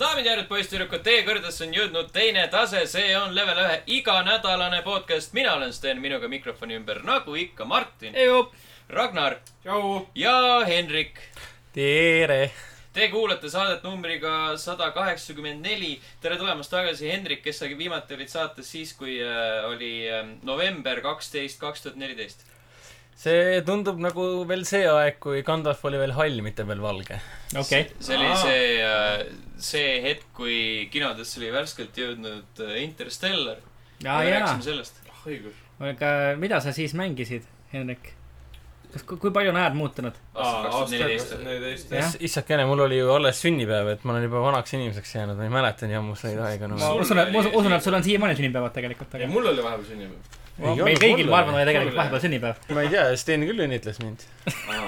kallid poisssüdrukud , teie kõrgedesse on jõudnud teine tase , see on level ühe iganädalane podcast , mina olen Sten , minuga mikrofoni ümber , nagu ikka , Martin , Ragnar tšau . ja Henrik . tere . Te kuulate saadet numbriga sada kaheksakümmend neli . tere tulemast tagasi , Henrik , kes sa viimati olid saates siis , kui äh, oli äh, november kaksteist , kaks tuhat neliteist . see tundub nagu veel see aeg , kui Gandalf oli veel hall , mitte veel valge . okei . see oli see , see hetk , kui kinodesse oli värskelt jõudnud äh, Interstellar . aa jaa , rääkisime sellest . õigus . aga mida sa siis mängisid , Henrik ? kas , kui palju on ajad muutunud ? aastal kaks tuhat neliteist . neliteist . Jah. issakene , mul oli ju alles sünnipäev , et ma olen juba vanaks inimeseks jäänud , ma ei mäleta nii ammu seda aega enam ma Sul usun , et , ma oli- usun , et sul on siiamaani sünnipäevad tegelikult , ja aga mul oli vahepeal sünnipäev . Ei meil olnud kõigil , mul ma arvan , oli. oli tegelikult Mul oli. vahepeal sünnipäev . ma ei tea , Sten küll õnnitles mind . ma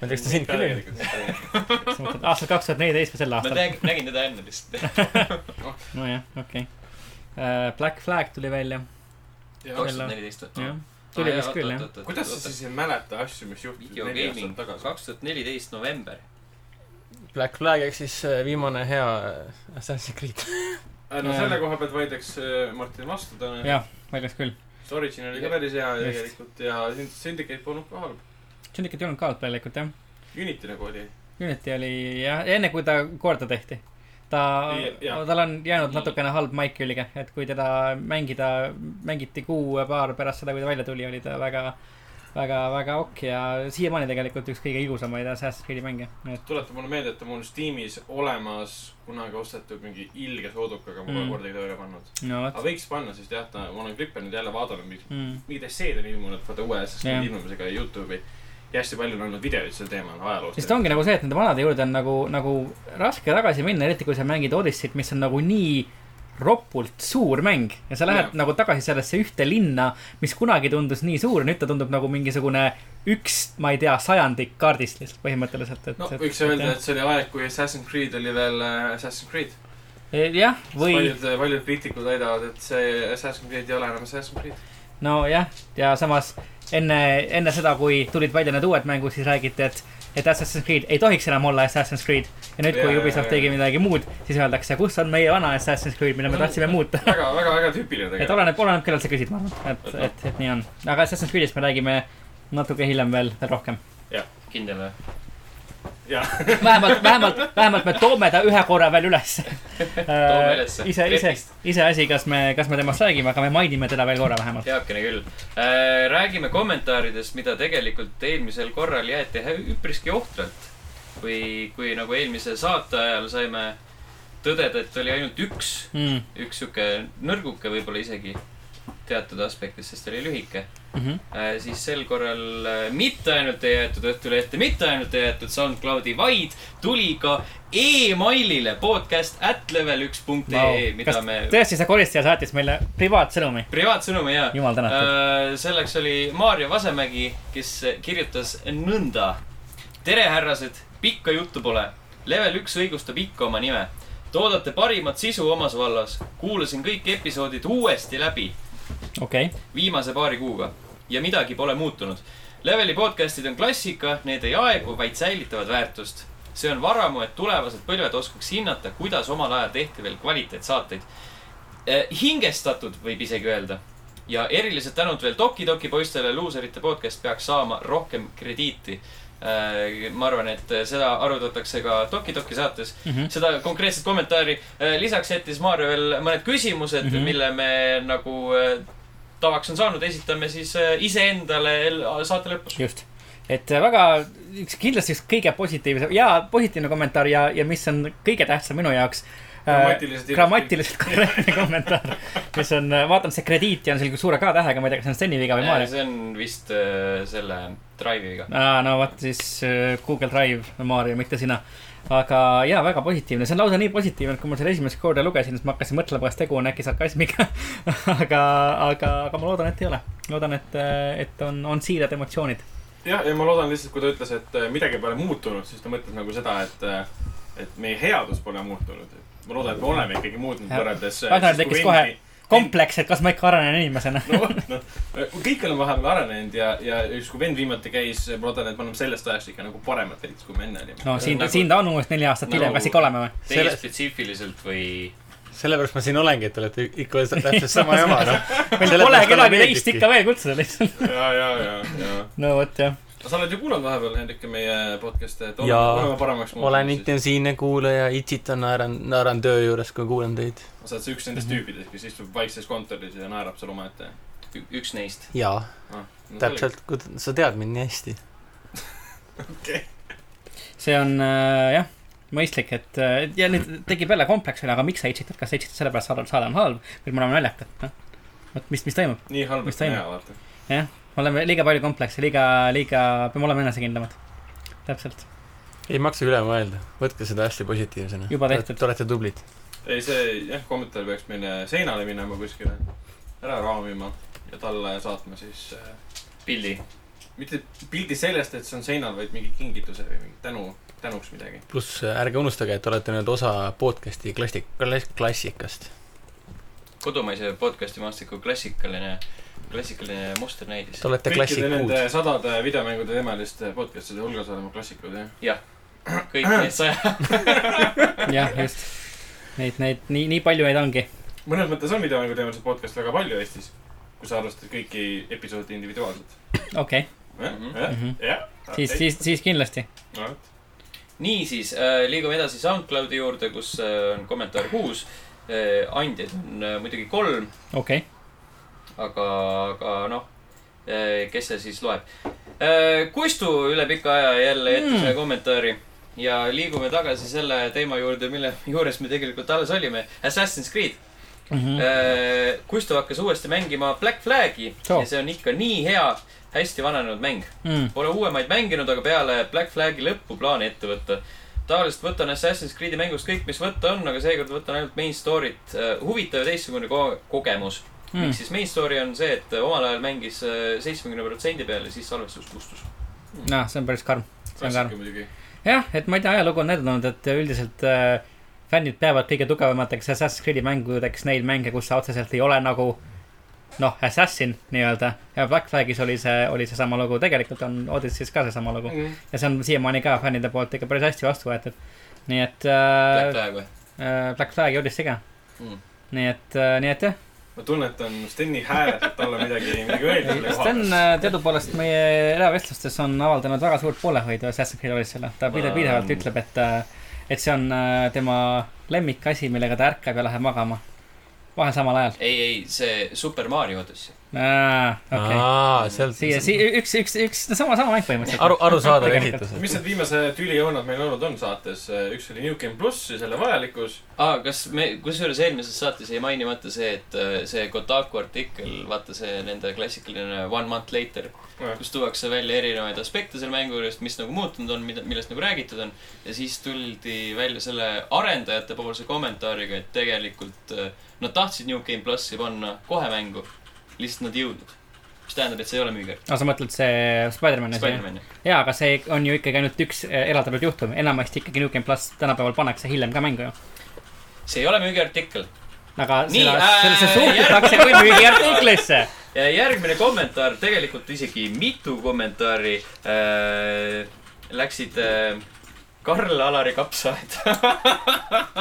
ei tea , kas ta sind küll õnnitles . aastal kaks tuhat neliteist või sel ma aastal ? nägin , nägin teda enne lihtsalt . nojah , okei . Black Flag tuli välja , kaks tuhat neliteist või jah ?. tuli vist küll , jah .. kuidas sa siis ei mäleta asju , mis juhtusid neli aastat videogaming , tagasi ? kaks tuhat neliteist november . Black Flag ehk siis äh, viimane hea äh, Assassin's Creed . Äh, no selle koha pealt vaidleks äh, Martin vastu täna . jah , väljas küll . Origin oli ka päris hea Just. tegelikult ja Synd- Syndicate polnud ka halb . Syndicate ei olnud ka alt tegelikult , jah . Unity nagu oli . Unity oli jah , enne kui ta korda tehti . ta Ja- jah. , tal on jäänud Nii. natukene halb maik külge , et kui teda mängida , mängiti kuu ja paar pärast seda , kui ta välja tuli , oli ta väga , väga , väga okk ja siiamaani tegelikult üks kõige ilusamaid Assassin's Creed'i mänge , et tuleta mulle meelde , et mul on Steamis olemas kunagi ostetud mingi ilge soodukaga , ma pole Mm. kordagi tööle pannud . no vot aga võiks panna , sest jah , ta , ma olen Krippelnud jälle vaadanud , mis mm. . mingid esseed on ilmunud , vaata uue Jah. asjast ilmumisega Youtube'i . ja hästi palju on olnud videoid sel teemal sest ajaloost . ongi nagu see , et nende vanade juurde on nagu , nagu raske tagasi minna , eriti kui sa mängid Odyssey't , mis on nagu nii ropult suur mäng ja sa lähed Jah. yeah. nagu tagasi sellesse ühte linna , mis kunagi tundus nii suur , nüüd ta tundub nagu mingisugune üks , ma ei tea , sajandik kaardist lihtsalt põhimõtteliselt , et no võiks öelda , et see oli aeg , kui Assassin's Creed oli veel äh, Assassin's Creed . et jah , või paljud , paljud kriitikud väidavad , et see Assassin's Creed ei ole enam Assassin's Creed . nojah , ja samas enne , enne seda , kui tulid välja need uued mängud , siis räägiti , et , et Assassin's Creed ei tohiks enam olla Assassin's Creed . ja nüüd , Jaa, kui jaa, Ubisoft jaa. tegi midagi muud , siis öeldakse , kus on meie vana Assassin's Creed , mida me tahtsime muuta . väga , väga , väga tüüpiline et tegelikult . oleneb , oleneb , kellelt sa küsid , ma arvan , et , et , et nii on . aga Assassin's Creed'ist me räägime natuke hiljem veel , veel rohkem . kindel või ? jah , vähemalt , vähemalt , vähemalt me toome ta ühe korra veel üles . Toome ülesse. ise , ise , iseasi , kas me , kas me temast räägime , aga me mainime teda veel korra vähemalt . heakene küll . räägime kommentaaridest , mida tegelikult eelmisel korral jäeti hä- üpriski ohtralt . kui , kui nagu eelmise saate ajal saime tõdeda , et oli ainult üks , Mm üks sihuke nõrguke võib-olla isegi teatud aspektis , sest ta oli lühike . -hmm. Äh, siis sel korral äh, mitte ainult ei jäetud Õhtulehte , mitte ainult ei jäetud SoundCloudi , vaid tuli ka emailile podcast at level üks punkt ee , mida kas me tõesti see koristaja saatis meile privaatsõnumi ? privaatsõnumi ja Jumal tänatud. Äh, selleks oli Maarja Vasemägi , kes kirjutas nõnda . tere , härrased , pikka juttu pole . level üks õigustab ikka oma nime . toodate parimat sisu omas vallas . kuulasin kõik episoodid uuesti läbi okei okay. , viimase paari kuuga ja midagi pole muutunud . leveli podcast'id on klassika , need ei aegu , vaid säilitavad väärtust . see on varamu , et tulevased põlved oskaks hinnata , kuidas omal ajal tehti veel kvaliteetsaateid . hingestatud , võib isegi öelda . ja erilised tänud veel Toki Toki poistele , luuserite podcast peaks saama rohkem krediiti . ma arvan , et seda arutatakse ka Toki Toki saates mm . -hmm. seda konkreetset kommentaari . lisaks jättis Maarja veel mõned küsimused mm , -hmm. mille me nagu äh, tavaks on saanud , esitame siis äh, iseendale el- saate lõpus . just . et äh, väga , üks kindlasti üks kõige positiivsem ja positiivne kommentaar ja , ja mis on kõige tähtsam minu jaoks . Grammatiliselt ilus- grammatiliselt korrektne kommentaar , mis on , vaatan see krediiti on selline suure K tähega , ma ei tea , kas see on Steni viga või Maarja . see on vist äh, selle Drive'i viga . aa , no vot siis äh, Google Drive , Maarja , mitte sina . aga jaa , väga positiivne , see on lausa nii positiivne , et kui ma selle esimest korda lugesin , siis ma hakkasin mõtlema , kas tegu on äkki sarkasmiga . aga , aga , aga ma loodan , et ei ole . loodan , et , et on , on siirad emotsioonid . ja , ja ma loodan lihtsalt , kui ta ütles , et äh, midagi pole muutunud , siis ta mõtles nagu seda , et , et meie headus pole muutunud . ma loodan , et me oleme ikkagi muutunud Jah. võrreldes . äh, Ragnar tekkis kohe- kompleks , et kas ma ikka arenen inimesena . no vot , noh , kõik oleme vahepeal arenenud ja , ja ükskord vend viimati käis , ma loodan , et me oleme sellest ajast ikka nagu paremad veits , kui me enne olime . no siin Nagu- , siin ta on umbes neli aastat hiljem , nagu- kas ikka oleme või ? Teie Selle- spetsiifiliselt või ? sellepärast ma siin olengi , et te olete ikka täpselt sama jama , noh . meil pole kedagi teist ikka . veel kutsuda lihtsalt . ja , ja , ja , ja . no vot jah . sa oled ju kuulanud vahepeal , Hendrik , meie podcast'e , et oleme, Jaa. oleme paremaks olen siis . intensiivne kuulaja , itsitan , naeran , naeran töö juures , kui kuulan teid . sa oled see üks nendest tüüpidest , kes istub vaikses kontoris ja naerab seal omaette üks neist . jaa , ah, . No, täpselt , sa tead mind nii hästi . see on äh, jah , mõistlik , et äh, ja nüüd tekib jälle kompleks üle , aga miks sa itsitad , kas sa itsitad sellepärast , et saade- saade on halb või me oleme naljakad , noh . vot mis , mis toimub , nii halb , Mis et näha , toimub? vaata . oleme liiga palju komplekse , liiga , liiga , peame olema enesekindlamad . täpselt , ei maksa üle mõelda , võtke seda hästi positiivsena . Juba tehtud. Te olete tublid . ei , see jah , kommentaar peaks meile seinale minema kuskile , ära raamima ja talle saatma siis äh, pildi . mitte pildi sellest , et see on seinal , vaid mingi kingituse või mingi tänu , tänuks midagi . pluss äh, ärge unustage , et te olete nüüd osa podcast'i klassik- , klassikast . kodumaise podcast'i maastiku klassikaline , klassikaline musternäidis Te . olete kõikide klassikud nende . sadade videomängude teemaliste podcast'ide hulgas oleme klassikud , jah . kõik need saja , jah , just . Neid , neid , nii , nii palju neid ongi . mõnes mõttes on videomängu teemalised podcast'e väga palju Eestis , kui sa arvestad kõiki episoode individuaalselt . okei okay. , Mhm. Mhm. jah . siis , siis , siis kindlasti . siis . niisiis äh, liigume edasi SoundCloudi juurde , kus äh, on kommentaar kuus äh, . andjaid on äh, muidugi kolm , okei okay. , aga , aga noh äh, , kes see siis loeb äh, ? Kustu üle pika aja jälle jättis Mm. mm. kommentaari ja liigume tagasi selle teema juurde , mille juures me tegelikult alles olime . Assassin's Creed . mm -hmm. Äh, Kustu hakkas uuesti mängima Black Flagi Oo. oh. ja see on ikka nii hea , hästi vananenud mäng . mm. Pole uuemaid mänginud , aga peale Black Flagi lõppu plaani ette võtta . tavaliselt võtan Assassin's Creed'i mängust kõik , mis võtta on , aga seekord võtan ainult main story't . huvitav ja teistsugune ko kogemus mm. . Mm. miks siis main story on see , et äh, omal ajal mängis äh, seitsmekümne protsendi peal ja siis salvestus kustus . no see on päris karm , see on karm . klassika muidugi . jah , et ma ei tea , ajalugu on näidanud , et üldiselt äh, fännid peavad kõige tugevamateks Assassin's Creed'i mängudeks neid mänge , kus sa otseselt ei ole nagu noh , assassin nii-öelda ja Black Flagis oli see , oli seesama lugu , tegelikult on Odyssey's ka seesama lugu Mhm. ja see on siiamaani ka fännide poolt ikka päris hästi vastu võetud . nii et äh, Black Flag või ? äh, Black Flag ja Odyssey ka Mm. . nii et äh, , nii et jah , ma tunnetan Steni häält , et talle midagi , midagi öelda selle koha Sten pealt . äh, teadupoolest meie eravestlustes on avaldanud väga suurt poolehoidu Assassin's Creed Odyssey'le , ta pide- Ma- pidevalt ütleb , et äh, et see on äh, tema lemmikasi , millega ta ärkab ja läheb magama . vahel samal ajal . ei , ei , see Super Mario Odyssey . okei , aa , sealt siia , siia üks , üks , üks , sama , sama mäng põhimõtteliselt . aru , arusaadav Tegelikult. esitus . mis need viimased tülijooned meil olnud on saates , üks oli New Game pluss ja selle vajalikkus . aa , kas me , kusjuures eelmises saates jäi mainimata see , et äh, see Kotaku artikkel , vaata see nende klassikaline One month later , kus tuuakse välja erinevaid aspekte selle mängu juurest , mis nagu muutunud on , mida , millest nagu räägitud on . ja siis tuldi välja selle arendajate poolse kommentaariga , et tegelikult äh, nad tahtsid New Game plussi panna kohe mängu , lihtsalt nad ei jõudnud . mis tähendab , et see ei ole müüger . no sa mõtled see Spider-man asi ? Spider-man , jah . jaa , aga see on ju ikkagi ainult üks äh, eraldatud juhtum , enamasti ikkagi New Game pluss tänapäeval pannakse hiljem ka mängu ju . see ei ole müügiartikkel . aga Nii, seda , äh, sellesse järg- suhtutakse kui müügiartiklisse . Ja järgmine kommentaar , tegelikult isegi mitu kommentaari äh, läksid äh, Karl-Alari kapsaaeda .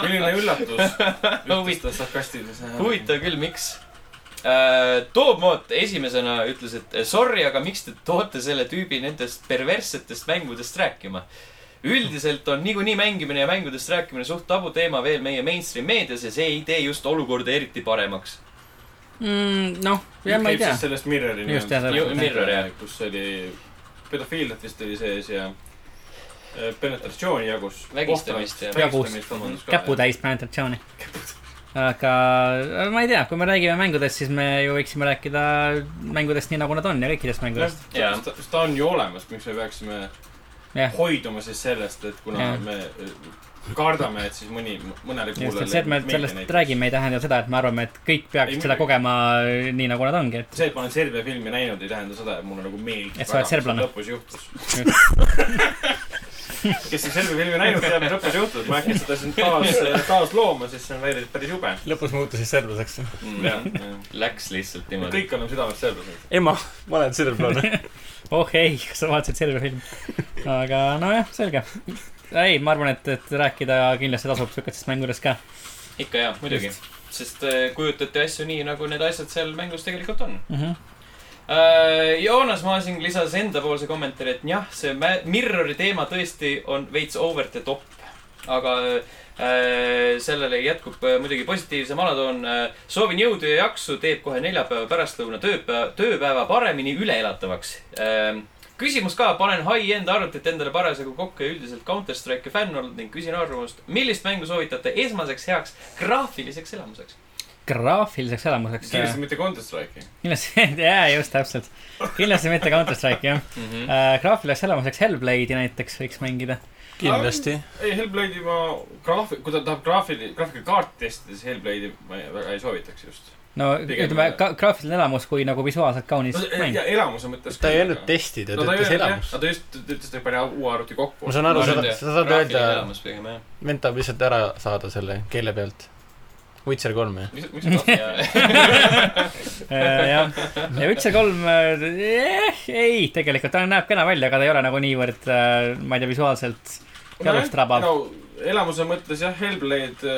milline üllatus . Huvitav. huvitav sarkastiliselt . huvitav küll , miks äh, . Toobmoot esimesena ütles , et "Eh, sorry , aga miks te toote selle tüübi nendest perverssetest mängudest rääkima . üldiselt on niikuinii mängimine ja mängudest rääkimine suht tabuteema veel meie mainstream meedias ja see ei tee just olukorda eriti paremaks . noh , jah , ma ei tea . sellest Mirrori Just, jah, Ju- nimelt- Mirror, jah. kus oli äh, pedofiiliat vist oli sees ja äh, penetratsiooni jagus . Vägistamist ja- jagus käputäis penetratsiooni . aga äh, ma ei tea , kui me räägime mängudest , siis me ju võiksime rääkida mängudest nii , nagu nad on ja kõikidest mängudest . Jaa. jah , ta on ju olemas , miks me peaksime jah , hoiduma siis sellest , et kuna Jah. ja. me äh, kardame , et siis mõni , mõnele just , kuulajale et see , et me sellest . räägime , ei tähenda seda , et me arvame , et kõik Ei, peaksid seda muidugi. kogema äh, nii , nagu nad ongi , et see , et ma olen Serbia filmi näinud , ei tähenda seda , et mulle nagu meeldib . Et sa oled serblane. lõpus juhtus . kes siis Helve filmi näinud , teab , mis lõpus juhtub . ma äkki seda siin taas , taas looma , siis see on väidetavalt päris jube . lõpus muutusid serblaseks . jah , Mm, Läks lihtsalt jah . niimoodi . kõik oleme südamest serblased . ema , ma olen serblane . oh ei , kas sa vaatasid selge filmi ? aga nojah , selge . ei , ma arvan , et , et rääkida kindlasti tasub siukestest mängudest ka . ikka jaa , muidugi . sest äh, kujutate asju nii , nagu need asjad seal mängus tegelikult on . Mhm. Äh, Joonas Maasing lisas endapoolse kommentaari , et jah , see mä- mirror'i teema tõesti on veits over the top . aga äh, sellele jätkub äh, muidugi positiivsem alatoon äh, . soovin jõudu ja jaksu , teeb kohe neljapäeva pärastlõuna tööpäeva , tööpäeva paremini üleelatavaks äh, . küsimus ka , panen high-end arvutit endale parasjagu kokku ja üldiselt Counter Strike'i fänn olnud ning küsin arvamust , millist mängu soovitate esmaseks heaks graafiliseks elamuseks ? graafiliseks elamuseks . kindlasti mitte Counter Strike'i . kindlasti , jaa , just täpselt . kindlasti mitte Counter Strike , jah . Mhm. graafiliseks elamuseks Hellblade'i näiteks võiks mängida . kindlasti . ei , Hellblade'i ma graafi- , kui ta tahab graafili- , graafikakaarti testida , siis Hellblade'i ma ei- väga ei soovitaks just . no Pigem- ütleme , graafiline elamus kui nagu visuaalselt kaunis no mäng . ja elamuse mõttes . ta ei öelnud testida , ta ütles elamus . ta just ta ütles , et ta pani uue arvuti kokku . ma saan aru , Ma sa arvan, et sa saad öelda , elamus pigem jah . vend tahab lihtsalt ära saada selle keele pealt . Witcher kolme . mis , mis see graafik on ? Äh, jah , ja Witcher kolm eh, , ei , tegelikult ta näeb kena välja , aga ta ei ole nagu niivõrd , ma ei tea , visuaalselt jalust rabav . no elamuse mõttes jah , Hellblade ,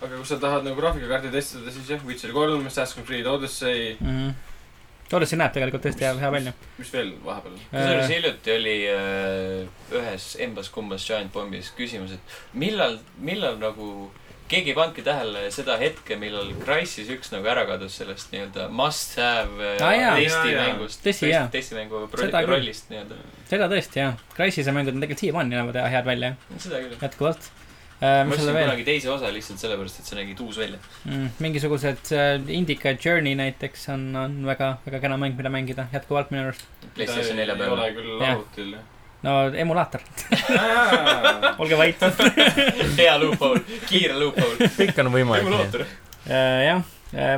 aga kui sa tahad nagu graafikakaarti testida , siis jah , Witcher kolm , Assassin's Creed Odyssey , Odyssey mm-hmm. näeb tegelikult tõesti hea , hea välja . mis veel vahepeal ? kusjuures hiljuti oli äh, ühes embas-kumbas Giant Bombis küsimus , et millal , millal nagu keegi ei pannudki tähele seda hetke , millal Crysis üks nagu ära kadus sellest nii-öelda must have äh, Aa, Ah, jaa. Jaa, jaa. testimängust , Tõsi, jaa. testimängu Seda rolli- küll. rollist nii-öelda . seda tõesti jah , Crysis ja mängud on tegelikult siiamaani näevad hea- head välja , seda küll . jätkuvalt . ma mis seal ostsin veel , kunagi teise osa lihtsalt sellepärast , et see nägi uus välja . mingisugused äh, Indica Journey näiteks on , on väga , väga kena mäng , mida mängida jätkuvalt minu arust . PlayStation nelja ei ole peal . küll Jah. arvutil . no emulaator , olge vait . hea loophole , kiire loophole . kõik on võimalik . emulaator . Äh, jah ,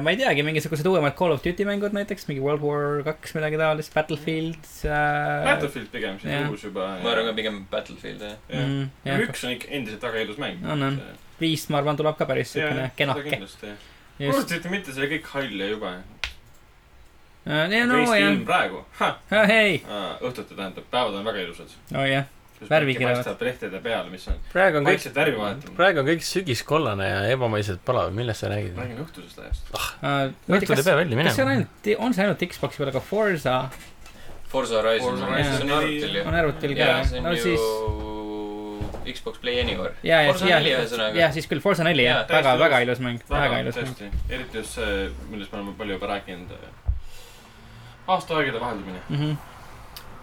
ma ei teagi , mingisugused uuemad Call of Duty mängud näiteks , mingi World War kaks , midagi taolist , Battlefield äh, . Battlefield pigem siin jah. uus juba . ma arvan ka . pigem Battlefield jah . Mm, jah. üks on ikka endiselt väga ilus mäng . On, on. viis , ma arvan , tuleb ka päris siukene kenake . just , kuulsite mitte , see oli kõik hall ja jube . Äh, no teist jah Ah, ilm , praegu . hei , õhtuti tähendab , päevad on väga ilusad . no jah , Värvikirjad. lehtede peal , mis on praegu on kõik , vaikselt värvi vahetanud . praegu on kõik sügiskollane ja ebamaiselt palav , millest sa räägid ? räägime õhtusest ajast . muide , õhtul ei kas , pea välja äh, kas see on minema . ainult , on see ainult Xbox'i peal , aga Forza Forza Horizon , Forza see Horizon on arvutil ju . on arvutil ka jaa , , see on no ju siis Xbox Play Anywhere . ja , ja , Forza ja neli , ühesõnaga ja siis küll Forza neli jah Jaa, , väga , täiesti ilus. väga ilus mäng , väga ilus mäng . tõesti , eriti just see , millest me oleme palju juba rääkinud . aastaaegade vaheldumine . Mhm.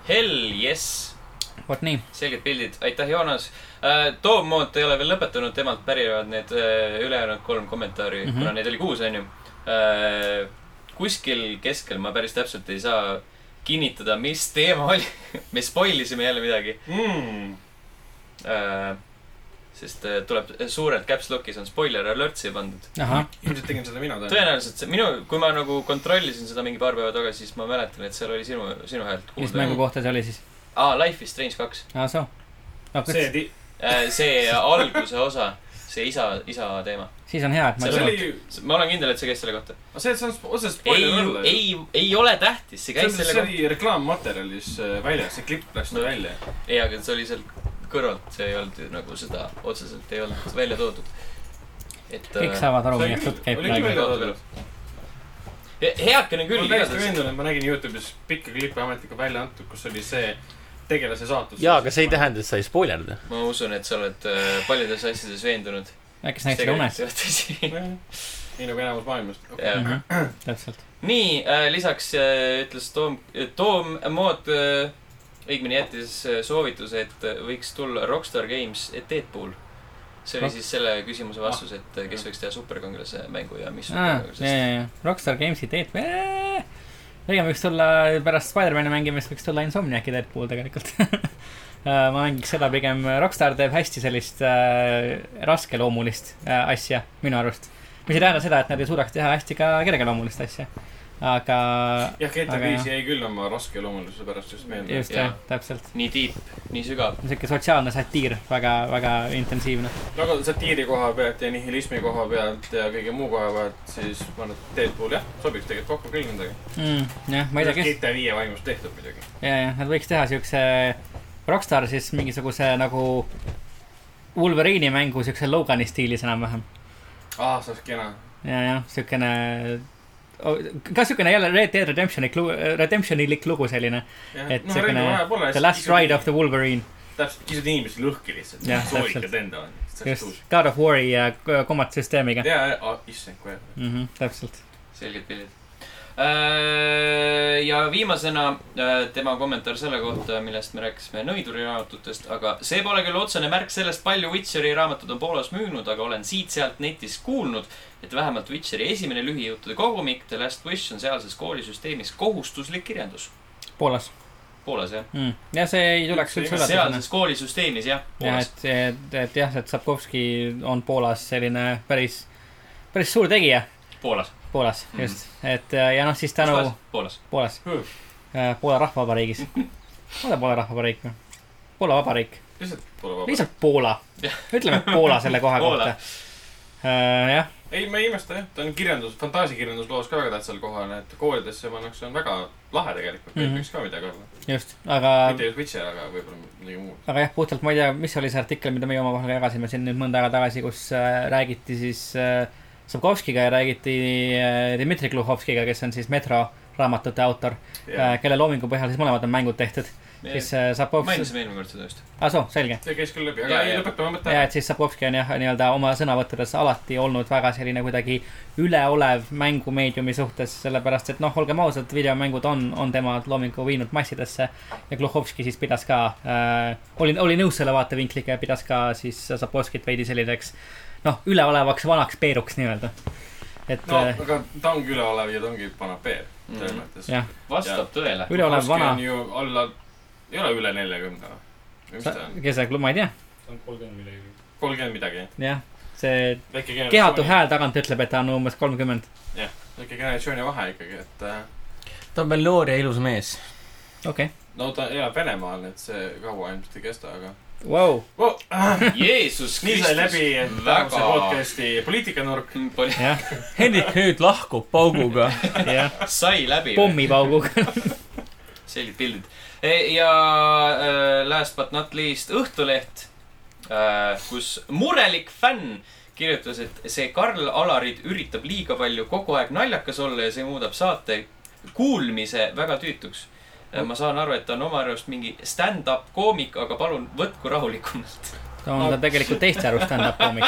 Hell yes , vot nii , selged pildid , aitäh , Joonas . Toom Moot ei ole veel lõpetanud , temalt pärinevad need äh, ülejäänud kolm kommentaari mm , Mhm. -hmm. kuna neid oli kuus , onju . kuskil keskel ma päris täpselt ei saa kinnitada , mis teema oli . me spoil isime jälle midagi , Hmm, sest äh, tuleb suurelt caps lock'is on spoiler alert siia pandud . ahah , ilmselt tegin seda mina . tõenäoliselt see minu , kui ma nagu kontrollisin seda mingi paar päeva tagasi , siis ma mäletan , et seal oli sinu , sinu häält mis kuulda mängu . kohta see oli siis ? aa , Life is Strange kaks . aa , soo . no kus , see , see alguse osa , see isa , isa teema . siis on hea , et ma ei see See tulnud . oli , ma olen kindel , et see käis selle kohta . see , et see on otseselt ei spoiler olla ,. ei , ei ole tähtis , see see käis selle see kohta . oli reklaammaterjalis äh, väljas , see klipp läks nüüd välja . ei , aga see oli seal kõrvalt , see ei olnud ju nagu seda otseselt ei olnud välja toodud . et . äh, kõik saavad aru , millest jutt käib oli küll praegu . välja toodud . heakene ma küll olen täiesti igatahes . veendunud , ma nägin Youtube'is pikka klippi ametlikult välja antud , kus oli see tegelase saatus . jaa , aga see ei . tähenda , et sa ei spoilerda . ma usun , et sa oled äh, paljudes asjades veendunud . äkki sa nägid seda unes ? nii nagu enamus maailmast . jah . Mhm, täpselt . nii äh, , lisaks äh, ütles Toom , Toom Mood äh, , õigemini jättis äh, soovituse , et äh, võiks tulla Rockstar Games Deadpool . see oli Ah. siis selle küsimuse vastus , et äh, kes võiks teha superkangelase mängu ja mis aa , ja , superkangelasest . ja , ja Rockstar Games'i teed . pigem võiks tulla pärast Spider-man'i mängimist võiks tulla Insomniaki Deadpool tegelikult . ma mängiks seda pigem , Rockstar teeb hästi sellist äh, raskeloomulist äh, asja minu arust . mis ei tähenda seda , et nad ei suudaks teha hästi ka kergeloomulist asja . aga jah , GTA Aga viis jah. jäi küll oma raske loomulise pärast just meelde . just jah , täpselt . nii tiip , nii sügav . niisugune sotsiaalne satiir , väga , väga intensiivne . aga satiiri koha pealt ja nihilismi koha pealt ja kõige muu koha pealt , siis ma arvan , et Deadpool jah , sobiks tegelikult kokku küll nendega . Mm, jah , ma ei tea , kes GTA viie vaimust tehtud muidugi . ja , ja nad võiks teha siukse Rockstar siis mingisuguse nagu Wolverine'i mängu siukse Logani stiilis enam-vähem . aa , see oleks kena . ja , jah , siukene , ka siukene jälle Red Dead Redemptionilik lugu , Redemptionilik lugu selline . Et noh, siukene The Last Ride of the Wolverine , täpselt , kisud inimesi lõhki lihtsalt Jah, . soovikad täpselt. enda just on . God of War'i ja k- combat süsteemiga . ja , ja , Ah, issand , kui hea . Mm -hmm, täpselt , selged pildid . ja viimasena äh, tema kommentaar selle kohta , millest me rääkisime nõiduri raamatutest , aga see pole küll otsene märk sellest , palju Witcheri raamatud on Poolas müünud , aga olen siit-sealt netis kuulnud , et vähemalt Witcheri esimene lühijuttude kogumik The Last Wish on sealses koolisüsteemis kohustuslik kirjandus . Poolas Poolas jah ? mm. . ja see ei tuleks üldse üllatusena . sealses koolisüsteemis jah , jah , Poolas . et , et , et jah , et Sapkovski on Poolas selline päris , päris suur tegija Poolas . Poolas Mhm. just , et äh, ja noh , siis tänu . Poolas . Poolas Hmm. hmm. , Poola rahvavabariigis . pole Poola rahvavabariik või ? Poola vabariik , lihtsalt pole vaba . lihtsalt Poola , ütleme Poola selle koha Poola. kohta . jah , ei , ma ei imesta jah , ta on kirjandus , fantaasiakirjandusloos ka väga tähtsal kohal , et koolidesse pannakse , on väga lahe tegelikult mm , Mhm. -hmm. võiks ka midagi olla . just , aga , mitte just Witcher , aga võib-olla midagi muud . aga jah , puhtalt ma ei tea , mis oli see artikkel , mida meie omavahel ka jagasime siin nüüd mõnda aega tagasi , kus äh, räägiti siis äh, Sapkovskiga ja räägiti äh, Dmitri Gluhovskiga , kes on siis Metro raamatute autor , see kelle loomingu põhjal siis mõlemad on mängud tehtud . siis äh, Sapkovski , mainisime eelmine kord seda just . aa soo , selge . käis küll läbi , Ja, aga ei ja. lõpeta oma mõtte ja , ära . et siis Sapkovski on jah , nii-öelda oma sõnavõttudes alati olnud väga selline kuidagi üleolev mängumeediumi suhtes , sellepärast et noh , olgem ausad , videomängud on , on tema loomingu viinud massidesse . ja Gluhovski siis pidas ka äh, , oli , oli nõus selle vaatevinkliga ja pidas ka siis Sapkovskit veidi selliseks noh , üleolevaks vanaks peeruks nii-öelda . et äh, no no. , aga ta ongi üleolev ja ta ongi panapee , selles Mhm. mõttes . jah , vastab tõele . üleolev vana , on ju alla , ei ole üle neljakümne või ? mis ta on , kes see , ma ei tea , ta on kolmkümmend midagi . kolmkümmend midagi . jah , see väike kehatu generatsiooni , hääl tagant ütleb , et ta on umbes kolmkümmend . väike generatsiooni vahe ikkagi , et äh, ta on veel noor ja ilus mees . okei no ta elab Venemaal , et see kaua ilmselt ei kesta , aga okay. , vau , oh, . Jeesus nii sai läbi Kristus , väga . tänavuse Mm, podcasti poliitikanurk . jah , Hendrik nüüd lahkub pauguga . jah , sai läbi . pommipauguga . selged pildid . ja äh, last but not least Õhtuleht , kus murelik fänn kirjutas , et see Karl Alarid üritab liiga palju kogu aeg naljakas olla ja see muudab saate kuulmise väga tüütuks . ma saan aru , et ta on oma arust mingi stand-up koomik , aga palun võtku rahulikumalt . ta on ta tegelikult teiste arust stand-up koomik .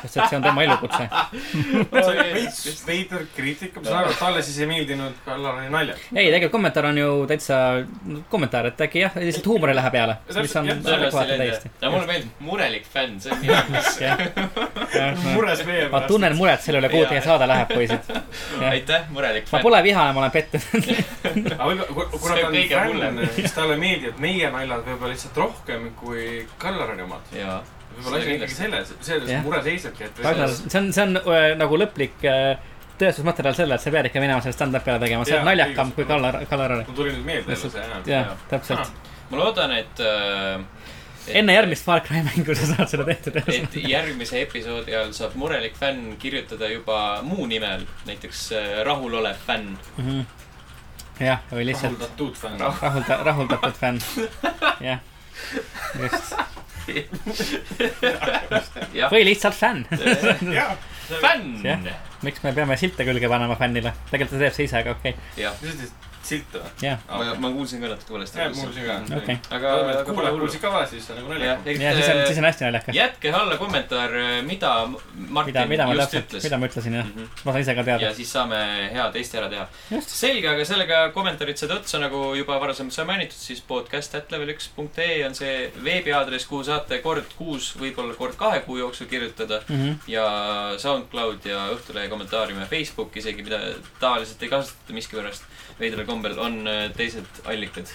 sest et see on tema elukutse . see oli veits veider kriitika , ma saan aru , et talle siis ei meeldinud Kallari naljad . ei , tegelikult kommentaar on ju täitsa kommentaar , et äkki jah , lihtsalt huumor ei lähe peale , mis on Jah, adekvaatne täiesti . mulle meeldib murelik fänn , see on nii hea . mures meie ma tunnen muret selle üle , kuhu teie saade läheb , poisid . aitäh , murelik ma fänn . pole vihane , ma olen pettunud . aga võib-olla , kuna See ta on on kõige hullem. fänn , siis talle meeldivad meie naljad võib-olla lihtsalt rohkem kui Kallari omad . jaa , võib-olla asi on ikkagi selles , selles Jah. mure seisnebki , et Ragnar , see on , see on öö, nagu lõplik öö, tõestusmaterjal selle , et sa pead ikka minema selle stand-up'i peale tegema , see on Jah, naljakam õigus. kui Kallar , Kallar . mul tuli nüüd meelde jälle Lihtsalt- see jah . Ah, jah , täpselt . ma loodan , et äh, . enne järgmist Far Cry mängu sa saad selle tehtud . et järgmise episoodi ajal saab murelik fänn kirjutada juba muu nimel , näiteks äh, rahulolev fänn . Mhm. jah , või Ah, lihtsalt rahuldatud fänn . rahulda- , rahuldatud fänn . jah , just . Jah. või lihtsalt fänn . jah , Äh, fänn Jah. , miks me peame silte külge panema fännile ? tegelikult ta teeb see ise , aga okei okay. , mis see silt on ? jah , ma , ma kuulsin ka natuke valesti . jah , mul siin ka . okei . aga , aga aga pole kuulajad hullu . kuulsid ka valesti , siis see on nagu naljakas . ja siis on , siis on hästi naljakas . äh, jätke alla kommentaar , mida Martin mida , mida ma just täpselt , ütles . mida ma ütlesin jah , Mhm. ma saan ise ka teada ja . siis saame hea testi ära teha . Just. selge , aga sellega kommentaarid said otsa , nagu juba varasemalt sai mainitud , siis podcast.level1.ee on see veebiaadress , kuhu saate kord kuus , võib-olla kord kahe kuu jooksul kirjutada . Mm -hmm. ja SoundCloud ja Õhtulehe kommentaarium ja Facebook isegi , mida tavaliselt ei kasutata miskipärast veidral kombel , on äh, teised allikad .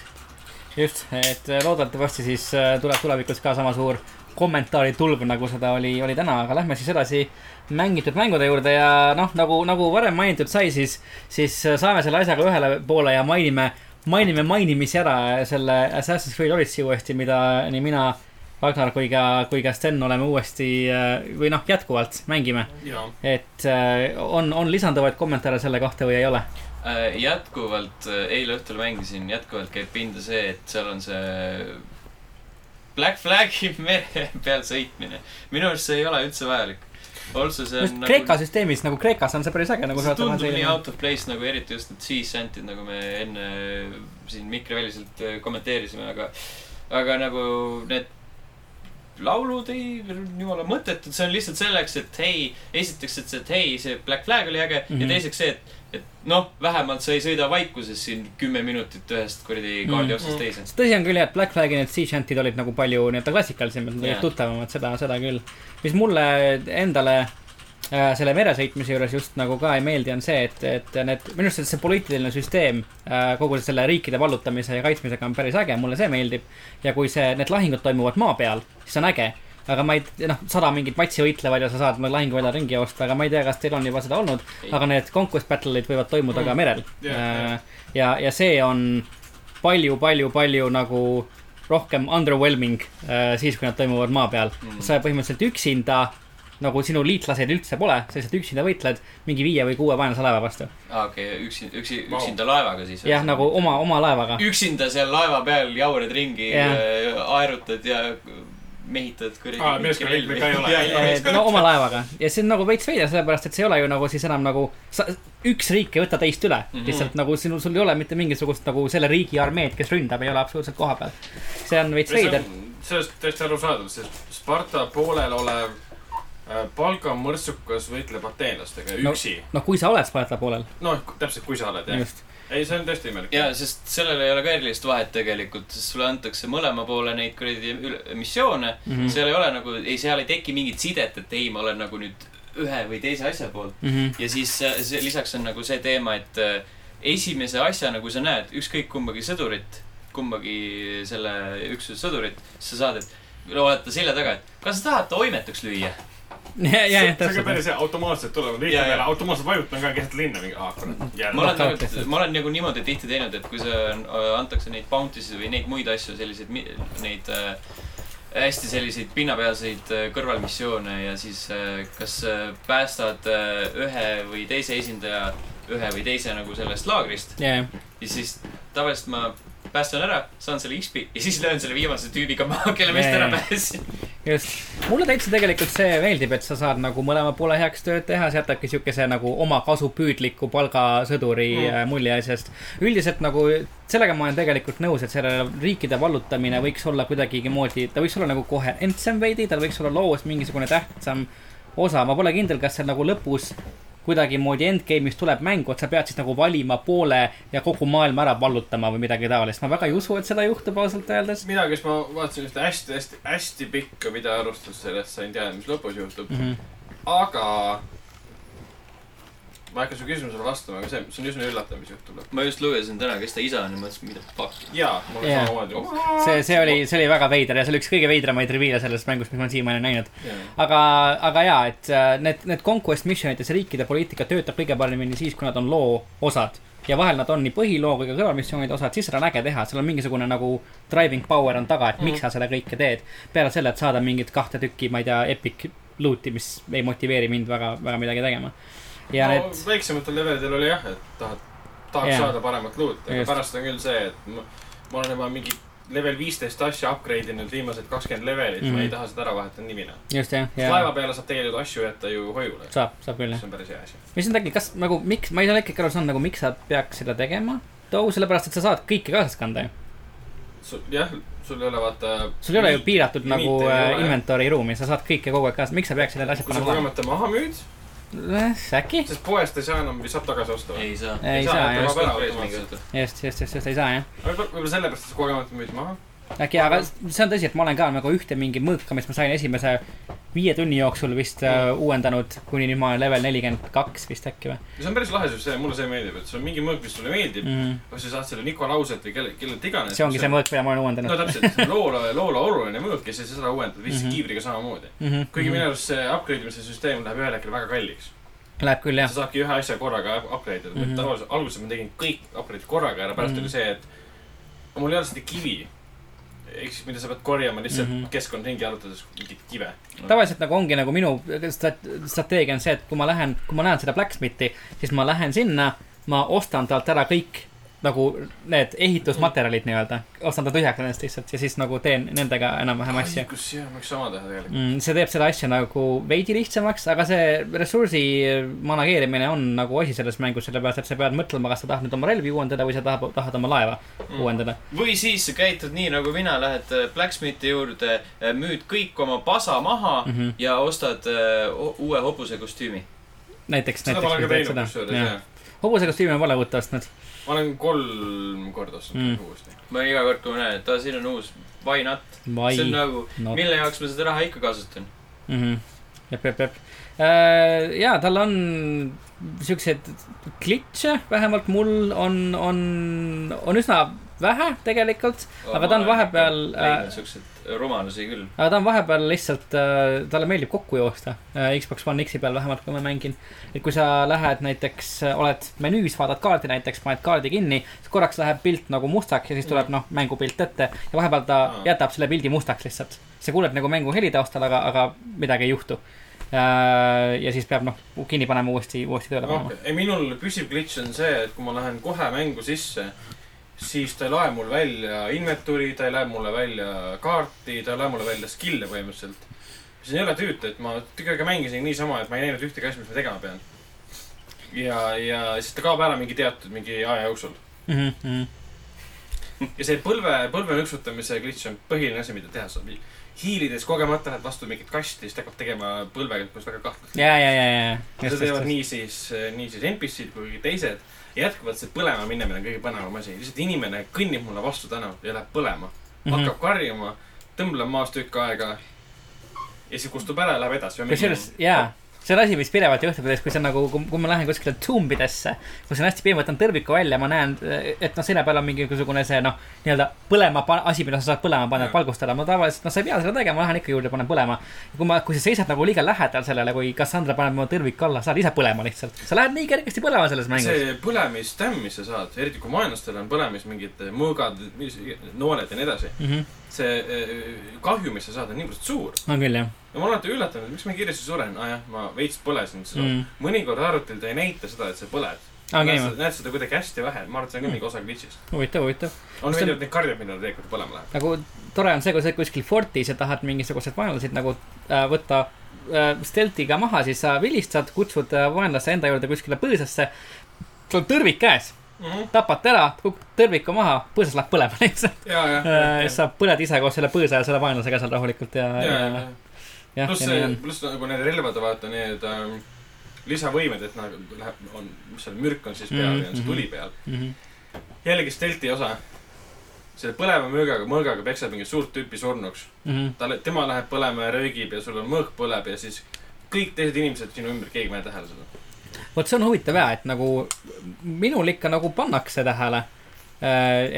just , et loodetavasti siis äh, tuleb tulevikus ka sama suur kommentaaritulv , nagu seda oli , oli täna , aga lähme siis edasi mängitud mängude juurde ja noh , nagu , nagu varem mainitud sai , siis , siis äh, saame selle asjaga ühele poole ja mainime , mainime mainimisi ära selle Assassin's Creed Odyssey uuesti , mida nii mina , Ragnar kui ka , kui ka Sten oleme uuesti äh, või noh , jätkuvalt mängime . jaa . et äh, on , on lisanduvaid kommentaare selle kohta või ei ole ? Äh, jätkuvalt , eile õhtul mängisin , jätkuvalt käib pinda see , et seal on see Black Flagi mere peal sõitmine . minu arust see ei ole üldse vajalik . Also see on just Kreeka süsteemis nagu Kreekas on see päris äge nagu . see tundub nii out of place nagu eriti just need sea scent'id , nagu me enne äh, siin mikriväliselt äh, kommenteerisime , aga , aga nagu need laulud ei , jumala mõttetud , see on lihtsalt selleks , et hei , esiteks , et see , et hei , see Black Flag oli äge mm -hmm. Mhm. ja teiseks see , et , et noh , vähemalt sa ei sõida vaikuses siin kümme minutit ühest kuradi Mhm. kaardi otsast Mhm. teise . Sest tõsi on küll jah , et Black Flagi need sea shant'id olid nagu palju nii-öelda klassikalisemad , need olid Jah. tuttavamad , seda , seda küll . mis mulle endale äh, selle meresõitmise juures just nagu ka ei meeldi , on see , et , et need , minu arust see poliitiline süsteem äh, kogu selle riikide vallutamise ja kaitsmisega on päris äge , mulle see meeldib . ja kui see , need lahingud toimuvad maa peal , siis on äge aga ma ei , noh , sada mingit matši võitlevad ja sa saad lahinguväljal ringi joosta , aga ma ei tea , kas teil on juba seda olnud , Ei. Mm. aga need conquest battle'id võivad toimuda ka merel . Jah, jah. Äh, ja , ja see on palju , palju , palju nagu rohkem underwhelming äh, siis , kui nad toimuvad maa peal mm. . sa oled põhimõtteliselt üksinda , nagu sinu liitlaseid üldse pole , sa lihtsalt üksinda võitled mingi viie või kuue vaenlase laeva vastu . aa , Ah, okei okay, , üksi , üksi , Vau. üksinda laevaga siis . jah , nagu oma , oma laevaga . üksinda seal laeva peal jaured ringi Jah. yeah. , aerutad ja mehitad kuradi . Aa, meeskonna liikmeid ka ei ole. ja , ja , no oma laevaga ja see on nagu veits veider , sellepärast et see ei ole ju nagu siis enam nagu sa , üks riik ei võta teist üle mm , -hmm. Mhm. lihtsalt nagu sinul , sul ei ole mitte mingisugust nagu selle riigi armeed , kes ründab , ei ole absoluutselt koha peal . see on veits veider . sellest täiesti arusaadav , sest Sparta poolel olev äh, Palga mõrtsukas võitleb ateenlastega No- üksi . noh , kui sa oled Sparta poolel , noh , täpselt , kui sa oled jah . just . ei , see on tõesti imelik . ja , sest sellel ei ole ka erilist vahet tegelikult , sest sulle antakse mõlema poole neid kuradi ül- missioone mm . Mhm. -hmm. seal ei ole nagu , ei , seal ei teki mingit sidet , et ei , ma olen nagu nüüd ühe või teise asja poolt . Mhm. ja siis äh, see, lisaks on nagu see teema , et äh, esimese asjana , kui sa näed ükskõik kumbagi sõdurit , kumbagi selle üksuse sõdurit , siis sa saad , et oled ta selja taga , et kas sa tahad ta oimetuks lüüa ? ja , ja , see ja on ka täpselt . päris hea , automaatselt tulevad Jaa, riigi jaa. peale , automaatselt vajutan ka keset linna mingi , aa Mhm. kurat , noh. ma jälle . olen Knockout nagu lihtsalt. , ma olen nagu niimoodi tihti teinud , et kui see on , antakse neid bounty sid või neid muid asju , selliseid , neid äh, hästi selliseid pinnapealseid äh, kõrvalmissioone ja siis äh, kas äh, päästad äh, ühe või teise esindaja ühe või teise nagu sellest laagrist ja , ja , ja siis tavaliselt ma päästan ära , saan selle XP ja siis löön selle viimase tüübiga maha , kelle meest ära Jajah. päästsin . just . mulle täitsa tegelikult see meeldib , et sa saad nagu mõlema poole heaks tööd teha , see jätabki siukese nagu oma kasupüüdliku palgasõduri Mm. mm. mulje asjast . üldiselt nagu sellega ma olen tegelikult nõus , et selle riikide vallutamine võiks olla kuidagimoodi , ta võiks olla nagu koherentsem veidi , tal võiks olla loos mingisugune tähtsam osa , ma pole kindel , kas seal nagu lõpus kuidagimoodi endgame'is tuleb mängu , et sa pead siis nagu valima poole ja kogu maailma ära vallutama või midagi taolist . ma väga ei usu , et seda juhtub ausalt öeldes . midagi , mis ma vaatasin ühte hästi-hästi-hästi pikka videoarvustust sellest , sain teada , mis lõpus juhtub . Mm -hmm. aga ma ei hakka su küsimusele vastama , aga see , see on üsna üllatav , mis juhtub lõpuks . ma just lugesin täna , kes ta isa on ja mõtlesin , mida fuck . jaa , mul on Jaa. samamoodi . see , see oli , see oli väga veider ja see oli üks kõige veidramaid reviile selles mängus , mis ma olen siiamaani näinud . aga , aga jaa , et äh, need , need conquest missionites riikide poliitika töötab kõige paremini siis , kui nad on loo osad . ja vahel nad on nii põhiloo kui ka kõrvalmissioonide osad , siis seda on äge teha , seal on mingisugune nagu driving power on taga , et miks sa seda kõike teed . peale selle , et saada mingit kahte tükki , ma ei tea , epic loot'i , mis ei motiveeri mind väga , väga midagi tegema . ja no, no, need , väiksematel levelidel oli jah , et tahad , tahaks Jaa. yeah. saada paremat loot , aga Just. Just. pärast on küll see , et ma, ma olen juba mingi level viisteist asja upgrade inud viimased kakskümmend levelit mm , -hmm. Mhm. ma ei taha seda ära vahetada nii mina . just jah , laeva ja peale saab tegelikult asju jätta ju hoiule . saab , saab küll jah . see on päris hea asi . mis on tegelikult , kas nagu , miks , ma ei ole ikkagi aru saanud nagu , miks sa peaks seda tegema ? too , sellepärast , et sa saad kõike kaasas kanda ju . jah , sul ei ole vaata . sul ei ole ju piiratud Limite nagu ei äh, ole. inventory ruumi , sa saad kõike kogu aeg kaasas , miks sa peaksid need asjad kui sa panema ? kogemata maha müüd , äkki ? siis poest ei saa enam , saab tagasi osta . ei saa . ei saa jah , jah. mingi juttu . just , just , just , just ei saa jah . aga võib- võib-olla sellepärast , et sa kogemata müüd maha . äkki , aga see on tõsi , et ma olen ka nagu ühte mingi mõõka , mis ma sain esimese viie tunni jooksul vist äh, Mm. uuendanud , kuni nüüd ma olen level nelikümmend kaks vist äkki või see on päris lahe süsteem , mulle see meeldib , et sul on mingi mõõk , mis sulle meeldib , mm. . kas sa saad selle Nikolauset või kelle , kellelt iganes . see ongi see mõõk , mida ma olen uuendanud no täpselt , loola , loola oluline mõõk ja siis seda uuendad Mhm. vist mm -hmm. kiivriga samamoodi . mm . -hmm. kuigi minu arust see upgrade imise süsteem läheb ühel hetkel väga kalliks . Läheb küll jah sa . saadki ühe asja korraga up- upgrade ida mm Mhm. -hmm. . tavaliselt alguses ma tegin kõik upgrade'id korraga ja pärast Mhm. mm -hmm. oli see , et mul ei olnud seda kivi . ehk siis , mida sa pead korjama lihtsalt mm Mhm. -hmm. keskkond ringi arutades mingit kive . tavaliselt nagu ongi nagu minu stra- strateegia on see , et kui ma lähen , kui ma näen seda Blacksmithi , siis ma lähen sinna , ma ostan talt ära kõik nagu need ehitusmaterjalid nii-öelda , ostan ta tühjaks nendest lihtsalt ja siis nagu teen nendega enam-vähem asju . kus jah , võiks sama teha tegelikult . Mm, see teeb seda asja nagu veidi lihtsamaks , aga see ressursi manageerimine on nagu asi selles mängus , sellepärast et sa pead mõtlema , kas sa tahad nüüd oma relvi uuendada või sa tahad , tahad oma laeva mm. uuendada . või siis sa käitud nii nagu mina , lähed äh, Blacksmithi juurde , müüd kõik oma pasa maha mm Mhm. -hmm. ja ostad äh, o- uue hobuse kostüümi . näiteks , seda ma olen ka näiteks teinud . kusjuures jah. jah . hobuse kostüümi ma pole uut ostnud . ma olen kolm korda ostnud Mm. mm. uuesti . ma iga kord , kui ma näen , et aa , siin on uus , why not , see äh, on nagu , not mille jaoks ma seda raha ikka kasutan . mm . -hmm. jep , jep , jep . ja tal on siukseid klitše , vähemalt mul on , on , on üsna vähe tegelikult , Aga ta on vahepeal, äh, leidnud siukseid rumalusi küll . aga ta on vahepeal lihtsalt , talle meeldib kokku joosta . Xbox One X-i peal vähemalt , kui ma mängin . et kui sa lähed näiteks , oled menüüs , vaatad kaardi näiteks , paned kaardi kinni , siis korraks läheb pilt nagu mustaks ja siis tuleb Mm. noh , mängupilt ette ja vahepeal ta Aa. jätab selle pildi mustaks lihtsalt . sa kuuled nagu mängu heli taustal , aga , aga midagi ei juhtu . ja siis peab noh , kinni panema uuesti , uuesti tööle noh panema ., ei minul püsiv glitch on see , et kui ma lähen kohe mängu sisse , siis ta ei lae mul välja inventuuri , ta ei lae mulle välja kaarti , ta ei lae mulle välja skill'e põhimõtteliselt . see ei ole tüütu , et ma tükk aega mängisin niisama , et ma ei näinud ühtegi asja , mis ma tegema pean . ja , ja siis ta kaob ära mingi teatud mingi aja jooksul . Mm -hmm. ja see põlve , põlve nõksutamise glitch on põhiline asi , mida teha saab . hiilides kogemata lähed vastu mingit kasti , siis ta hakkab tegema põlvega , kus väga kahtlane . ja , ja , ja , ja , ja . seda teevad nii siis , nii siis NPC-d kui ka teised . jätkuvalt see põlema minemine on kõige põnevam asi . lihtsalt inimene kõnnib mulle vastu tänavat ja läheb põlema mm . -hmm. hakkab karjuma , tõmbleb maas tükk aega . ja siis kustub ära ja läheb edasi . kusjuures , jaa , see on asi , mis pidevalt juhtub , et kui sa nagu , kui ma lähen kuskile tumbidesse , kus on hästi piim , võtan tõrviku välja , ma näen , et noh , seina peal on mingisugune see noh , nii-öelda põlema pa- asi , mida sa saad põlema panna , Jah. valgustada . ma tavaliselt , noh , sa ei pea seda tegema , ma lähen ikka juurde , panen põlema . kui ma , kui sa seisad nagu liiga lähedal sellele , kui Cassandra paneb oma tõrviku alla , sa lähed ise põlema lihtsalt . sa lähed nii kergesti põlema selles mängus . see põlemisstämm , mis sa saad , eriti kui vaenlastel on põlemis mingid eh, mõõgad , nooled ja nii edasi . Mm -hmm. see eh, kahju , mis sa saad , on niivõrd suur . on küll , jah ja ma olen alati üllatunud , miks ma nii kiiresti suren . aa jah , ma veits põlesin seda mm. . mm. . mõnikord arvutil ta ei näita seda , et sa põled . on näed käima , seda- näed seda kuidagi hästi vähe , ma arvan , et see on ka mingi osa glitch'ist . huvitav , huvitav . on See on- meeldivad need karjad , millele tegelikult põlema läheb . nagu tore on see , kui sa oled kuskil fortis ja tahad mingisuguseid vaenlaseid nagu äh, võtta äh, steltiga maha , siis sa vilistad , kutsud äh, vaenlase enda juurde kuskile põõsasse . sul on tõrvik käes , tapad ta ära , kukub tõrviku maha , põõsas läheb põlema lihtsalt . ja , ja . sa põled ise koos selle põõsa ja selle vaenlasega seal rahulikult ja , ja , ja , ja pluss nii see on ,. pluss nagu need relvad , vaata need ähm, lisavõimed , et nagu läheb , on , mis seal mürk on siis peal Mhm, ja on see mhm. tuli peal . Mhm. jällegi stelti osa . selle põleva mõõgaga , mõõgaga peksad mingit suurt tüüpi surnuks . Mhm. talle , tema läheb põlema ja röögib ja sul on mõõg põleb ja siis kõik teised inimesed sinu ümber , keegi ei pane tähele seda . vot see on huvitav ja , et nagu minul ikka nagu pannakse tähele .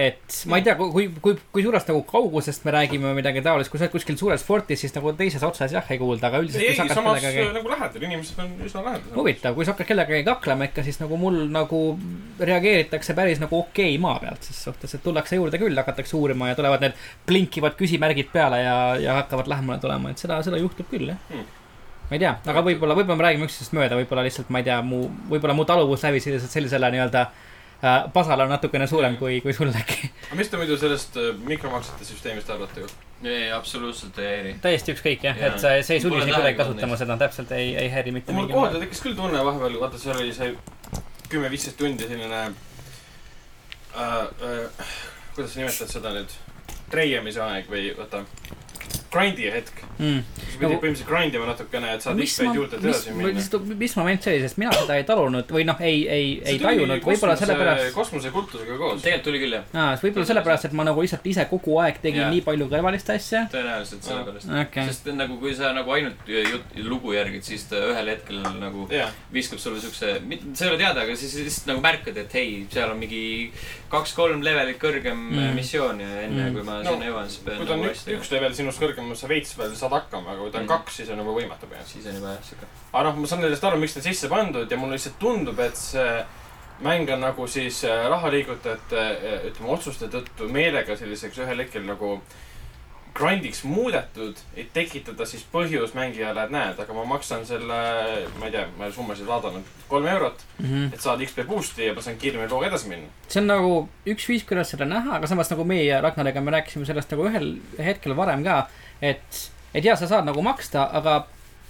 et ma ei tea , kui , kui , kui suurest nagu kaugusest me räägime või midagi taolist , kui sa oled kuskil suures fortis , siis nagu teises otsas jah ei kuulda , aga üldiselt . ei , ei , samas äh, nagu lähedal , inimesed on üsna lähedal . huvitav , kui sa hakkad kellegagi kaklema ikka , siis nagu mul nagu reageeritakse päris nagu okei maa pealt ses suhtes , et tullakse juurde küll , hakatakse uurima ja tulevad need blinkivad küsimärgid peale ja , ja hakkavad lähemale tulema , et seda , seda juhtub küll jah Hmm. hmm. ma ei tea , aga võib-olla , võib-olla me räägime üksteisest mööda , võib-olla lihtsalt ma ei tea , mu , võib-olla mu taluvuslävis lihtsalt sellisele nii-öelda äh, pasale on natukene suurem kui , kui sul äkki . aga mis te muidu sellest äh, mikromaksete süsteemist arvate ? ei , absoluutselt ei häiri . täiesti ükskõik jah Jaa. et sa , see ei Pole sunni sind kuidagi tähelepanu kasutama seda , täpselt ei , ei häiri mitte mul mingil kohati tekkis küll tunne vahepeal , vaata seal oli see kümme , viisteist tundi selline äh, , äh, kuidas sa nimetad seda nüüd , treiemise aeg või vaata , grind'i hetk . mm. . sa pidid Nagu- põhimõtteliselt grind ima natukene , et saada mis ma , XP-d juurde et edasi minna mis , mis moment see oli , sest mina seda ei talunud või noh , ei , ei , ei tajunud , võib-olla sellepärast . kosmosekultusega koos . tegelikult tuli küll jah , aa , võib-olla sellepärast , et ma nagu lihtsalt ise kogu aeg tegin Jaa. yeah. nii palju kõrvalist asja . tõenäoliselt sellepärast . okei , sest nagu , kui sa nagu ainult jut- , lugu järgid , siis ta ühel hetkel nagu jah , viskab sulle siukse , sa ei ole teada , aga siis lihtsalt nagu märkad , et hei , seal on mingi kaks-kolm levelit kõrgem Mm. mm. missioon ja enne mm. Mm. kui ma No, no, sinna jõuan , siis pean kui ta on nagu üks , asja üks tegema . level sinust kõrgem , sa veits veel saad hakkama , aga kui ta on Mm. Mhm. kaks , siis on juba võimatu põhimõtteliselt . siis on juba jah siuke . aga noh , ma saan sellest aru , miks ta sisse pandud ja mulle lihtsalt tundub , et see mäng on nagu siis äh, rahaliigutajate , ütleme , otsuste tõttu meelega selliseks ühel hetkel nagu grind'iks muudetud , et tekitada siis põhjus mängijale , et näed , aga ma maksan selle , ma ei tea , ma ei ole summasid vaadanud , kolm eurot , Mhm. et saada XP boost'i ja ma saan kiiremini looga edasi minna . see on nagu üks viis , kuidas seda näha , aga samas nagu meie ja Ragnariga me rääkisime sellest nagu ühel hetkel varem ka , et , et jaa , sa saad nagu maksta , aga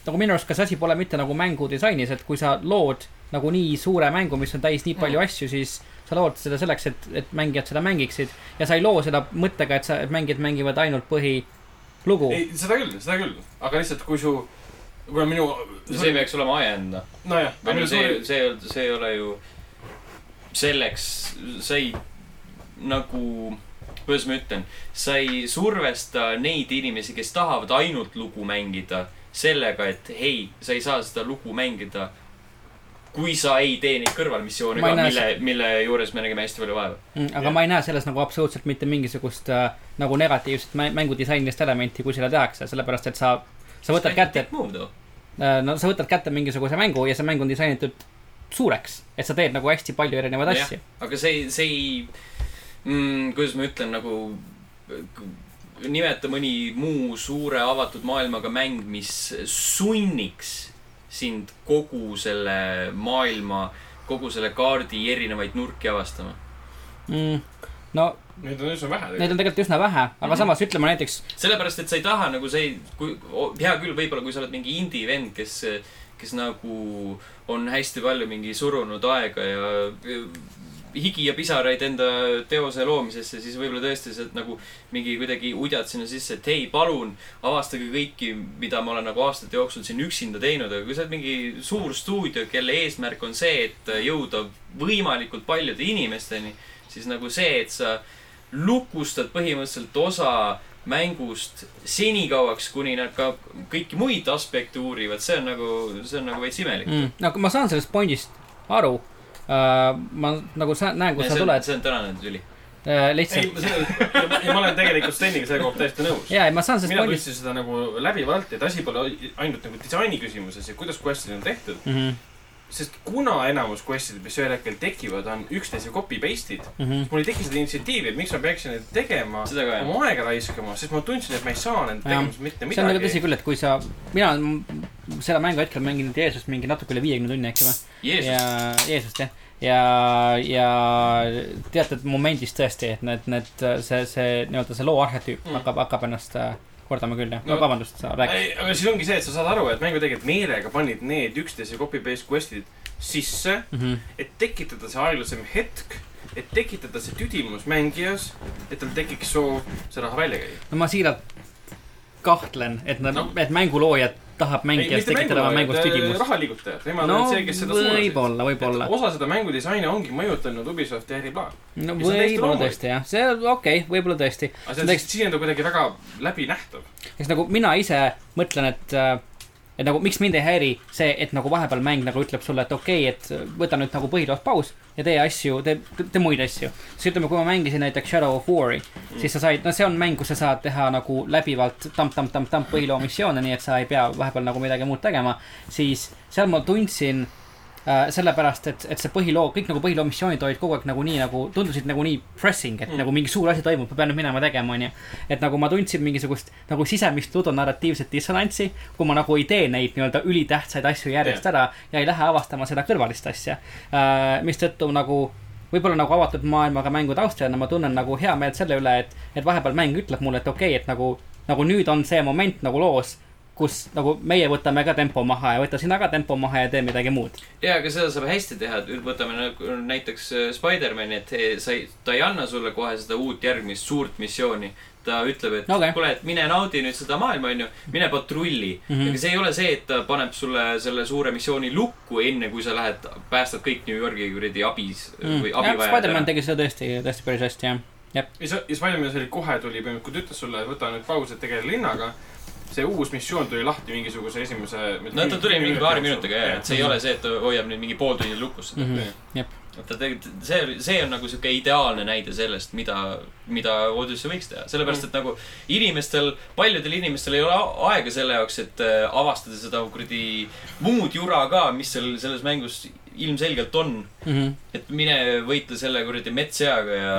nagu minu arust ka see asi pole mitte nagu mängu disainis , et kui sa lood nagu nii suure mängu , mis on täis nii palju asju , siis sa lood seda selleks , et , et mängijad seda mängiksid ja sa ei loo seda mõttega , et sa , et mängijad mängivad ainult põhilugu . ei , seda küll , seda küll , aga lihtsalt , kui su , kuna minu , see peaks olema ajend , noh . nojah , või no see , see , see ei ole ju selleks , sa ei nagu , kuidas ma ütlen , sa ei survesta neid inimesi , kes tahavad ainult lugu mängida sellega , et hei , sa ei saa seda lugu mängida , kui sa ei tee neid kõrvalmissioone Ma ka ei , näe mille , mille juures me nägime hästi palju vaeva . Mm, aga Jah. ma ei näe selles nagu absoluutselt mitte mingisugust äh, nagu negatiivset mä- mängudisainilist elementi , kui seda tehakse , sellepärast et sa , sa võtad kätte , oh. Äh, no sa võtad kätte mingisuguse mängu ja see mäng on disainitud suureks , et sa teed nagu hästi palju erinevaid Jah. asju . aga see , see ei mm, , kuidas ma ütlen , nagu k- nimeta mõni muu suure avatud maailmaga mäng , mis sunniks sind kogu selle maailma , kogu selle kaardi erinevaid nurki avastama . Mm. no Neid on üsna vähe neid on tegelikult üsna vähe , aga mm Mhm. -hmm. samas ütleme näiteks , sellepärast , et sa ei taha nagu see , kui , hea küll , võib-olla kui sa oled mingi indie vend , kes , kes nagu on hästi palju mingi surunud aega ja higi ja pisaraid enda teose loomisesse , siis võib-olla tõesti sealt nagu mingi kuidagi udjad sinna sisse , et hei , palun avastage kõiki , mida ma olen nagu aastate jooksul siin üksinda teinud , aga kui sa oled mingi suur stuudio , kelle eesmärk on see , et jõuda võimalikult paljude inimesteni , siis nagu see , et sa lukustad põhimõtteliselt osa mängust senikauaks , kuni nad ka kõiki muid aspekte uurivad , see on nagu , see on nagu veits imelik . mm. , no aga ma saan sellest pointist aru uh, . ma nagu sa, näen , kus sa see on , tuled see on tänane tüli . uh, , ei , lihtsalt , ma selle , ja ma olen tegelikult Steniga selle kohta täiesti nõus . ja , ma saan sellest mina pointist tundsin seda nagu läbivalt , et asi pole ainult nagu disaini küsimuses ja kuidas quest'id on tehtud . mm . -hmm. sest kuna enamus quest'id , mis ühel hetkel tekivad , on üksteise copy paste'id , Mm -hmm. mul ei teki seda initsiatiivi , et miks ma peaksin neid tegema , seda ka jah . oma aega raiskama , sest ma tundsin , et ma ei saa nende Jah. tegemisest mitte see on nagu tõsi midagi . küll , et kui sa , mina olen m- seda mängu hetkel mänginud Jeesust mingi natuke üle viiekümne tunni äkki või ? ja Jeesus , Jeesust jah , ja , ja teatud momendis tõesti , et need , need , see , see nii-öelda see loo arhetüüp mm. Mm. hakkab , hakkab ennast äh, kordama küll jah no, , No- vabandust , sa räägid . aga siis ongi see , et sa saad aru , et mängu tegelikult meelega panid need üksteise copy paste quest'id sisse , Mm -hmm. et tekitada see aeglasem hetk , et tekitada see tüdimus mängijas , et tal tekiks soov see raha välja käia . no ma siiralt kahtlen , et nad no. No. , et mänguloojad tahab mängijast tekitada oma mängus tüdimust . rahaliigutajad , nemad no äh, on see , kes seda suunasid . võib-olla , võib-olla , osa seda mängudisaini ongi mõjutanud Ubisofti äriplaan . no see on täiesti võib-olla loomulik. tõesti jah , see okei okay, , võib-olla tõesti , aga see on Näiteks- lihtsalt siin on ta kuidagi väga läbinähtav . eks nagu mina ise mõtlen , et äh, et nagu miks mind ei häiri see , et nagu vahepeal mäng nagu ütleb sulle , et okei okay, , et võta nüüd nagu põhiloos paus ja tee asju , tee , tee muid asju . siis ütleme , kui ma mängisin näiteks Shadow of War'i mm. , siis sa said , no see on mäng , kus sa saad teha nagu läbivalt tamp-tamp-tamp-tamp põhiloo missioone , nii et sa ei pea vahepeal nagu midagi muud tegema . siis seal ma tundsin äh, sellepärast , et , et see põhiloo , kõik nagu põhiloo missioonid olid kogu aeg nagu nii nagu tundusid nagu nii pressing , et mm. Mm. nagu mingi suur asi toimub , ma pean nüüd minema tegema , onju . et nagu ma tundsin mingisugust nagu sisemist ludonarratiivset dissonantsi , kui ma nagu ei tee neid nii-öelda ülitähtsaid asju järjest yeah. ära ja ei lähe avastama seda kõrvalist asja äh, . mistõttu nagu võib-olla nagu avatud maailmaga mängu taustajana ma tunnen nagu hea meelt selle üle , et , et vahepeal mäng ütleb mulle , et okei okay, , et nagu , nagu nüüd on see moment nagu loos , kus nagu meie võtame ka tempo maha ja võta sina ka tempo maha ja tee midagi muud . ja , aga seda saab hästi teha , et võtame nagu näiteks äh, Spider-man'i , et he- sa ei , ta ei anna sulle kohe seda uut järgmist suurt missiooni . ta ütleb , et Okei. okay. kuule , et mine naudi nüüd seda maailma , onju , mine patrulli mm . Mhm. -hmm. aga see ei ole see , et ta paneb sulle selle suure missiooni lukku , enne kui sa lähed , päästad kõik New Yorgi kuradi abis mm. või abivajajad Spider-man . tegi seda tõesti , tõesti päris hästi jah . ja sa- ja Spider-man oli kohe tuli põhimõtteliselt , kui ta ütles sulle , et võta nüüd pausi , et tegele linnaga . see uus missioon tuli lahti mingisuguse esimese . no ta tuli mingi paari minutiga ja , et see ei ole see , et ta hoiab nüüd mingi pool tundi lukus Mhm. seda mm . -hmm. ta tegelikult , see , see on nagu sihuke ideaalne näide sellest , mida , mida Odyssey võiks teha , sellepärast et nagu inimestel , paljudel inimestel ei ole a- aega selle jaoks , et äh, avastada seda kuradi muud jura ka , mis seal selles mängus ilmselgelt on . Mhm. et mine võitle selle kuradi metsseaga ja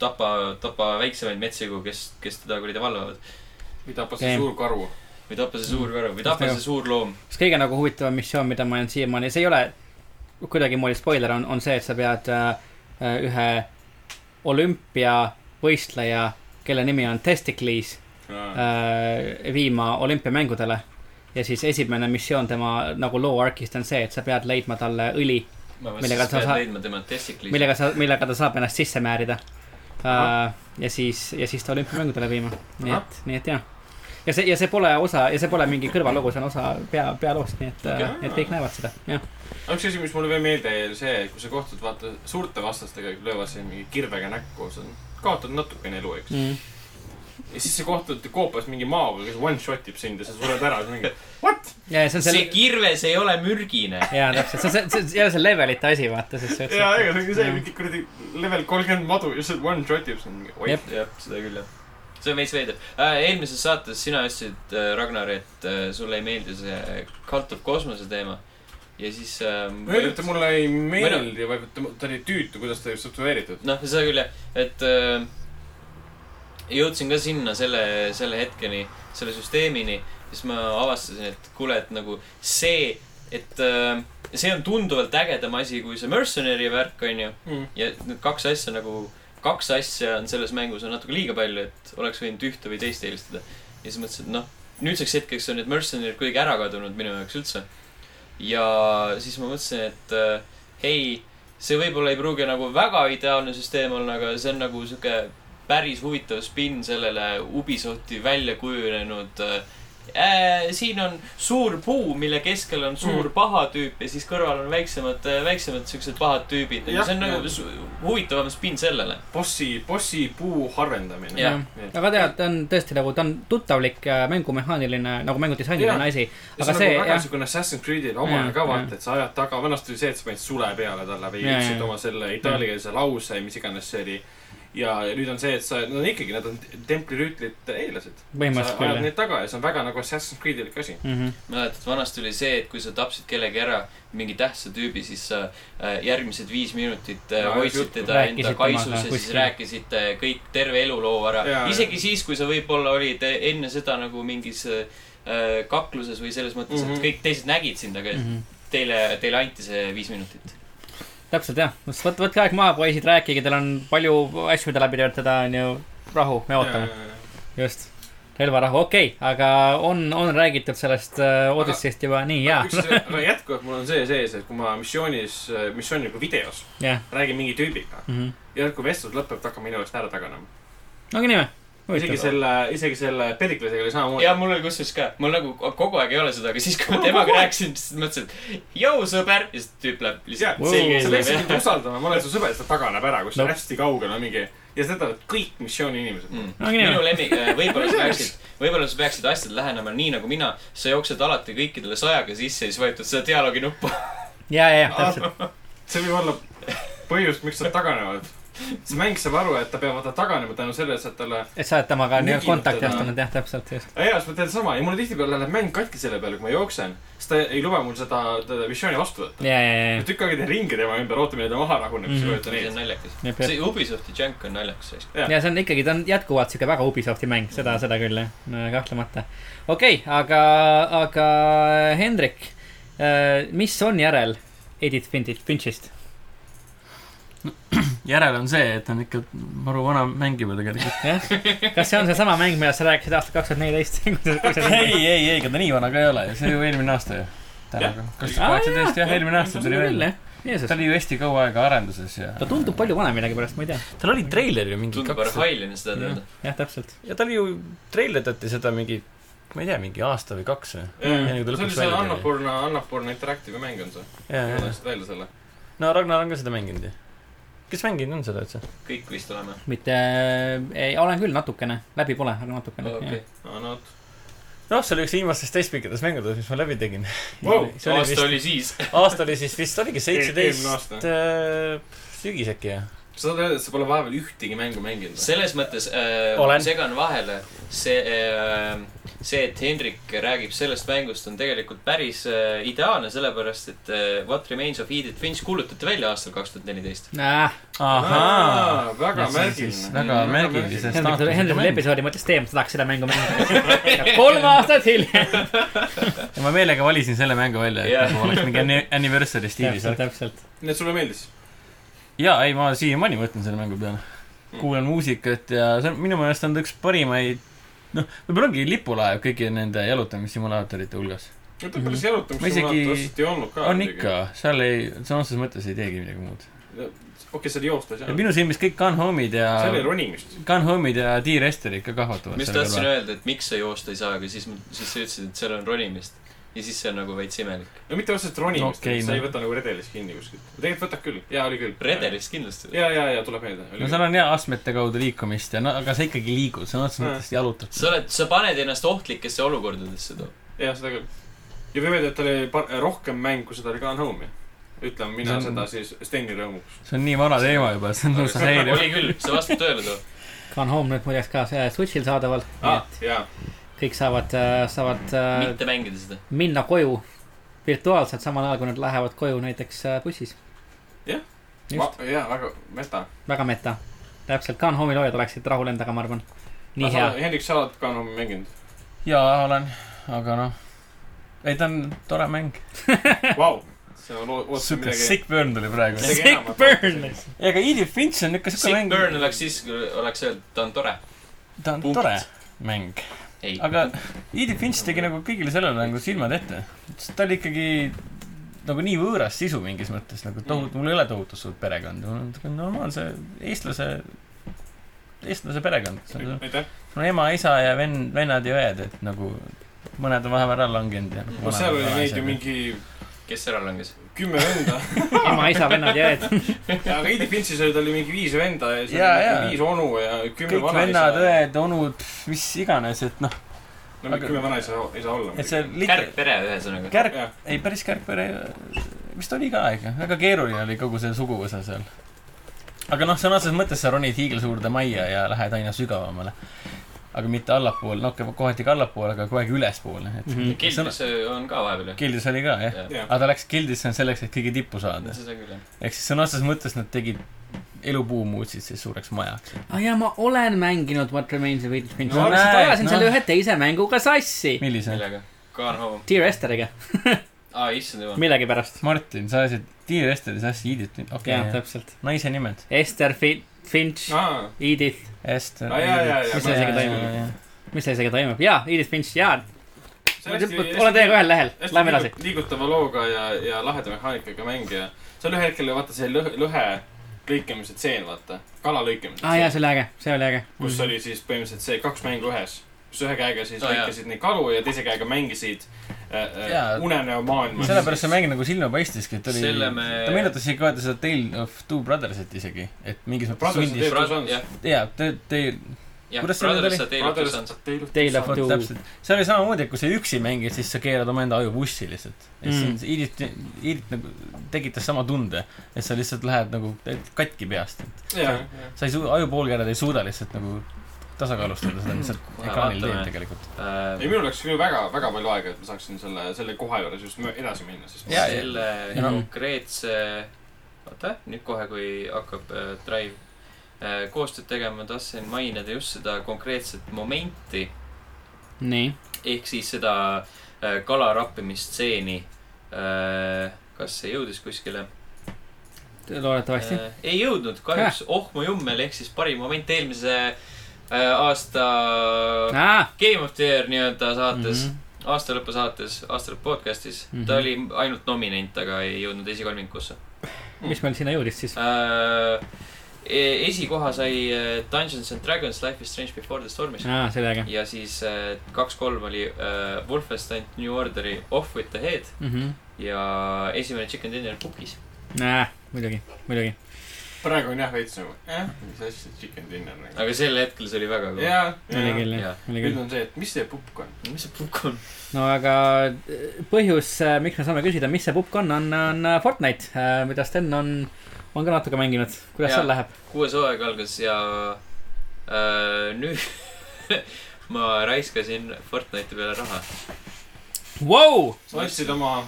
tapa , tapa väiksemaid metsigu , kes , kes teda kuradi valvavad . või tapas see Okei. suur karu . või tapa see suur karu või tapa Just see suur loom . üks kõige nagu huvitavam missioon , mida ma olen siiamaani , see ei ole kuidagimoodi spoiler , on , on see , et sa pead äh, äh, ühe olümpiavõistleja , kelle nimi on Testicles Ah. äh, , viima olümpiamängudele . ja siis esimene missioon tema nagu loo arc'ist on see , et sa pead leidma talle õli , ma mõtlesin , Millega et sa sa pead saad- leidma tema testikli . millega sa , millega ta saab ennast sisse määrida äh, . ja siis , ja siis ta olümpiamängudele viima , nii et , nii et jah ja see , ja see pole osa ja see pole mingi kõrvalugu , see on osa pea , pealoost , nii et , et kõik näevad seda , jah . aga üks asi , mis mulle veel meelde jäi , oli see , kui sa kohtud vaata suurte vastastega , löövad sind mingi kirvega näkku , sa kaotad natukene elu , eks . Mm. ja siis sa kohtud koopas mingi maoga , kes one shot ib sind ja sa sured ära , siis mingi what ? ja , ja see on see see , kirves ei ole mürgine . jaa , täpselt , see on see , see , see ei ole see levelite asi , vaata , sest see ja , ega see ongi see mingi kuradi level kolmkümmend madu ja sa one shot ib sind . oi , jah , seda küll jah . see on veits veider . eelmises saates sina ütlesid , Ragnar , et äh, sulle ei meeldi see Cult of Cosmose teema . ja siis . äh, öeldi , et mulle ei meeldi , vaid ta, ta oli tüütu , kuidas ta oli struktureeritud . noh , seda küll jah , et äh, jõudsin ka sinna selle , selle hetkeni , selle süsteemini , siis ma avastasin , et kuule , et nagu see , et äh, see on tunduvalt ägedam asi kui see Mercenary värk , onju . Mm. ja need kaks asja nagu , kaks asja on selles mängus on natuke liiga palju , et oleks võinud ühte või teist eelistada . ja siis mõtlesin , et noh , nüüdseks hetkeks on need Mercenary'd kuidagi ära kadunud minu jaoks üldse . ja siis ma mõtlesin , et äh, hei , see võib-olla ei pruugi nagu väga ideaalne süsteem olla , aga see on nagu sihuke päris huvitav spinn sellele Ubisofti välja kujunenud äh, . siin on suur puu , mille keskel on suur mm. paha tüüp ja siis kõrval on väiksemad , väiksemad siuksed pahad tüübid . Jah, see on nagu jah. su- huvitavam spinn sellele . bossi , bossi puu harvendamine . Jah. aga tead , ta on tõesti nagu , ta on tuttavlik ja mängumehaaniline , nagu Jaa. mängudisainiline asi . Ja aga see on see nagu väga jah , Mm, niisugune Assassin's Creed'il omane Jaa, ka vaata , jaa. et sa ajad taga , vanasti oli see , et sa panid sule peale talle või Jaa, ütlesid jaa. oma selle itaaliakeelse lause , mis iganes see oli . ja nüüd on see , et sa , no ikkagi , nad on templirüütlite eellased . sa põhimõtteliselt ajad küll neid taga ja see on väga nagu Assassin's Creed'ilik asi . jah . mäletad , vanasti oli see , et kui sa tapsid kellegi ära , mingi tähtsa tüübi , siis sa äh, järgmised viis minutit äh, No, hoidsid juttu. teda enda Rääkisid kaisus ja temaga siis kuskil. rääkisid äh, kõik terve eluloo ära Jaa, . isegi siis , kui sa võib-olla olid äh, enne seda nagu mingis äh, äh, kakluses või selles mõttes mm , -hmm. Mhm. et kõik teised nägid sind , aga mhm. mm -hmm. teile , teile anti see viis minutit . täpselt jah , võt- , võtke aeg maha , poisid , rääkige , teil on palju asju , mida läbi töötada , on ju . rahu , me ootame , just . relvarahu , okei okay, , aga on , on räägitud sellest äh, Odyssey'st juba nii ja , aga jätkuvalt mul on see sees , et kui ma missioonis , missioonil kui videos jah . Mhm. räägin mingi tüübiga ja kui vestlus lõpeb , ta hakkab minu eest ära taganema . ongi nii isegi või ? selle , isegi selle Periclesega oli samamoodi . ja mul oli kusjuures ka , mul nagu kogu aeg ei ole seda , aga siis , kui ma Mul on temaga kogu aeg. rääkisin , siis mõtlesin , et jõu sõber ja siis tüüp läheb jaa lihtsalt , Wow. selge sa peaksid mind ees . usaldama , ma olen su sõber , ta taganeb ära , kui sa No. hästi kaugel on mingi ja seda teevad kõik missiooni inimesed . mm. . No, nii on. minu lemmik , võib-olla sa peaksid , võib-olla sa peaksid asjad lähenema nii nagu mina . sa jooksed alati kõikidele sajaga sisse ja siis vajutad seda dialoogi nuppu . ja , ja , ja täpselt , see võib olla põhjus , miks nad taganevad . see mäng saab aru , et ta peab vaata taganema tänu sellele , et sa oled talle , et sa oled temaga nii-öelda Nüginud kontakti teda. astunud , jah , täpselt , just . jaa , siis ma teen sama ja mulle tihtipeale läheb mäng katki selle peale , kui ma jooksen , siis ta ei luba mul seda teda missiooni vastu võtta . ja , ja , ja ma , tükk aega teen ringi tema ümber , ootame , et ta maha rahuneb , siis Mhm. vajutan see on nagu- ees . naljakas . Jep, jep. see Ubisofti jänk on naljakas asi . ja see on ikkagi , ta on jätkuvalt siuke väga Ubisofti mäng , seda , seda küll jah , kahtlemata . okei okay, , aga , aga äh, Hendrik , mis on järel Edith Finchist , Finchist ? järel on see , et on ikka maru vana mängima tegelikult . jah , kas see on seesama mäng , millest sa rääkisid aastal kaks tuhat neliteist ? ei , ei , ei , ega ta nii vana ka ei ole , see oli ju eelmine aasta ju . tänaga , kaks tuhat kaheksateist , jah , eelmine aasta tuli välja .. ta Jeesus , oli ju hästi kaua aega arenduses ja . ta tundub palju vanem millegipärast , ma ei tea . tal oli treiler ju mingi tundub kaks . arhailine seda teada . jah , täpselt . ja ta oli ju , treilerdati seda mingi , ma ei tea , mingi aasta või kaks või . Mm. see enne kui ta oli lõpuks see välja tuli. Annapurna , Annapurna Interactive'i mäng on see . ja , ma ja , tahtsin välja selle . ja . no Ragnar on ka seda mänginud ju . kes mänginud on seda üldse ? kõik vist oleme . mitte , ei , olen küll natukene , läbi pole , aga natukene . okei . aa , no vot . noh , see oli üks viimastest teist pikkadest mängudest , mis ma läbi tegin . Vau, see oli aasta vist , oli siis . aasta oli siis vist oligi eelmine aasta. seitseteist äh, sügis äkki jah ? sa saad öelda , et sa pole vahepeal ühtegi mängu mänginud või ? selles mõttes äh, Olen. segan vahele , see äh, , see , et Hendrik räägib sellest mängust , on tegelikult päris äh, ideaalne , sellepärast et äh, What Remains of Edith Finch kuulutati välja aastal kaks tuhat neliteist .. ahhaa . väga märgiline . väga märgilises Hendrik tuli , Hendrik tuli . episoodi mõttes teema , ta tahaks seda mängu mängida kolm aastat hiljem . ja ma meelega valisin selle mängu välja , Jah. et nagu oleks mingi anni- anniversary stiilis . täpselt , täpselt . nii et sulle meeldis ? jaa , ei , ma siiamaani mõtlen selle mängu peale . kuulan muusikat ja see on minu meelest on ta üks parimaid , noh , võib-olla ongi lipulaev kõigi nende jalutamissimulaatorite hulgas . no ta päris jalutamissimulaator Mhm. isegi- otseselt ei olnud ka . on . ikka , seal ei , sõna otseses mõttes ei teegi midagi muud . okei , see oli joostes jah ja ? minu silmis kõik Gone Home'id ja see oli ronimist . Gone Home'id ja T-Rester ikka kahvatavad ma just tahtsin . öelda , et miks sa joosta ei saa , aga siis , siis sa ütlesid , et seal on ronimist . ja siis see on nagu veits imelik . no mitte otseselt ronimist Okei, okay, , sa no. ei võta nagu redelis kinni kuskilt . tegelikult võtad küll , jaa , oli küll . redelist kindlasti . ja , ja , ja tuleb meelde . no seal on jaa astmete kaudu liikumist ja no aga sa ikkagi liigud , sõna otseses mõttes jalutad . sa oled , sa paned ennast ohtlikesse olukordadesse too . jah , seda küll . ja võib öelda , et tal oli par- rohkem mängu , seda oli Gone Home'i . ütlen mina See on- seda siis Steni rõõmuks . see on nii vana teema juba , see on lausa häiriv . oli küll , see vastab tõele too . Gone Home nüüd muideks ka see Switch'il saadaval . aa , Ah, jaa . kõik saavad , saavad äh, mitte mängida seda . minna koju virtuaalselt , samal ajal kui nad lähevad koju näiteks äh, bussis . Jah. just , jaa , väga meta . väga meta . täpselt , Gone Home'i loojad oleksid rahul endaga , ma arvan . nii hea . Hendrik , sa oled Gone Home'i mänginud ? jaa , olen , aga noh , ei ta on tore mäng . Vau . sa loo- ootasid siuke midagi . sick burn tuli praegu . Sick Sick burn . ei , aga Edith Finch on ikka siuke Sick mäng , Burn oleks siis , kui oleks öeldud , ta on tore . ta on punkt. tore mäng . ei . aga Edith Finch tegi nagu kõigile sellele nagu silmad ette . ta oli ikkagi nagu nii võõras sisu mingis mõttes , nagu tohutu , mul ei ole tohutu suurt perekonda , mul on niisugune normaalse eestlase , eestlase perekond . aitäh . mul on ema , isa ja vend , vennad ja õed , et nagu mõned on vahepeal ära langenud ja . nagu no seal oli neid ju . mingi kes ära langes ? kümme venda . ema , isa , vennad ja õed . aga Edith Finchis oli , tal oli mingi viis venda ja siis Jaa, oli jaa. mingi viis onu ja kümme kõik vanaisa . vennad , õed , onud , mis iganes , et noh , no mingi kümme vanaisa ei saa olla . et see lit- , kärgpere ühesõnaga . kärg , ei päris Kärkpere vist oli ka ikka , väga keeruline oli kogu see suguvõsa seal . aga noh , sõna otseses mõttes sa ronid hiigelsuurde majja ja lähed aina sügavamale . aga mitte allapoole , noh kohati ka allapoole , aga kogu aeg ülespoole , et mm Mhm. -hmm. kildis on ka vahepeal ju . Gildis oli ka jah , jah , jah , aga ta läks Gildisse selleks , et kõige tippu saada . seda küll jah . ehk siis sõna otseses mõttes nad tegid elupuu muutsid siis suureks majaks . aa Ah, jaa , ma olen mänginud What Remains of Edith Finch . No ma lihtsalt näed, ajasin noh. selle ühe teise mänguga sassi . millise ? millega ? Gone home . Dear Esteriga , aa , issand jumal . millegipärast . Martin , sa ajasid Tiir Esteri sassi , Edith , okei jah , okay, , täpselt . naise nimed . Ester Fi- Finch , aa , Edith , Ester . Aa, jaa, jaa, jaa, Mis see isegi toimub? mis seal isegi toimub ? jaa , Edith Finch , jaa . see on hästi , olen teiega ühel lehel , hästi lähme edasi liigut- . liigutava looga ja , ja laheda mehaanikaga mäng ja seal ühel hetkel oli vaata see lõhe , lõhe lõikamise tseen , vaata , kala lõikamise aa Ah, jaa , see oli äge , see oli äge . Mhm. Mhm. kus oli siis põhimõtteliselt see kaks mängu ühes , kus ühe käega siis Aa, oh, jaa. lõikasid neid kalu ja teise käega mängisid äh, äh, Jaa. unenäomaailmas . sellepärast see mäng nagu silma paistiski , et oli Selle me- ta meenutas isegi vaata seda Tale of Two Brothersit isegi , et mingis mõttes Brothers on sundis Tale- jah , jaa , te , te , jah , Kuidas see nüüd Brothers oli? ja Tale of the Sons . Tale of Two . täpselt , see oli samamoodi , et kui sa üksi mängid , siis sa keerad omaenda aju bussi lihtsalt . ja siis Mm. on see Edith , Edith nagu tekitas sama tunde , et sa lihtsalt lähed nagu täit- katki peast , et sa ei suu- , ajupoolkärjed ei suuda lihtsalt nagu tasakaalustada seda , mis sa Kohe ekraanil vaatame. teed tegelikult . ei , minul läks küll väga , väga palju aega , et ma saaksin selle , selle koha juures just mö- edasi minna , sest Jaa, ma- selle ja no- konkreetse , oota , nüüd kohe , kui hakkab äh, Drive äh, koostööd tegema , ma tahtsin mainida just seda konkreetset momenti nii . ehk siis seda äh, kala rappimistseeni . kas see jõudis kuskile ? loodetavasti . Äh, ei jõudnud , kahjuks ohmu jummel ehk siis parim moment eelmise äh, aasta Äh, Game of the Year nii-öelda saates mm , -hmm. aastalõpu saates , aastalõpu podcast'is mm . -hmm. ta Mhm. oli ainult nominent , aga ei jõudnud esikolmikusse mis meil sinna jõudis siis ? äh, . esikoha sai äh, Dungeons and Dragons Life is Strange Before the Stormis . Äh. aa , sellega . ja siis äh, kaks-kolm oli äh, Wolfenstein New Orderi Off with the Head Mhm. ja esimene Chicken Dinner Cookies . muidugi , muidugi . praegu on jah veits nagu , jah , mis asja , chicken dinner nagu . aga sel hetkel see oli väga kõva . jaa , oli jaa . küll , jaa. jah , oli nüüd küll . on see , et mis see pukk on . mis see pukk on ? no aga äh, põhjus , miks me saame küsida , mis see pukk on , on , on Fortnite , mida Sten on , on ka natuke mänginud . kuidas Jaa. seal läheb ? kuues hooaeg algas ja äh, nüüd ma raiskasin Fortnite'i peale raha . Vau , sa otsid oma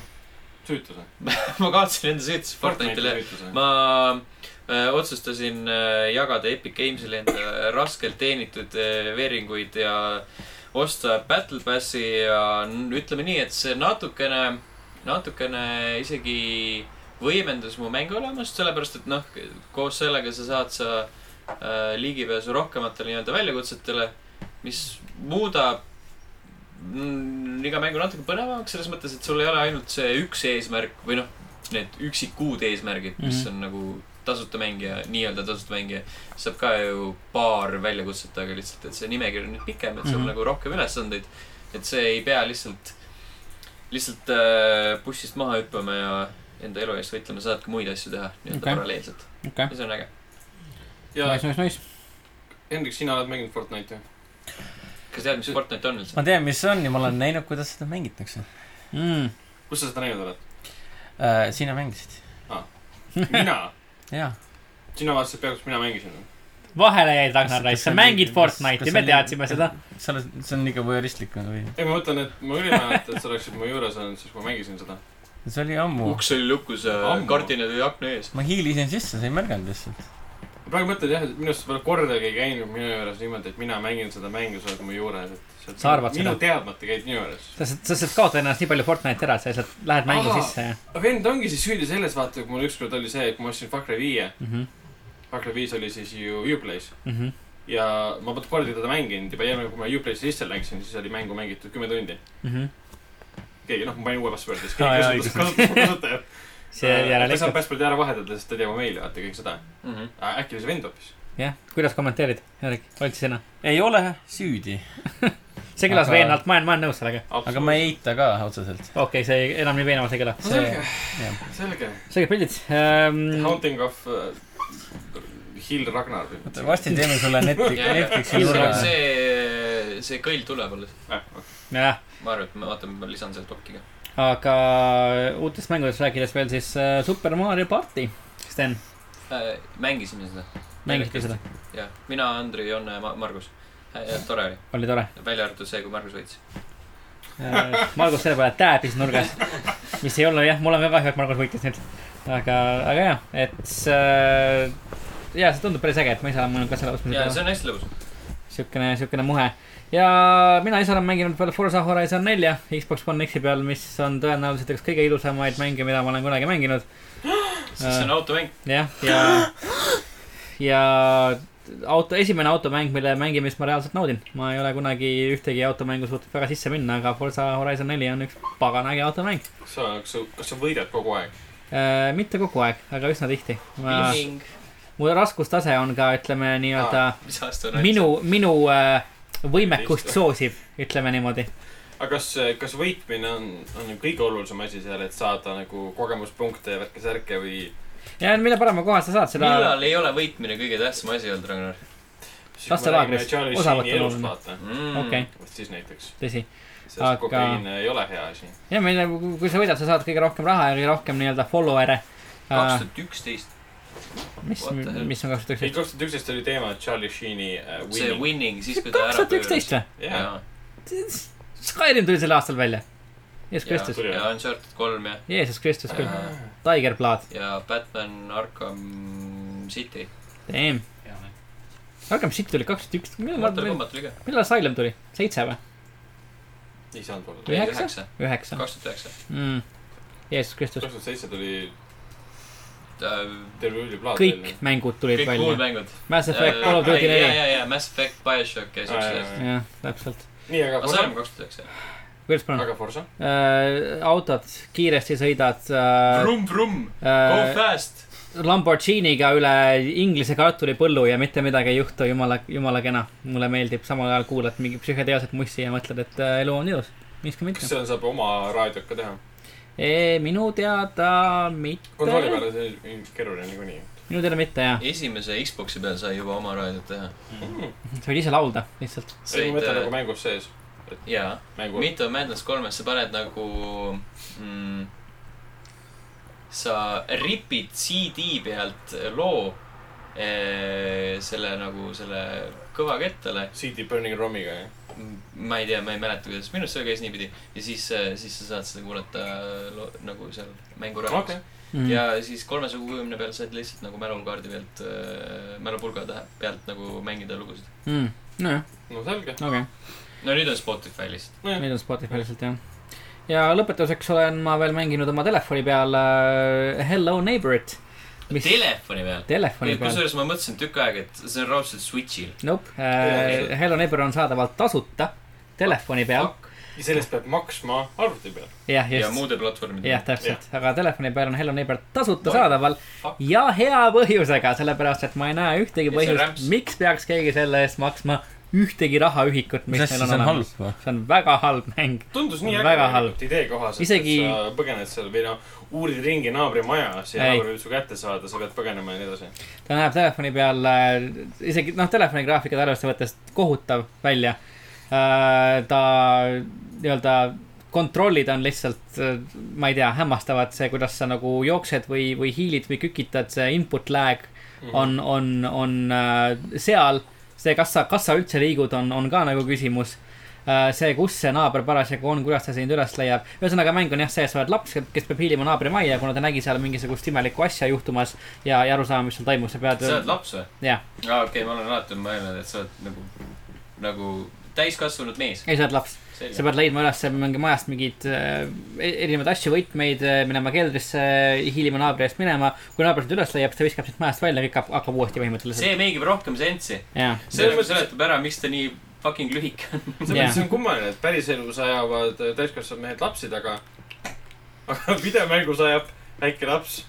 süütuse . ma kaotasin enda süütuse Fortnite'ile . süütuse . ma äh, otsustasin äh, jagada Epic Games'ile enda äh, raskelt teenitud äh, veeringuid ja osta Battle Passi ja n- ütleme nii , et see natukene , natukene isegi võimendas mu mängu olemust , sellepärast et noh , koos sellega sa saad sa äh, ligipääsu rohkematele nii-öelda väljakutsetele , mis muudab mm, iga mängu natuke põnevamaks selles mõttes , et sul ei ole ainult see üks eesmärk või noh , need üksikud eesmärgid , mis Mhm. on nagu tasuta mängija , nii-öelda tasuta mängija , saab ka ju paar väljakutset , aga lihtsalt , et see nimekiri on nüüd pikem , et sul on Mhm. nagu rohkem ülesandeid . et see ei pea lihtsalt , lihtsalt äh, bussist maha hüppama ja enda elu eest võitlema , saad ka muid asju teha nii-öelda Okei. okay. paralleelselt . okei , ja see on äge . ja nice , nice , nice . Hendrik , sina oled mänginud Fortnite'i ? kas tead , mis Fortnite on üldse ? ma tean , mis see on ja ma olen näinud , kuidas seda mängitakse . Mm. kus sa seda näinud oled ? Äh, sina mängisid ? mina ? jaa . sina vaatasid peaaegu , kus mina mängisin . vahele jäid , Ragnar Raisk , sa mängid Fortnite'i , me teadsime seda .. sa oled , see on liiga voyeuristlik või ? ei , ma mõtlen , et ma küll ei mäleta , et sa oleksid mu juures olnud , siis kui ma mängisin seda . see oli ammu . uks oli lukus ja Ammu. kardinad olid akna ees . ma hiilisin sisse , sa ei märganud lihtsalt . ma praegu mõtlen jah , et minu arust sa pole kordagi käinud minu juures niimoodi , et mina mängin seda mängu , sa oled mu juures , et oled Sa arvad minu seda? teadmata käid minu juures . sa lihtsalt , sa lihtsalt kaotad ennast nii palju Fortnite'i ära , sa lihtsalt lähed mängu Aa. sisse ja aga vend ongi siis süüdi selles , vaata , kui mul ükskord oli see , et kui ma ostsin Far Cry viie , mm . -hmm. Far Cry viis oli siis ju Uplay's Mm -hmm. ja ma polnud kordagi teda mänginud , juba eelmine , kui ma Uplay'sse sisse läksin , siis oli mängu mängitud kümme tundi . Mm -hmm. keegi , noh , ma panin uue password'i , siis Aa, jaa, keegi kasutas , kasutas , kasutas . Äh, seejärel ta saab ikka , password'i ära vahetada , sest ta teab mu meili , vaata kõik seda . ma äkki oli see vend hoopis ? jah , kuidas kommenteerid , Erik , otsi sõna . ei ole süüdi , see kõlas Aga- veenvalt , ma olen , ma olen nõus sellega . aga ma ei eita ka otseselt . okei okay, , see ei- enam nii veenvalt ei kõla . no selge , jah . selge . selged pildid ähm, . Haunting of uh, Hill Ragnar . oota , varsti teeme sulle Netflix , Netflixi nurga . see , see kõll tuleb alles . jah , ma arvan , et ma vaatan , ma lisan selle plokki ka . aga uutest mängudest rääkides veel siis äh, Super Mario Party . Sten , Äh, mängisime seda . mängisite seda ? jah , mina , Andri , Jonne ja Ma- Margus . tore oli , oli tore . välja arvatud see , kui Margus võitis . Margus selle peale tääbis nurgas , mis ei olnud jah , mul on ka kahju , et Margus võitis nüüd . aga , aga jah , et äh, ja see tundub päris äge , et ma ise olen mõelnud ka selle ja vastu see . on hästi lõbus . siukene , siukene muhe . ja mina ise olen mänginud peale Forza Horizon nelja Xbox One X-i peal , mis on tõenäoliselt üks kõige ilusamaid mänge , mida ma olen kunagi mänginud . sest see on Äh. automäng . jah , ja , ja auto , esimene automäng , mille mängimist ma reaalselt naudin . ma ei ole kunagi ühtegi automängu suutnud väga sisse minna , aga Forza Horizon neli on üks pagana äge automäng . sa , kas sa , kas sa võidad kogu aeg ? mitte kogu aeg , aga üsna tihti . mu raskustase on ka , ütleme nii-öelda mis aasta on ? minu , minu äh, võimekust soosib , ütleme niimoodi . aga kas , kas võitmine on , on ju kõige olulisem asi seal , et saada nagu kogemuspunkte ja värke-särke või ja mille parema koha sa saad , seda . millal ei ole võitmine kõige tähtsam asi olnud , Ragnar Lastelaagrist osa osa võtta võtta oluline. vaata , mm. okei , vot siis näiteks . tõsi . sest Aga- aga... kokaiin ei ole hea asi . ja meil , kui sa võidad , sa saad kõige rohkem raha ja kõige rohkem nii-öelda follower'e . kaks tuhat üksteist , mis what the hell. , mis on kaks tuhat ei , üksteist ? kaks tuhat üksteist oli teema Charlie Sheeni see uh, Winning . winning , siis kui ta kaks ära tuhat üksteist või ? jah , Skyrim tuli sel aastal välja . Jeesus Kristus , ja ja Uncharted kolm ja , Jeesus Kristus küll . Äh. Tiger Blood , ja Batman Arkham City . damn . Arkham City tuli kaks tuhat üks , Mortal millal , Combat oli ka . millal Asylum tuli ? seitse või ? ei saanud olla . Üheksa? üheksa , üheksa . kaks tuhat üheksa . mm. . Jeesus Kristus kaks , tuhat seitse tuli äh, terve üliplaat kõik . mängud tulid kõik muud välja . mängud . Mass Effect , Call of Duty ja , neli . ja , ja Mass Effect , BioShock ja siuksed asjad . jah , täpselt . nii , aga aga Forsa Salm , kaks tuhat üheksa . kuidas palun ? aga Forsa . autod , kiiresti sõidad äh, . Vroom , vroom , go Äh, fast . Lamborghiniga üle Inglise kartulipõllu ja mitte midagi ei juhtu , jumala , jumala kena . mulle meeldib , samal ajal kuulad mingi psühhedeelset mussi ja mõtled , et äh, elu on ilus . miks ka kas mitte . seal saab oma raadiot ka teha ? minu teada mitte . kontrolli peale see on keeruline niikuinii . minu teada mitte jah , esimese Xbox'i peal sai juba oma raadiot teha . sa võid ise laulda lihtsalt . ei , ma said mõtlen nagu äh, , mängus sees . jaa . mängu . Nagu- Mitu Madness kolmes sa paned nagu mm, , sa ripid CD pealt loo eh, selle nagu selle kõvakettale . CD Burning Romiga , jah . ma ei tea , ma ei mäleta , kuidas , minu arust see käis niipidi ja siis , siis sa saad seda kuulata lo, nagu seal mänguraames okei okay. . Mm. ja siis kolmesaja kuuekümne peal said lihtsalt nagu mälulukaardi pealt , mälupulga tähe- pealt nagu mängida lugusid . mm. . nojah , no selge . okei okay. , no nüüd on Spotify lihtsalt . meil on Spotify lihtsalt jah . ja lõpetuseks olen ma veel mänginud oma telefoni peal äh, Hello Neighbor'it . mis telefoni peal . telefoni peal ? kusjuures ma mõtlesin tükk aega , et see on raudselt Switch'il . Nope äh, , Hello Neighbor on saadaval tasuta telefoni peal . ja sellest peab maksma arvuti peal . jah , ja just , muude platvormide jah , täpselt , aga telefoni peal on Hello Neighbor tasuta saadaval fuck. ja hea põhjusega , sellepärast et ma ei näe ühtegi Ja see on põhjust rämps. , miks peaks keegi selle eest maksma ühtegi rahaühikut , mis mis asja , neil see on on olemas . halb või ? see on väga halb mäng . tundus nii On äge väga tegelikult idee kohaselt , Isegi- et sa põgened seal või noh , uurid ringi naabri majas ja Ei. naaber võib su kätte saada , sa pead põgenema ja nii edasi . ta näeb telefoni peal äh, isegi noh , telefoni graafikat arvesse võttes kohutav välja äh, . ta nii-öelda kontrollid on lihtsalt , ma ei tea , hämmastavad see , kuidas sa nagu jooksed või , või hiilid või kükitad , see input lag Mhm. on , on , on äh, seal . see , kas sa , kas sa üldse liigud , on , on ka nagu küsimus Äh, see , kus see naaber parasjagu on , kuidas ta sind üles leiab . ühesõnaga , mäng on jah see , sa oled laps , kes peab hiilima naabri majja , kuna ta nägi seal mingisugust imelikku asja juhtumas ja , ja aru saama , mis seal toimub , sa pead . sa oled laps või ? jah , aa , okei , ma olen alati mõelnud , et sa oled nagu , nagu täiskasvanud mees . ei , sa oled laps . sa selge . pead leidma üles mingi majast mingeid äh, erinevaid asju , võtmeid , minema keldrisse , hiilima naabri eest minema . kui naaber sind üles leiab , siis ta viskab sind majast välja , kõik hakkab , hakkab uuesti põhimõtteliselt . see meigib rohkem sensi . jah , see nagu mõttes- seletab ära , miks ta nii fucking lühike on . Jah. see on kummaline , et päriselus ajavad äh, täiskasvanud mehed lapsi taga . aga videomängus ajab väike laps .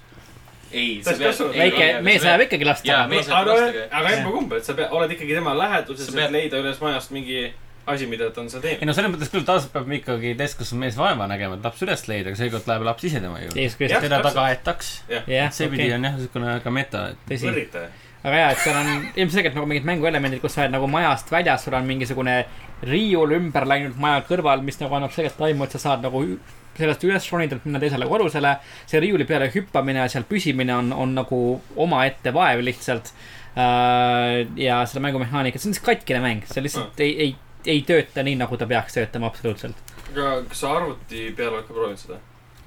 ei , sa Ta ei pead kasva- . väike mees ajab ikkagi last Jaa, taga . mees- saab aga lastega- aga emba-kumb , et sa pead , oled ikkagi tema läheduses , Sa et pead- leida üles majast mingi asi , mida ta on seal ei teinud . no selles mõttes küll , taas peab ikkagi täiskasvanud mees vaeva nägema , et laps üles leida , aga seekord läheb laps ise tema juurde . Jeesus Kristus , Jah, teda täpselt. taga aetaks . jah , seepidi okei , on jah , niisugune ka meta , et tõsi võrritaja . aga jaa , et seal on ilmselgelt nagu mingid mänguelemendid , kus sa oled nagu majast väljas , sul on mingisugune riiul ümber läinud maja kõrval , mis nagu annab selgelt aimu , et sa saad nagu ü- sellest üles ronida , et minna teisele korrusele . see riiuli peale hüppamine ja seal püsimine on , on nagu omaette vaev lihtsalt . ja selle mängu mehaanika , see on lihtsalt katkine mäng , see lihtsalt ei , ei , ei tööta nii , nagu ta peaks töötama absoluutselt . aga kas sa arvuti peal oled ka proovinud seda ?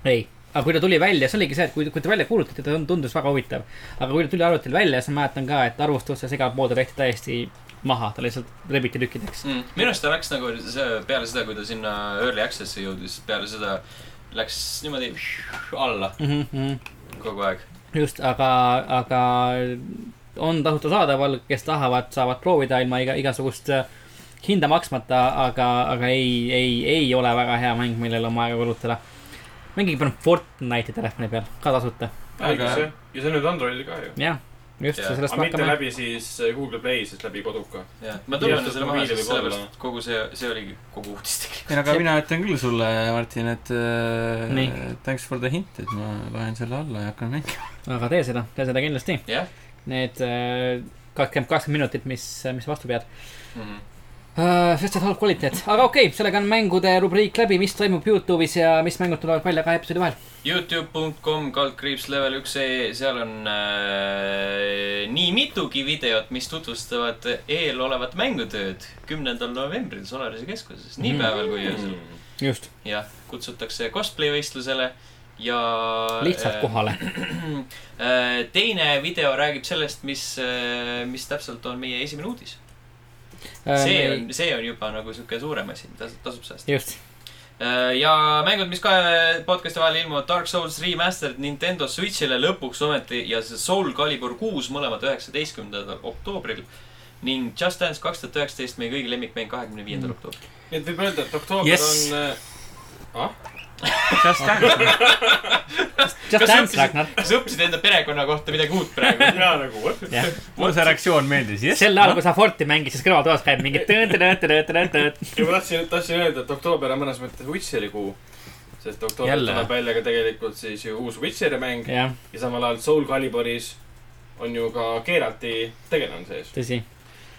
ei , aga kui ta tuli välja , see oligi see , et kui , kui ta välja kuulutati , ta tund- tundus väga huvitav . aga kui ta tuli arvutil välja , siis ma mäletan ka , et arvustustes igal pool ta tehti täiesti maha , ta lihtsalt rebiti tükkideks . mm. . minu arust ta läks nagu see peale seda , kui ta sinna Early Access'i jõudis , peale seda läks niimoodi alla Mm -hmm. kogu aeg . just , aga , aga on tasuta saadaval , kes tahavad , saavad proovida ilma iga , igasugust äh, hinda maksmata , aga , aga ei , ei , ei ole väga hea mäng , millele oma aega kulutada . mängige parem Fortnite'i telefoni peal , ka tasuta . õigus Aga- jah , ja see on nüüd Androidil ka ju . jah , just , Jaa. sellest aga me mitte hakkame . läbi siis äh, Google Play , siis läbi koduka . jah , ma tunnen Jah, selle maha , mobiili sest võib sellepärast , olla. et kogu see , see oligi kogu uudis tegelikult . ei , aga mina ütlen küll sulle , Martin , et äh, Nii. thanks for the hint , et ma loen selle alla ja hakkan mängima . aga tee seda , tee seda kindlasti . jah need äh, kakskümmend , kakskümmend minutit , mis , mis vastu pead . mm -hmm. . sest see on halb kvaliteet , aga okei okay, , sellega on mängude rubriik läbi , mis toimub Youtube'is ja mis mängud tulevad välja kahe episoodi vahel . Youtube.com kaldkriips level üks ee , seal on äh, nii mitugi videot , mis tutvustavad eelolevat mängutööd kümnendal novembril Solarise keskuses , nii Mm. päeval kui öösel . just , jah , kutsutakse cosplay võistlusele ja . lihtsalt kohale . Äh, teine video räägib sellest , mis , mis täpselt on meie esimene Äh, uudis . see on , see on juba nagu sihuke suurem asi , mida tasub säästa . just , ja mängud , mis kahe podcast'i vahel ilmuvad , Dark Souls Remastered Nintendo Switch'ile lõpuks ometi ja see Soul Calibur kuus mõlemad üheksateistkümnendal oktoobril . ning Just Dance kaks tuhat üheksateist , meie kõigi lemmikmäng , kahekümne Mm. viiendal oktoobril . nii et võib öelda , et oktoober Yes. yes. on äh, ah? Just Dance . Just Dance , Ragnar . kas õppisid enda perekonna kohta midagi uut praegu ? mina nagu what ? jah , mulle see reaktsioon meeldis , jess . sel ajal , kui sa Forti mängid , siis kõrvaltoas käib mingi tõõn-tõõn-tõõn-tõõn-tõõn . ja ma tahtsin , tahtsin öelda , et oktoober on mõnes mõttes Witcheri kuu . sest oktoober Jälle. tuleb välja ka tegelikult siis ju uus Witcheri mäng ja, jah , ja samal ajal Soul Caliburis on ju ka Geralti tegelane sees . tõsi .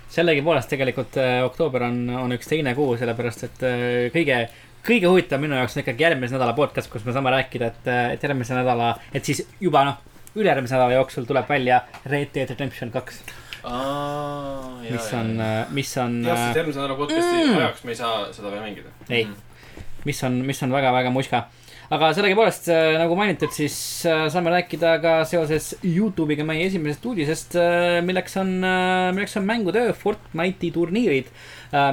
sellegipoolest tegelikult äh, oktoober on , on üks teine kuu , sellepärast et äh, kõige , kõige huvitavam minu jaoks on ikkagi järgmise nädala podcast , kus me saame rääkida , et , et järgmise nädala , et siis juba noh , ülejärgmise nädala jooksul tuleb välja Red Dead Redemption kaks , mis on , mis on , jah , sest järgmise nädala podcast'i mm. ajaks me ei saa seda veel mängida . äh, ei , mis on , mis on väga-väga muska . aga sellegipoolest , nagu mainitud , siis äh, saame rääkida ka seoses Youtube'iga meie esimesest uudisest , milleks on , milleks on mängutöö Fortnite'i turniirid ,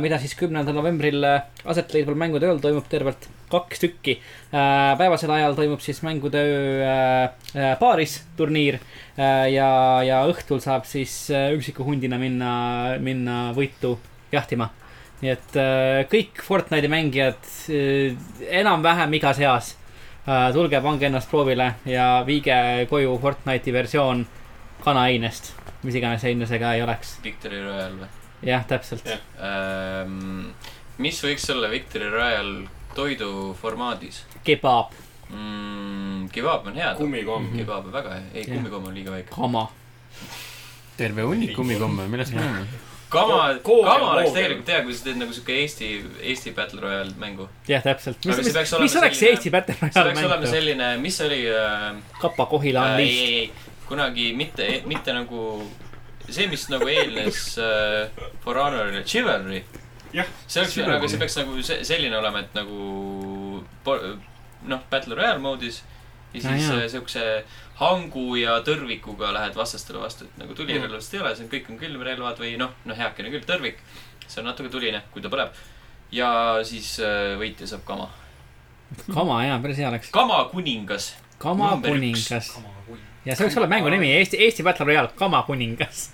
mida siis kümnendal novembril äh, aset leidval mängutööl toimub tervelt kaks tükki . päevasel ajal toimub siis mängutöö äh, äh, baaris turniir äh, ja , ja õhtul saab siis äh, üksiku hundina minna , minna võitu jahtima nii et äh, kõik Fortnite'i mängijad äh, enam-vähem igas eas äh, , tulge , pange ennast proovile ja viige koju Fortnite'i versioon kanaainest , mis iganes heine see ka ei oleks . Victory Royale või ? jah , täpselt . Jah. mis võiks olla Victory Royale toidu formaadis ? kebab , Mm, Kebab on hea . kummikomm . kebab on väga hea , ei Mhm. Jah. kummikomm on liiga väike . kama . terve hunnik kummikomme , millest me räägime ? kama , Koogel, kama oleks koogel. tegelikult hea , kui sa teed nagu siuke Eesti , Eesti Battle Royale mängu . jah , täpselt . Aga mis , see mis peaks , olema mis oleks selline- Eesti Battle see Royale peaks olema mäng ? selline , mis see oli äh, , Kapa Kohila on äh, ei , liist . ei , ei , kunagi mitte , mitte nagu see , mis nagu eelnes äh, For Honorile , Chivalry . Jah, see oleks , Chivalry. aga see peaks nagu se- selline olema , et nagu po- noh , Battle Royale moodis ja Ah, siis jaa. äh, siukse hangu ja tõrvikuga lähed vastastele vastu , et nagu tulirelvast ei ole , see on , kõik on külmrelvad või noh , noh , heakene küll , tõrvik . see on natuke tuline , kui ta põleb . ja siis äh, võitja saab kama . kama jaa , päris hea oleks . kama kuningas . kama number üks. kuningas . ja see võiks olla mängu nimi , Eesti , Eesti Battle Royale , kama kuningas .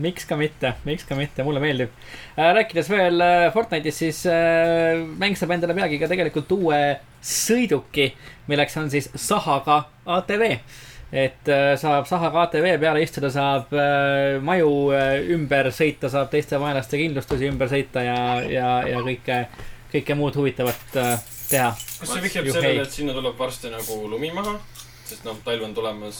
miks ka mitte , miks ka mitte , mulle meeldib . rääkides veel äh, Fortnite'ist , siis äh, mäng saab endale peagi ka tegelikult uue sõiduki , milleks on siis sahaga ATV . et äh, saab sahaga ATV peale istuda , saab äh, maju äh, ümber sõita , saab teiste vaenlaste kindlustusi ümber sõita ja , ja , ja kõike , kõike muud huvitavat äh, teha . kas see vihjab sellele , et sinna tuleb varsti nagu lumi maha ? sest noh , talv on tulemas .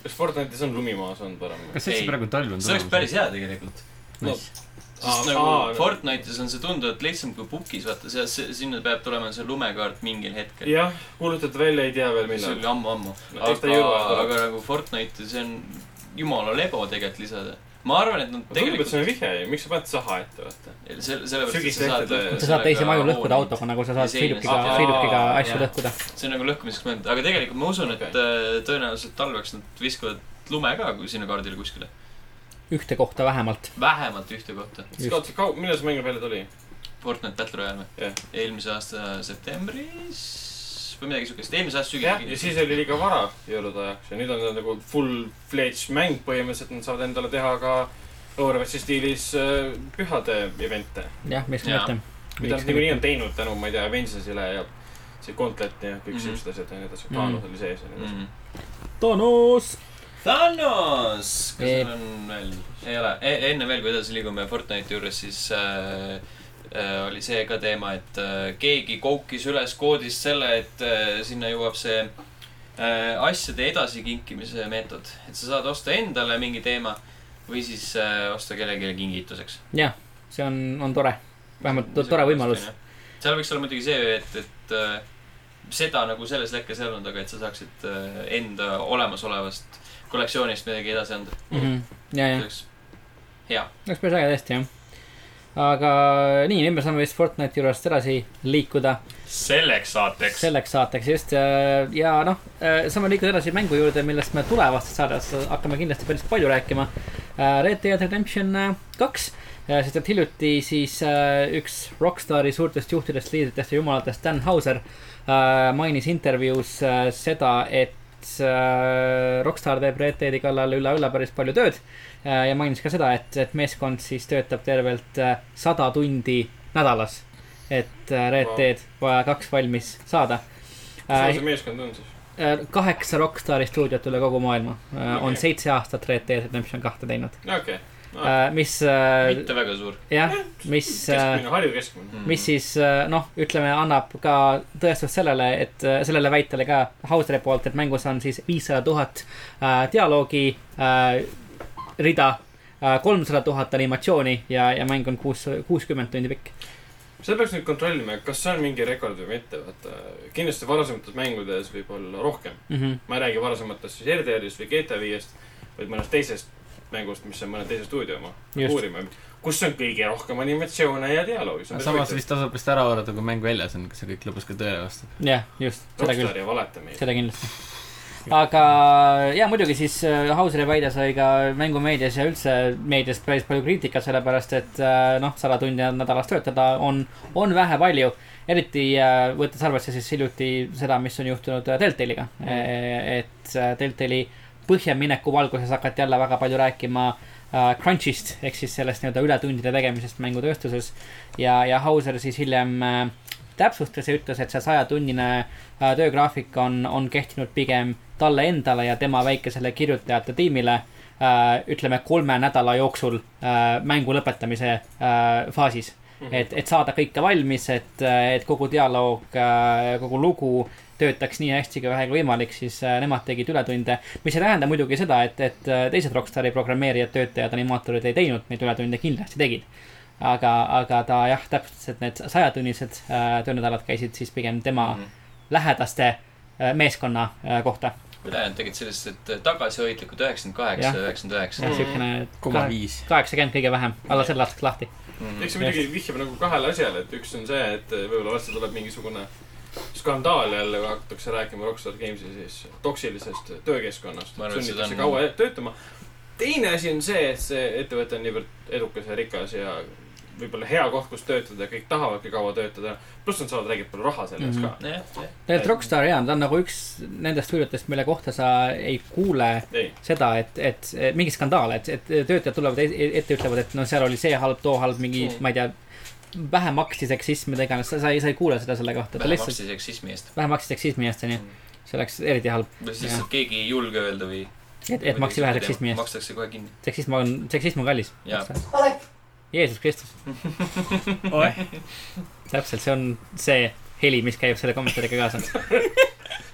kas Fortnite'is on lumi maas olnud varem ? kas üldse Ei. praegu talv on see oleks päris hea tegelikult . no sest Aa, nagu aa, Fortnite'is on see tunduvalt lihtsam kui pukis , vaata , seal , sinna peab tulema see lumekaart mingil hetkel . jah , kuulutati välja , ei tea veel see millal oli . ammu-ammu . No eks ta aga , jõuab ära. aga nagu Fortnite'i , see on jumala lebo tegelikult lisada . ma arvan , et nad tundub , nagu et tegelikult see on vihje ju , miks sa paned saha ette , vaata . selle , sellepärast , et sügis sa saad tehtud, lõhkuda jah. sa saad teisi sellega maju lõhkuda hooneid. autoga , nagu sa Ja saad seina- sõidukiga Aa, , sõidukiga jaa. asju lõhkuda . see on nagu lõhkumiseks mõeldud , aga tegelikult ma usun , et Okei. okay. tõenäoliselt talveks nad viskavad lume ka kui sinna kaardile kuskile . ühte kohta vähemalt . vähemalt ühte kohta . Just. kaotasid kau- , millal see mäng välja tuli ? Fortnite Battle Royale või Jah. ? eelmise aasta septembris või midagi siukest , eelmise aasta jah , ja sügisel . siis oli liiga vara jõulude ajaks ja nüüd on ta nagu full-fledged mäng põhimõtteliselt , nad saavad endale teha ka Overwatchi stiilis äh, pühade event'e , jah , miks Jaa. mitte . mida nad niikuinii on teinud tänu , ma ei tea , Avengersile ja see Gauntlet'i ja kõik mm Mhm. -hmm. siuksed asjad ja nii edasi , Mhm. Thanos oli sees ja nii edasi . Mm. Thanos . Thanos , kas Ei. meil on veel , ei ole e , enne veel , kui edasi liigume Fortnite'i juures , siis äh, äh, oli see ka teema , et äh, keegi koukis üles koodist selle , et äh, sinna jõuab see äh, asjade edasikinkimise meetod , et sa saad osta endale mingi teema või siis äh, osta kellelegi kingituseks . jah , see on , on tore , vähemalt to- tore võimalus .. seal võiks olla muidugi see , et , et äh, seda nagu selles lekkes ei olnud , aga et sa saaksid äh, enda olemasolevast kollektsioonist midagi edasi anda . Mhm. ja , ja see , oleks hea . oleks päris äge tõesti jah . aga nii , nüüd me saame vist Fortnite'i juurest edasi liikuda selleks saateks . selleks saateks just äh, ja noh , saame liikuda edasi mängu juurde , millest me tulevastes saadetes hakkame kindlasti päris palju rääkima . Red Dead Redemption äh, kaks , ja sest , et hiljuti siis äh, üks Rockstari suurtest juhtidest , liidritest ja jumalatest , Dan Hauser äh, mainis intervjuus äh, seda , et äh, Rockstar teeb Red Deadi kallal üle õla päris palju tööd äh, . ja mainis ka seda , et , et meeskond siis töötab tervelt äh, sada tundi nädalas . et äh, Red Vau. Dead vaja kaks valmis saada suur see meeskond on siis ? Äh, kaheksa Rockstari stuudiot üle kogu maailma äh, on Okei. seitse aastat Red Dead Redemption kahte teinud . okei , mis äh, , mitte väga suur . Mhm. jah , mis , äh, keskmine , Harju Hmm. keskmine . mis siis äh, noh , ütleme , annab ka tõestust sellele , et äh, sellele väitele ka Hauseri poolt , et mängus on siis viissada tuhat dialoogi äh, rida , kolmsada tuhat animatsiooni ja , ja mäng on kuus , kuuskümmend tundi pikk . seda peaks nüüd kontrollima , kas see on mingi rekord või mitte , vaata . kindlasti varasemates mängudes võib olla rohkem . Mhm. ma ei räägi varasematest siis RDR-ist või GTA viiest , vaid mõnest teisest mängust , mis on mõne teise stuudio oma . Just. uurime , kus on kõige rohkem animatsioone ja dialoogi . samas vist tasub vist ära oodata , kui mäng väljas on , kas see kõik lõpuks ka tõele vastab . jah , just , seda küll . Rockstar ei valeta meile . seda kindlasti . aga ja muidugi siis äh, Hauseri väide sai ka mängumeedias ja üldse meedias päris palju kriitikat , sellepärast et äh, noh , sada tundi nädalas töötada on , on vähe palju . eriti äh, võttes arvesse siis hiljuti seda , mis on juhtunud äh, Deltaliga mm. . et äh, Deltali põhjamineku valguses hakati jälle väga palju rääkima äh, crunch'ist ehk siis sellest nii-öelda ületundide tegemisest mängutööstuses . ja , ja Hauser siis hiljem äh, täpsustas ja ütles , et see sajatunnine äh, töögraafik on , on kehtinud pigem talle endale ja tema väikesele kirjutajate tiimile äh, . ütleme kolme nädala jooksul äh, mängu lõpetamise äh, faasis . et , et saada kõike valmis , et , et kogu dialoog äh, , kogu lugu töötaks nii hästi kui vähegi võimalik , siis äh, nemad tegid ületunde . mis ei tähenda muidugi seda , et , et äh, teised Rockstari programmeerijad , töötajad , animaatorid ei teinud neid ületunde , kindlasti tegid . aga , aga ta jah , täpsustas , et need sajatunnised äh, töönädalad käisid siis pigem tema mm -hmm. lähedaste äh, meeskonna äh, kohta . ülejäänud tegid sellised tagasihoidlikud üheksakümmend kaheksa , Jah. üheksakümmend jah , üheksa . siukene koma viis . kaheksakümmend kõige vähem , alla selle lastakse lahti . Hmm. eks see muidugi vihjab nagu kahele asjale , et üks on see , et eh, võib-olla varsti tuleb mingisugune skandaal jälle , kui hakatakse rääkima Rockstar Gamesi siis toksilisest töökeskkonnast . Ma arvan, et seda sunnitakse on- kaua töötama . teine asi on see , et see ettevõte on niivõrd edukas ja rikas ja võib-olla hea koht , kus töötada ja kõik tahavadki kaua töötada . pluss nad saavad räägib palju raha selle eest ka . jah , jah . tegelikult Rockstar jaa , ta on nagu üks nendest stuudiotest , mille kohta sa ei kuule ei , seda , et , et mingi skandaal , et , et töötajad tulevad e- ette , ütlevad , et no seal oli see halb , too halb , mingi mm. Mm. , ma ei tea , vähe maksti seksism , mida iganes , sa , sa ei , sa ei kuule seda selle kohta , ta vähe lihtsalt , maksis seksismi eest . vähe maksti seksismi eest , onju . see oleks eriti halb , või siis lihtsalt keegi ei julge öelda või . et , et maksti vähe seksismi eest . makstakse kohe kinni . seksism on , seksism on kallis . Jaa. Jeesus Kristus , oeh , täpselt , see on see heli , mis käib selle kommentaariga kaasas .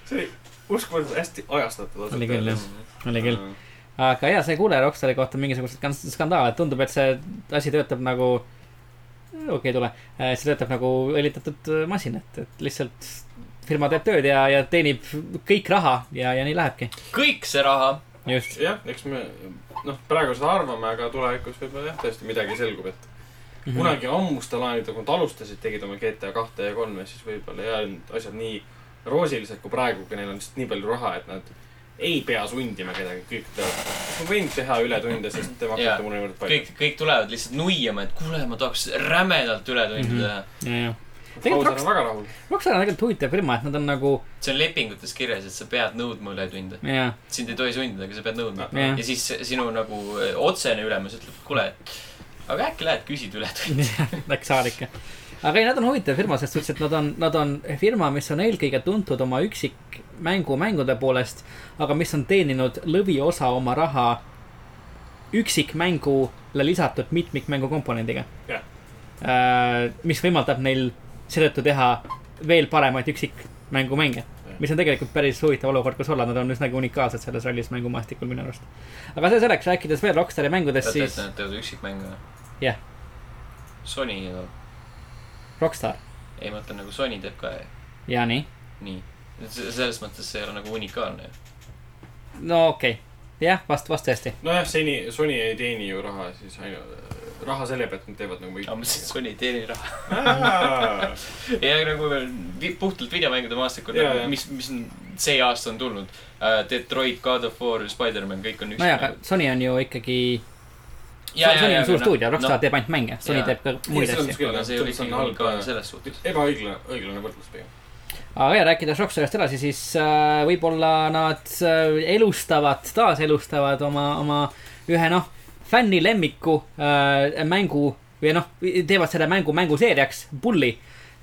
see oli uskumatult hästi ajastatud . Oli küll, jah. Mhm. oli küll . aga jaa , sa ei kuule Rockstari kohta mingisuguseid kan- skandaale , tundub , et see asi töötab nagu , okei okay, , ei tule , see töötab nagu õlitatud äh, masin , et , et lihtsalt firma teeb tööd ja , ja teenib kõik raha ja , ja nii lähebki . kõik see raha . just , jah , eks me noh , praegu seda arvame , aga tulevikus võib-olla jah , tõesti midagi selgub , et mm Mhm. Mhm. -hmm. kunagi ammustel aegadel , kui nad alustasid , tegid oma GTA kahte ja kolme , siis võib-olla ei olnud asjad nii roosilised kui praegu , kui neil on lihtsalt nii palju raha , et nad ei pea sundima kedagi , kõik teavad . ma võin teha ületunde , sest te Jaa. maksate mulle niivõrd palju . kõik , kõik tulevad lihtsalt nuiama , et kuule , ma tahaks rämedalt ületundi Mhm. teha . ja , ja . Paul tegelikult on väga rahul . Rockstar on tegelikult huvitav firma , et nad on nagu , see on lepingutes kirjas , et sa pead nõudma ületunde . jaa , sind ei tohi sundida , aga sa pead nõudma . jaa ja . siis sinu nagu eh, otsene ülemus ütleb , kuule , aga äkki lähed küsid ületundi . Läks saar ikka . aga ei , nad on huvitav firma , selles suhtes , et nad on , nad on firma , mis on eelkõige tuntud oma üksikmängu mängude poolest , aga mis on teeninud lõviosa oma raha üksikmängule lisatud mitmikmängu komponendiga Jah. . mis võimaldab neil seetõttu teha veel paremaid üksikmängumänge , mis on tegelikult päris huvitav olukord , kus olla , nad on üsnagi unikaalsed selles rollis mängumaastikul minu arust . aga see selleks , rääkides veel Rockstari mängudest , teate , et siis nad teevad üksikmänge või ? Jah. Sony , Rockstar ei ma ütlen nagu Sony teeb ka , ja nii nii . selles mõttes see ei ole nagu unikaalne . no okei okay. , jah , vast , vast tõesti . nojah , seni Sony ei teeni ju raha siis ainult , raha selle pealt nad teevad nagu aga ma mõtlesin , et Sony ei teeni raha . kõik . ja nagu vi- puhtalt videomängude maastikul nagu Jaa, , jaa. mis , mis on- see aasta on tulnud Äh, uh, . Detroit , God of War , Spider-man , kõik on nojah , aga üksikmängud . Sony on ju ikkagi Ja, ja, ja, Sony on suur no, stuudio , Rockstar no. teeb ainult mänge , Sony Jaa. teeb ka muid selles asju mõttes . küll , aga jah . see oli ikkagi halb ka selles suhtes . ebaõiglane , õiglane võrdlus pigem . aga ja rääkides Rockstarist edasi , siis äh, võib-olla nad äh, elustavad , taaselustavad oma , oma ühe noh , fänni lemmiku äh, mängu või noh , teevad selle mängu mänguseeriaks , Bulli .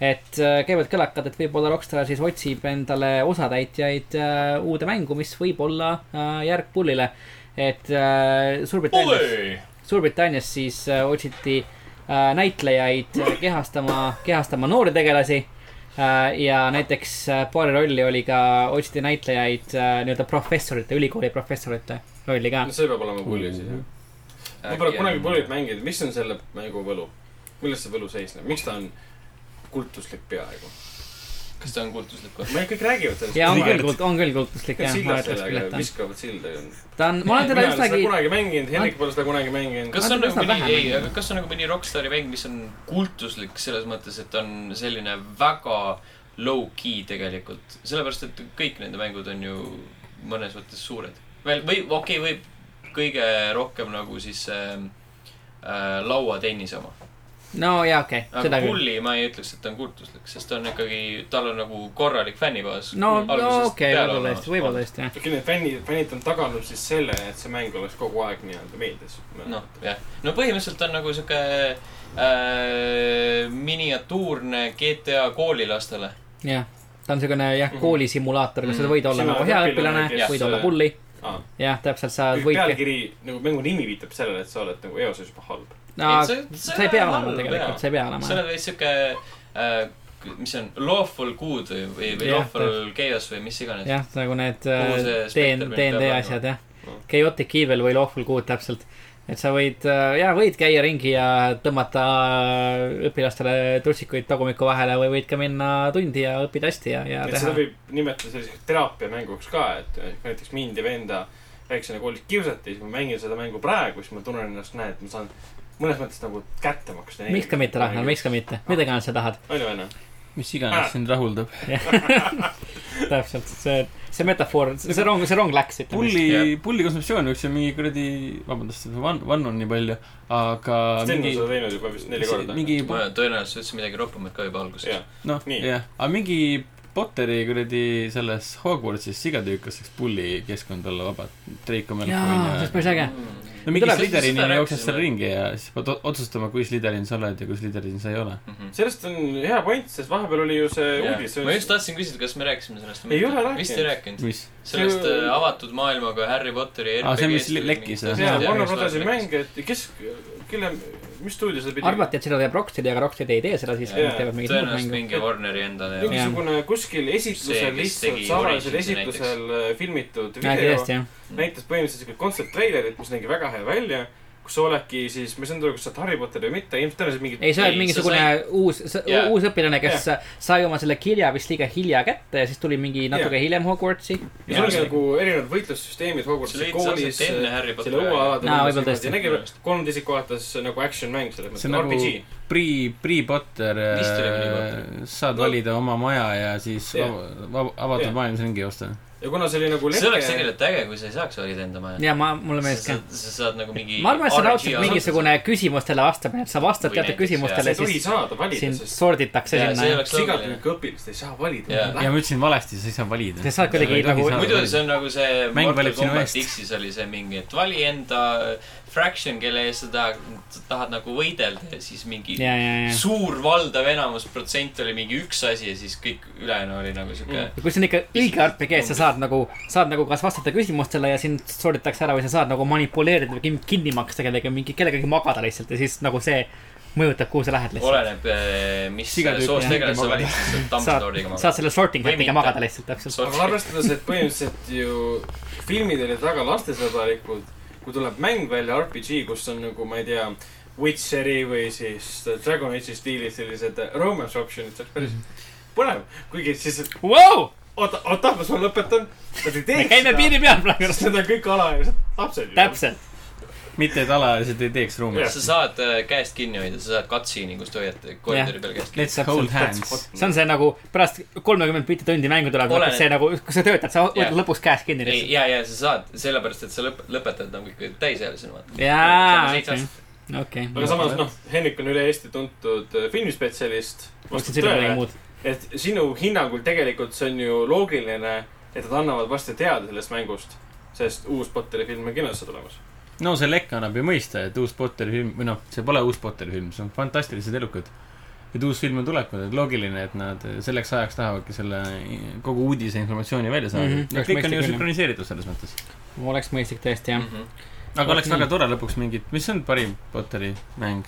et äh, käivad kõlakad , et võib-olla Rockstar siis otsib endale osatäitjaid äh, uude mängu , mis võib olla äh, järg Bullile . et äh, Suurbritannias , Suurbritannias siis äh, otsiti äh, näitlejaid äh, kehastama , kehastama noori tegelasi Äh, ja näiteks äh, paari rolli oli ka , otsiti näitlejaid äh, nii-öelda professorite , ülikooli professorite rolli ka . no see peab olema pulli siis jah . noh, Äh, ma pole kunagi pullit mänginud , mis on selle mängu võlu ? milles see võlu seisneb , miks ta on kultuslik peaaegu ? kas ta on kultuslik või ? meil kõik räägivad sellest . ja on küll , on küll kultuslik jah , ma sillad ütleks küll , sellega et ta on . viskavad silda . ta on , ma olen teda üsnagi , kunagi mänginud , Hendrik pole seda kunagi mänginud . kas Ma on nagu arvan, et üsna mõni , vähe ei , mänginud. aga kas on nagu mõni rokkstaari mäng , mis on kultuslik selles mõttes , et on selline väga low-key tegelikult , sellepärast et kõik nende mängud on ju mõnes mõttes suured . veel või okei okay, , võib kõige rohkem nagu siis äh, äh, lauatennise oma . no jaa , okei okay, , aga seda küll . Pulli ma ei ütleks , et ta on kultuslik , sest ta on ikkagi , tal on nagu korralik fännibaas . no , no okei , võib-olla tõesti , võib-olla . tõesti jah . okei , need fännid , fännid on taganud siis selle , et see mäng oleks kogu aeg nii-öelda meeldis . noh , jah , no põhimõtteliselt on nagu sihuke äh, miniatuurne GTA koolilastele . jah , ta on siukene jah , Mhm. koolisimulaator , kus sa Mhm. võid olla Sina nagu oled hea õpilane, õpilane , kes- äh, võid olla pulli , aa , jah , täpselt , sa Kui võid . pealkiri nagu mängu nimi viitab sellele , et sa oled nagu eos juba halb . sa ei pea olema tegelikult , sa ei pea sa olema . oled veits sihuke äh, , mis see on , lawful good või , või või Jah, lawful chaos või mis iganes . jah , nagu need Kuhu see spekter peab DND jääma? asjad jah Mm. , Chaotic Evil või Lawful Good täpselt . et sa võid , jaa , võid käia ringi ja tõmmata äh, õpilastele tussikuid tagumiku vahele või võid ka minna tundi ja õppida hästi ja , ja et seda teha . võib nimetada selliseks teraapiamänguks ka , et näiteks mind ja venda väiksena koolis kiusati , siis ma mängin seda mängu praegu , siis ma tunnen ennast , näed , ma saan mõnes mõttes nagu kätte maksta . miks ka mitte , Ragnar , miks ka mitte , mida iganes sa tahad , on ju , on ju . mis iganes sind rahuldab . täpselt , see , see metafoor , see rong , see rong läks , ütleme . pulli Jah. , pulli konsumptsioon võiks ju mingi kuradi , vabandust , vann , vann on nii palju , aga Sten on mingi seda , teinud juba vist neli korda . mingi , ma tõenäoliselt ütlesin midagi rohkemat ka juba alguses . jah , noh , nii. jah , aga mingi Potteri kuradi selles Hogwartsis sigatüükas saaks pulli keskkond olla vabalt , Drake on meil jaa , see äh, oleks päris äge . Mhm. no mingi Tuleb- Slytherini seda jooksed seal rääkisime. ringi ja siis pead o- otsustama , kui Slytherin sa oled ja kui Slytherin sa ei ole . sellest on hea point , sest vahepeal oli ju see uudis . ma just tahtsin küsida , kas me rääkisime sellest . Ei ole rääkinud. vist ei rääkinud . mis ? sellest See- äh, avatud maailmaga Harry Potteri Aa, see, mis RPG-st või lekkis, mingist jah. jaa , asjast. Warner Jah, Brothersi lekkis. mäng , et kes , kelle , mis stuudio seda pidi ? arvati , et seda teeb Rocksteadi , aga Rocksteadi ei tee seda siis , Jaa, nad teevad mingit muud tõenäoliselt mängu . mingi Warneri endale ja Jah. mingisugune kuskil See, esitlusel kes lihtsalt tegi salajasel Originsi näiteks. esitlusel äh, filmitud jaa , video kindlasti jah . näitas põhimõtteliselt siukest kontserttreilerit , mis nägi väga hea välja , kus sa oledki siis , ma ei saanud aru , kas sa oled Harry Potter või mitte , ilmselt tõenäoliselt mingid ei , sa oled Ei, mingisugune sa sai... uus , Jaa. uus õpilane , kes sai oma selle kirja vist liiga hilja kätte ja siis tuli mingi natuke Jaa. hiljem Hogwartsi . ja sul oli nagu erinevad võitlussüsteemid Hogwartsi See leidis koolis , algselt enne Harry selle Potteri õue aega. alade Aa, võib-olla tõesti. nägi kolm teisiku vaates nagu action mäng selles mõttes , See on nagu- RPG . Pri- , Pri Potter Vist oli Pri Potter. , äh, saad No. valida oma maja ja siis Jah. vab- vab- avatud Jah. maailmas ringi joosta . ja kuna see oli nagu see oleks leke , tegelikult äge , kui sa ei saaks valida enda maja . ja ma , mulle meeldis sa ka . saad , sa saad nagu mingi . ma arvan , et see on raudselt . mingisugune küsimustele vastamine , et sa vastad Või näiteks, teatud sa küsimustele ei , tohi siis saada valida , sind sest sorditakse Jaa, see ei sinna . oleks loogiline . sigatüüki õpilast ei saa valida Jaa. . ja ma ütlesin valesti , sa ei saa valida sa . saad Sa ei kuidagi tohi nagu saada. muidu see on nagu see . Mäng valib sinu eest. X-is oli see mingi , et vali enda fraction , kelle eest sa tahad , tahad nagu võidelda ja siis mingi ja , ja , ja . suur valdav enamus protsent oli mingi üks asi ja siis kõik ülejäänu oli nagu sihuke kui see on ikka õige RPG , sa saad nagu , saad nagu kas vastata küsimustele ja sind sorditakse ära või sa saad nagu manipuleerida või kin- kinni maksta kellegagi , mingi kellegagi magada lihtsalt ja siis nagu see mõjutab , kuhu sa lähed lihtsalt . oleneb , mis Sigatüüki soost mängu tegelast sa magada. valid , siis saad saad Dumbledore'iga , saad magada . selle sorting Või mitte. hätiga magada lihtsalt , täpselt . aga arvestades , et põhimõtteliselt ju filmid olid väga lastesõbralikud , kui tuleb mäng välja , RPG , kus on nagu , ma ei tea , Witcheri või siis Dragon Age'i stiilis sellised romance option'id , see oleks päris Mhm. põnev . kuigi siis , et Vau , oota , oota , ma sulle lõpetan . Nad ei me tee käime piiri peal praegu . sest need on kõik alaealised lapsed . täpselt , mitte , et alaliselt ei teeks ruumi . sa saad äh, käest kinni hoida , sa saad cutscene'i , kus te hoiate koridori peal käest kinni . Let's hold hands . see on see nagu pärast kolmekümmend bitti tundi mängu tuleb , Oleneb. see nagu , kas sa töötad , sa Jaa. võtad lõpus käes kinni ei , lihtsalt . ja , ja sa saad , sellepärast , et sa lõp- , lõpetad nagu ikka täisealisena , vaata . jaa , seitse okei aastat ., okei . aga samas , noh , Henrik on üle Eesti tuntud äh, filmispetsialist . oskad sinu midagi muud . et sinu hinnangul tegelikult see on ju loogiline , et nad annavad varsti teada sellest mängust , sest uus Potteri film on kinosse tulemas . no see lekk annab ju mõista , et uus Potteri film , või noh , see pole uus Potteri film , see on fantastilised elukad . et uus film on tulekul , et loogiline , et nad selleks ajaks tahavadki selle kogu uudise informatsiooni välja saada mm . Mhm, -hmm. oleks kõik on mõistlik ju küll, jah. sünkroniseeritud selles mõttes . oleks mõistlik tõesti Mm. jah . Mhm. aga oleks Vot väga nii. tore lõpuks mingit , mis on parim Potteri mäng ?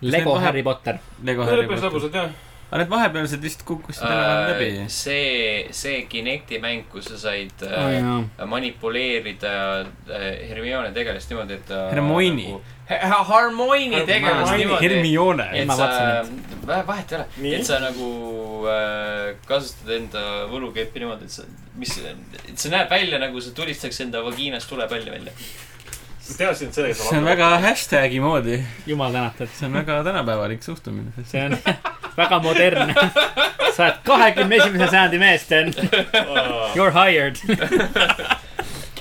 Lego vahe- Harry Potter . Lego Harry lõppes Potter . lõbusalt jah . aga need vahepealsed vist kukkusid enam-vähem läbi . Äh, see , see Kinecti mäng , kus sa said äh, manipuleerida äh, Hermione tegelast niimoodi , et ta Hermioni. nagu, . Harmoni tegelast Hermione. niimoodi . Hermione . et Emma sa Watson. , vahet ei ole Nii. , et sa nagu äh, kasutad enda võlukeppi niimoodi , et sa , mis , et see näeb välja nagu sa tulistaks enda vagiinast tulepalli välja . teadsin , et sellega saab see on . väga hashtag'i moodi . jumal tänatud . see on väga tänapäevalik suhtumine . see on väga modernne . sa oled kahekümne esimese sajandi mees , Sten . Noh. You are hired .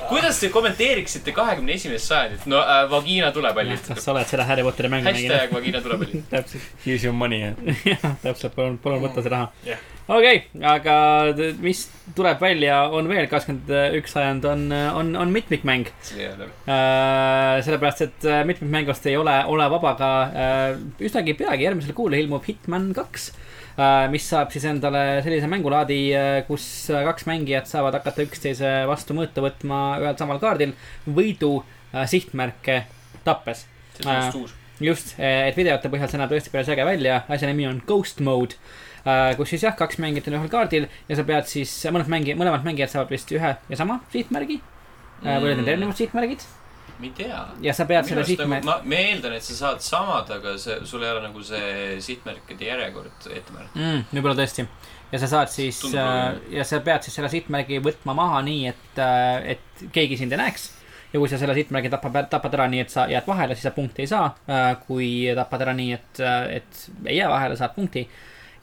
kuidas te kommenteeriksite kahekümne esimest sajandit , no äh, vagiina tulepallist . kas sa oled seda Harry Potteri mängu mänginud ? hashtag vagiina tulepalli . täpselt , Here's your money . jah , täpselt , palun , palun võta see raha Jah. . okei , aga t- mis tuleb välja , on veel kakskümmend üks sajand , on , on , on mitmikmäng . sellepärast , et äh, mitmikmängust ei ole , ole vaba ka äh, üsnagi peagi , järgmisel kuul ilmub Hitman kaks , mis saab siis endale sellise mängulaadi , kus kaks mängijat saavad hakata üksteise vastu mõõtu võtma ühel samal kaardil võidu äh, sihtmärke tappes . see on Äh. just uus . just , et videote põhjal see näeb tõesti päris äge välja , asja nimi on Ghost Mode , kus siis jah , kaks mängijat on ühel kaardil ja sa pead siis , mõlemad mängijad , mõlemad mängijad saavad vist ühe ja sama sihtmärgi mm. või olid need erinevad sihtmärgid ma ei tea . ja sa pead selle sihtmärgi ma , ma eeldan , et sa saad samad , aga see , sul ei ole nagu see sihtmärkide järjekord ette märgitud . mm, . võib-olla tõesti . ja sa saad siis Tundub äh, loogiline. ja sa pead siis selle sihtmärgi võtma maha nii , et , et keegi sind ei näeks . ja kui sa selle sihtmärgi tapad , tapad ära nii , et sa jääd vahele , siis sa punkti ei saa . kui tapad ära nii , et , et ei jää vahele , saad punkti .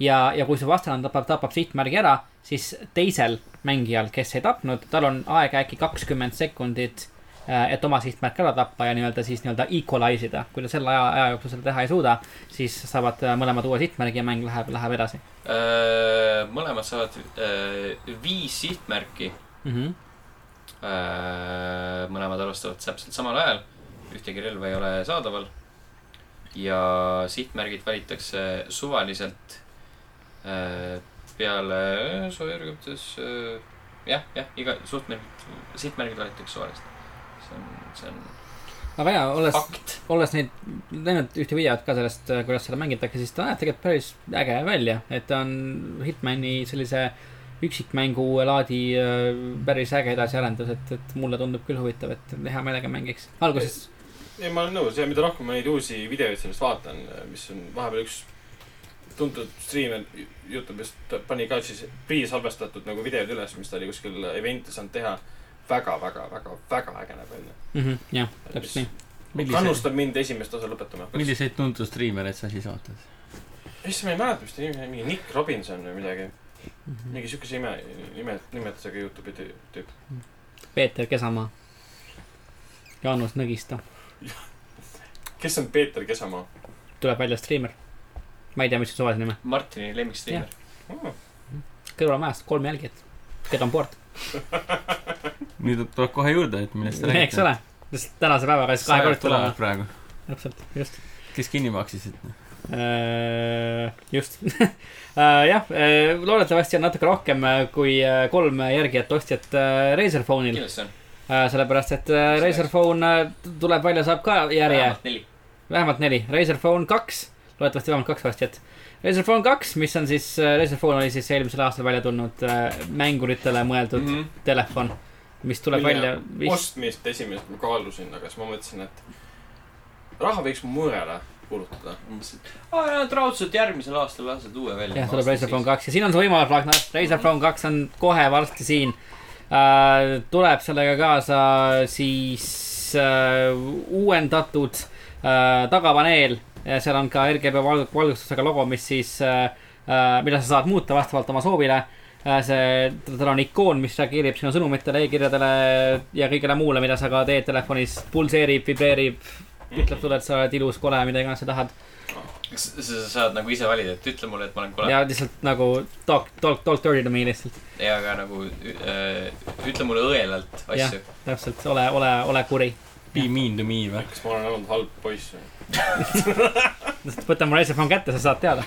ja , ja kui su vastane tapab , tapab sihtmärgi ära , siis teisel mängijal , kes ei tapnud , tal on aega äkki kakskümmend sekundit äh, et oma sihtmärk ära tappa ja nii-öelda siis nii-öelda equalize ida , kui ta selle aja , aja jooksul seda teha ei suuda , siis saavad äh, mõlemad uue sihtmärgi ja mäng läheb , läheb edasi Äh, mõlemad saavad öö, viis sihtmärki . mm . -hmm. Äh, mõlemad alustavad täpselt samal ajal . ühtegi relva ei ole saadaval . ja sihtmärgid valitakse suvaliselt öö, peale äh, soojuurikutes . äh, jah , jah , iga suhtmärgid , sihtmärgid valitakse suvaliselt . see on , see on aga jaa , olles , fakt . olles neid , näinud ühte videot ka sellest , kuidas seda mängitakse , siis ta näeb tegelikult päris äge välja , et ta on Hitmani sellise üksikmängu laadi äh, päris äge edasiarendus , et , et mulle tundub küll huvitav , et hea meelega mängiks . alguses , ei , ma olen nõus ja mida rohkem ma neid uusi videoid sellest vaatan , mis on vahepeal üks tuntud striimer Youtube'is ta pani ka siis priisalvestatud nagu videod üles , mis ta oli kuskil event'i saanud teha väga, . väga-väga-väga-väga äge näeb välja . Mhm, jah , täpselt nii . milliseid , kannustab mind esimest osa lõpetama . milliseid tuntud striimereid sa siis vaatad ? issand , ma ei mäleta , mis ta nimi oli , mingi Nick Robinson või midagi . Mhm. mingi siukese ime , nime , nimetusega Youtube'i tü- tüüp . Peeter Kesamaa . Jaanus Nõgista kes on Peeter Kesamaa tuleb välja striimer . ma ei tea , mis see suvaline nimi , Martini lemmikstriimer . oh, ? kõrvalmajast kolm jälgijat , keda on poolt , nüüd tuleb kohe juurde , et millest te eks ole , sest tänase päevaga siis sajad kahekordselt tulevad tulevad , praegu . täpselt , just . kes kinni maksis , et noh. just Äh, jah , loodetavasti on natuke rohkem äh, kui äh, kolm järgijat ostjat äh, Razer Phone'il , kindlasti on . sellepärast et äh, Razer Phone äh, tuleb välja , saab ka järje vähemalt neli . vähemalt neli , Razer Phone kaks , loodetavasti vähemalt kaks ostjat . Razer Phone kaks , mis on siis , Razer Phone oli siis eelmisel aastal välja tulnud äh, mänguritele mõeldud mm Mhm. -hmm. telefon , mis tuleb Mille välja vist , ostmist esimest ma kaalusin , aga siis ma mõtlesin , et raha võiks mu mõele kulutada . aa , nad raudselt järgmisel aastal lasevad uue välja . jah , tuleb Razer Phone . kaks ja siin on see võimalus , Ragnar , Razer Phone kaks on kohe varsti siin äh, . tuleb sellega kaasa siis äh, uuendatud äh, tagapaneel . seal on ka RGB valg- valgustusega logo , mis siis äh, , äh, mida sa saad muuta vastavalt oma soovile äh, . see , tal on ikoon , mis reageerib sinu sõnumitele , e-kirjadele ja kõigele muule , mida sa ka teed telefonis . pulseerib , vibreerib , ütleb sulle , et sa oled ilus , kole , mida iganes sa tahad . sa sa saad nagu ise valida , et ütle mulle , et ma olen kole . ja lihtsalt nagu talk , talk , talk dirty to me lihtsalt . ja ka nagu ü- äh, ütle mulle õelalt Jah. asju . täpselt , ole , ole , ole kuri . Be mean to me või ? kas ma olen olnud halb poiss või ? lihtsalt võta mu reisifon kätte , sa saad teada .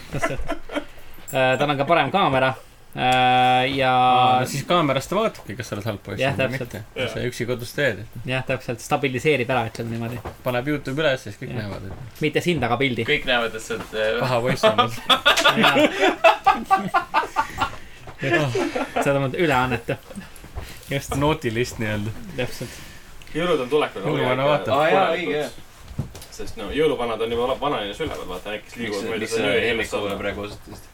tal on ka parem kaamera . ja siis kaamerast ta vaatabki , kas sa oled halb poiss Jah, või täpselt. mitte . mis sa üksi kodus teed , jah , täpselt stabiliseerib ära , ütleme niimoodi . paneb Youtube üles , siis kõik Jah. näevad , et mitte sind , aga pildi . kõik näevad , et sa oled äh, paha poiss on olnud . sa oled olnud üleannet , just nootilist nii-öelda . täpselt . jõulud on tulekul . Jõuluvana vaatab. Aa, jaa, õige, jah. . sest no jõuluvanad on juba vanalinnas üleval , vaata äkki siis miks liiguvad sa- mööda miks sa seda ööhimest Helmikule alla . praegu osutasid ?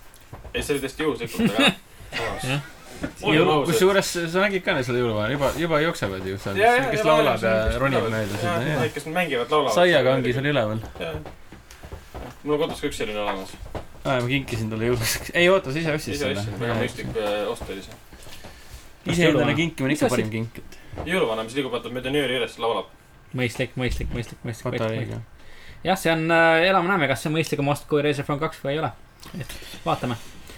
ei , see oli täiesti juhuslikult , aga . kusjuures sa nägid ka neid seda jõuluvana , juba , juba jooksevad ju seal , kes laulab ja ronib mööda sinna . kes mängivad , laulavad . saiaga ongi . seal üleval . mul on kodus ka üks selline olemas . aa , ma kinkisin talle jõuluks . ei oota , sa ise ostsid ise ostsin , väga selle . mõistlik äh, ost oli see . ise endale Jõuluvana. kinkimine on Mis ikka ostsid? parim kink , et jõuluvana , mis liigub vaata mööda nööri üles , laulab . mõistlik , mõistlik , mõistlik , vaata mõistlik . õige . jah , see on , elame-näeme , kas see on mõistlikum ost kui reisifon kaks või ei ole . vaatame .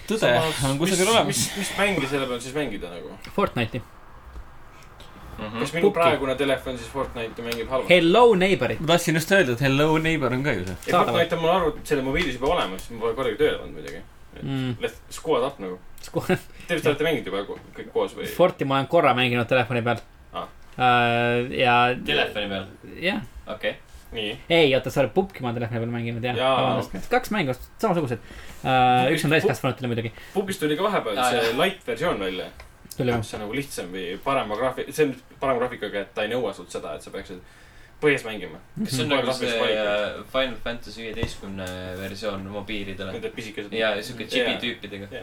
tõde on kusagil olemas .. mis mängi selle peal siis mängida nagu ? Fortnite'i . kas Mhm. minu Mm. Pukki. praegune telefon siis Fortnite'i mängib halvasti ? Hello neighbor'id . ma tahtsin just öelda , et Hello Neighbor on ka ju see . ei , saadaval. Fortnite on mul arvutis , selle mobiilis juba olemas , ma pole kordagi tööle pannud muidugi . Mm, Let's squad up nagu . Te vist olete mänginud juba ko- kõik koos või ? Forti ma olen korra mänginud telefoni peal Äh, Ah. . ja . telefoni peal , jah , okei . nii . ei oota , sa oled Pupki ma olen telefoni peal mänginud jah Jaa, ja, . kaks mängu , samasugused uh, . üks on täiskasvanutele muidugi , pubis tuli ka vahepeal Aa, see jah. light versioon välja , tuli või ? mis on nagu lihtsam või parema graafi- , see on parema graafikaga , et ta ei nõua sult seda , et sa peaksid põhjas mängima . kas see on Mhm. nagu see Graafilise äh, Final Fantasy viieteistkümne versioon mobiilidele Need pisikesed . ja siuke džipi Jaa. tüüpidega ?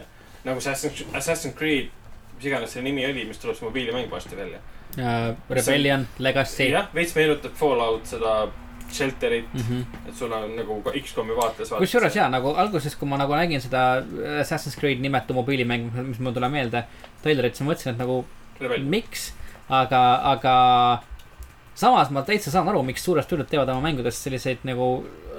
nagu see Assassin's , Assassin's Creed , mis iganes selle nimi oli , mis tuleb see mobiilimäng varsti välja . Äh, Rebellion , Legacy . jah , veits meenutab Fallout seda Shelterit , Mm -hmm. et sul on nagu ka X-komi vaates . kusjuures jaa , nagu alguses , kui ma nagu nägin seda Assassin's Creed nimetu mobiilimäng , mis mul tuleb meelde , treilerit , siis ma mõtlesin , et nagu Rebel . miks , aga , aga samas ma täitsa saan aru , miks suured stuudiod teevad oma mängudest selliseid nagu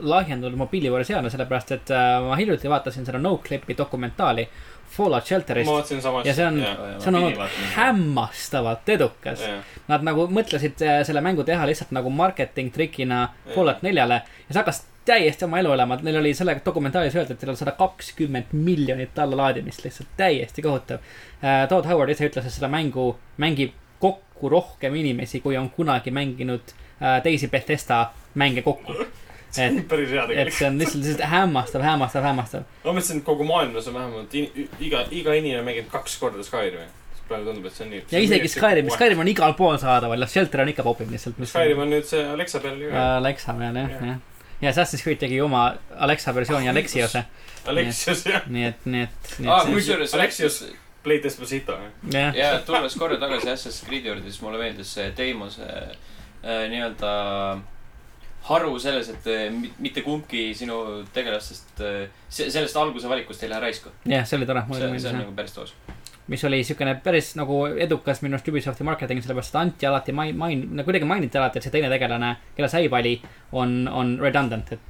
lahjendatud mobiiliversioone , sellepärast et äh, ma hiljuti vaatasin seda Noclipi dokumentaali Fallout ma Shelterist . vaatasin samast . Ja see on- see on olnud hämm . hämmastavalt edukas , nad nagu mõtlesid äh, selle mängu teha lihtsalt nagu marketing trikina Fallout neljale ja see hakkas täiesti oma elu elama , neil oli selle dokumentaalis öeldud , et neil on sada kakskümmend miljonit allalaadimist , lihtsalt täiesti kohutav . Todd Howard ise ütles , et seda mängu mängib kokku rohkem inimesi , kui on kunagi mänginud äh, teisi Bethesda mänge kokku . see on päris hea et tegelikult . see on lihtsalt , lihtsalt hämmastav , hämmastav , hämmastav . ma mõtlesin , et kogu maailmas on vähemalt in, ü- iga , iga inimene mänginud kaks korda Skyrimi . praegu tundub , et see on nii . ja isegi Skyrim , Skyrim on igal pool saadaval ja Shelter on ikka popim lihtsalt . Skyrim on nüüd see Alexa peal ju . Äh, Alexa peal Ah, jah , jah . ja Assassin's Creed tegi oma Alexa versiooni Alexiose , Alexios jah , nii et , nii et , nii aa , et kusjuures Alexios Alexios- Play Despacito . jah , ja tulles korra tagasi Assassin's Creed'i juurde , siis mulle meeldis see Deimose äh, nii-öelda haru selles , et äh, mi- mitte kumbki sinu tegelastest , sellest alguse valikust ei lähe raisku . jah , see oli tore , mulle see , meeldis see on jah . nagu päris toos . mis oli siukene päris nagu edukas minu arust Ubisofti marketing , sellepärast et anti alati main- , main- , no kuidagi mainiti alati , et see teine tegelane , kelle sa ei vali , on , on redundant , et